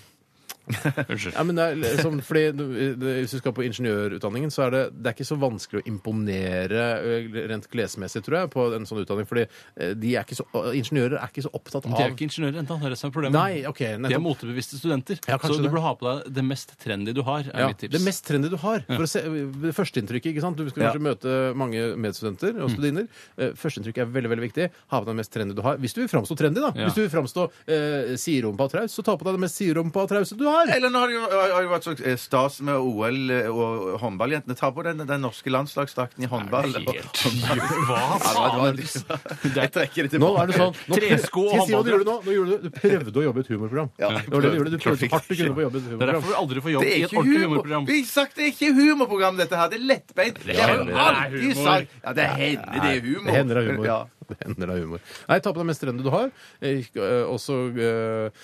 [SPEAKER 4] Unnskyld.
[SPEAKER 2] Ja, men det er liksom, fordi du- det- Hvis du skal på ingeniørutdanningen, så er det, det er ikke så vanskelig å imponere ø, rent klesmessig, tror jeg, på en sånn utdanning. Fordi ø, de er ikke så, ø, ingeniører er ikke så opptatt av
[SPEAKER 4] De er jo ikke ingeniører ennå. Det er det som er problemet.
[SPEAKER 2] Nei, ok. nettopp.
[SPEAKER 4] De er motebevisste studenter.
[SPEAKER 2] Ja,
[SPEAKER 4] så
[SPEAKER 2] kanskje
[SPEAKER 4] du
[SPEAKER 2] det.
[SPEAKER 4] burde ha på deg det mest trendy du har. er
[SPEAKER 2] Ja,
[SPEAKER 4] mitt tips.
[SPEAKER 2] det mest trendy du har. For å se, det Førsteinntrykket. ikke sant? Du skal
[SPEAKER 3] Ja.
[SPEAKER 2] kanskje møte mange medstudenter og studiner. Eh, Førsteinntrykk er veldig veldig viktig. Ha på deg det mest trendy du har. Hvis du vil framstå trendy, da.
[SPEAKER 4] Ja.
[SPEAKER 2] Hvis du vil framstå eh, siderumpa og traus, så ta på deg det mest siderumpa og trause du har.
[SPEAKER 3] Eller nå har det jo, har jo vært så eh, stas med OL og håndballjentene. Ta på den, den norske landslagsdrakten i håndball. [LAUGHS]
[SPEAKER 4] Helt-
[SPEAKER 3] Og-
[SPEAKER 4] Hva
[SPEAKER 3] Ja, det
[SPEAKER 4] faen?
[SPEAKER 3] var- sånn- [LAUGHS] Jeg trekker det
[SPEAKER 2] Nå
[SPEAKER 3] tilbake.
[SPEAKER 2] er det sånn nå,
[SPEAKER 4] Tresko
[SPEAKER 2] Si-
[SPEAKER 4] og
[SPEAKER 2] si hva du
[SPEAKER 4] håndballdrakt.
[SPEAKER 2] gjorde nå. nå gjorde du, du prøvde å jobbe i et humorprogram. det var det du gjorde. Du prøvde så hardt du kunne på å jobbe i et
[SPEAKER 4] Det er derfor
[SPEAKER 2] humorprogram.
[SPEAKER 4] du aldri får jobb
[SPEAKER 3] Det er
[SPEAKER 4] i et
[SPEAKER 3] ikke
[SPEAKER 4] ordentlig
[SPEAKER 3] humor.
[SPEAKER 4] humorprogram.
[SPEAKER 3] Vi har sagt det er ikke humorprogram, dette her. Det er lettbeint. Det har
[SPEAKER 4] det
[SPEAKER 3] jo
[SPEAKER 4] er
[SPEAKER 3] alltid
[SPEAKER 4] humor.
[SPEAKER 3] sagt. Ja, det hender det er humor.
[SPEAKER 2] Det hender det er humor.
[SPEAKER 3] Ja.
[SPEAKER 2] Det hender det er humor. Nei, ta på deg mest trendy du har. Eh, ikke- eh, Også eh,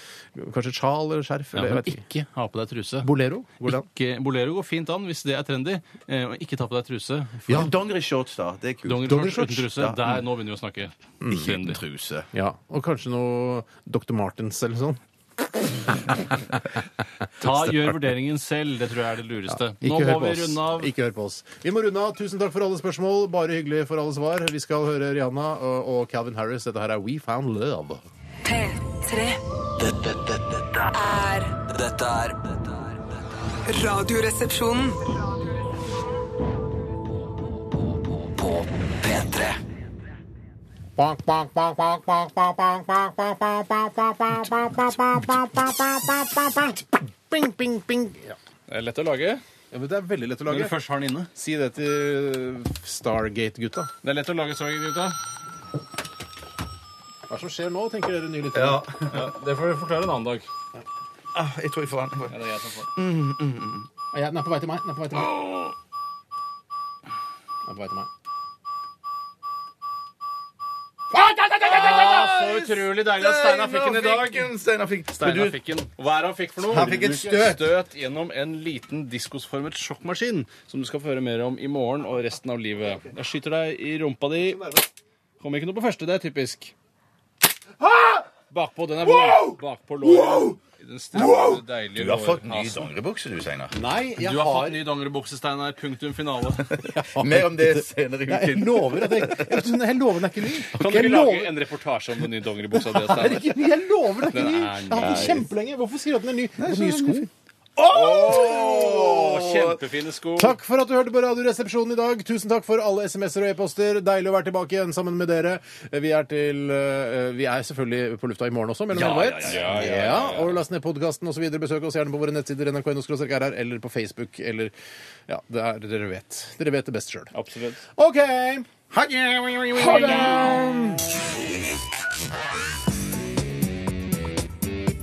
[SPEAKER 2] kanskje sjal eller skjerf.
[SPEAKER 4] Ja,
[SPEAKER 2] eller, jeg
[SPEAKER 4] men
[SPEAKER 2] vet ikke.
[SPEAKER 4] ikke ha på deg truse.
[SPEAKER 2] Bolero? Hvordan?
[SPEAKER 4] Ikke, bolero går fint an hvis det er trendy. Eh, og ikke ta på deg truse.
[SPEAKER 3] Ja, Dongerishorts, da. Det er kult.
[SPEAKER 4] Dongerishorts uten truse.
[SPEAKER 3] Ja.
[SPEAKER 4] Der, nå begynner vi å snakke.
[SPEAKER 3] Ikke uten
[SPEAKER 4] Trendy.
[SPEAKER 3] truse.
[SPEAKER 2] Ja, Og kanskje noe Dr. Martens eller sånn.
[SPEAKER 4] Ta, gjør vurderingen selv. Det tror jeg er det lureste. Nå
[SPEAKER 2] Ikke
[SPEAKER 4] må
[SPEAKER 2] hør på
[SPEAKER 4] vi
[SPEAKER 2] oss.
[SPEAKER 4] runde av.
[SPEAKER 2] Ikke hør på oss. Vi må runde av. Tusen takk for alle spørsmål. Bare hyggelig for alle svar. Vi skal høre Rihanna og og Calvin Harris. Dette her er We Found Love.
[SPEAKER 6] P3
[SPEAKER 5] Dette, dette, dette
[SPEAKER 6] er
[SPEAKER 5] er Dette er dette er-
[SPEAKER 6] Radioresepsjonen.
[SPEAKER 5] På P3
[SPEAKER 2] Bonk, bonk, bonk, bonk, bonk, bonk, bonk, bonk, bonk, bonk, bonk, bonk, bonk, bonk, bonk, bonk, bonk, bonk, bonk, bonk, bonk, bonk, bonk. Bing, bing, bing. Ja.
[SPEAKER 4] Det er lett å lage
[SPEAKER 2] Ja, men det er veldig lett å
[SPEAKER 4] når du
[SPEAKER 2] lage.
[SPEAKER 4] først har den inne.
[SPEAKER 2] Si det til Stargate-gutta.
[SPEAKER 4] Det er lett å lage sorg, gutta.
[SPEAKER 2] Hva er det som skjer nå, tenker dere nye lyttere.
[SPEAKER 3] Ja.
[SPEAKER 4] Ja, det får vi forklare en annen dag.
[SPEAKER 3] Ah, jeg tror jeg får den.
[SPEAKER 4] Ja, det er jeg som får.
[SPEAKER 2] Ah, ja, Den er på vei til meg. Den er på vei til meg. Den er på vei til meg.
[SPEAKER 4] Så utrolig deilig at Steinar fikk den i dag.
[SPEAKER 3] Fikk den, Steinar fikk den. Men
[SPEAKER 4] Steinar
[SPEAKER 3] du-
[SPEAKER 4] fikk den. Og Hva er det han fikk for noe?
[SPEAKER 3] Han fikk et støt.
[SPEAKER 4] gjennom en liten diskosformet sjokkmaskin, som du skal få høre mer om i morgen og resten av livet. Jeg skyter deg i rumpa di. Kommer ikke noe på første, det er typisk. Bakpå, den er vond. Bakpå låret. I den stramme, deilige
[SPEAKER 3] Du har fått ny
[SPEAKER 4] lårhalsen.
[SPEAKER 3] dongeribukse, du, Steinar.
[SPEAKER 2] Nei, jeg
[SPEAKER 4] Du har fått ny dongeribukse, Steinar. Punktum finale.
[SPEAKER 3] Mer om det senere i
[SPEAKER 2] Jeg
[SPEAKER 3] uken.
[SPEAKER 2] lover at jeg, jeg, jeg lover den er ikke ny.
[SPEAKER 4] Kan du
[SPEAKER 2] Jeg
[SPEAKER 4] ikke
[SPEAKER 2] lover,
[SPEAKER 4] lage en reportasje om den nye dongeribuksa di,
[SPEAKER 2] er
[SPEAKER 4] Steinar?
[SPEAKER 2] ikke ny. Jeg lover den er ikke ny.
[SPEAKER 4] Den
[SPEAKER 2] Jeg
[SPEAKER 4] er
[SPEAKER 2] har hatt den
[SPEAKER 4] ny.
[SPEAKER 2] kjempelenge. Hvorfor sier du at den er ny? Det er nye sko.
[SPEAKER 4] Å, Kjempefine sko.
[SPEAKER 2] Takk for at du hørte på Radioresepsjonen i dag. Tusen takk for alle SMS-er og e-poster. Deilig å være tilbake igjen sammen med dere. Vi er, til, eh, vi er selvfølgelig på lufta i morgen også, mellom
[SPEAKER 3] Ja,
[SPEAKER 2] 11 og
[SPEAKER 3] ja,
[SPEAKER 2] 1.
[SPEAKER 3] ja, ja, ja,
[SPEAKER 2] Ja, Og last ned podkasten osv. Besøk oss gjerne på våre nettsider nrk.no-rr eller på Facebook eller Ja, det er, dere vet. Dere vet det best sjøl.
[SPEAKER 4] Absolutt.
[SPEAKER 2] OK! Ha det!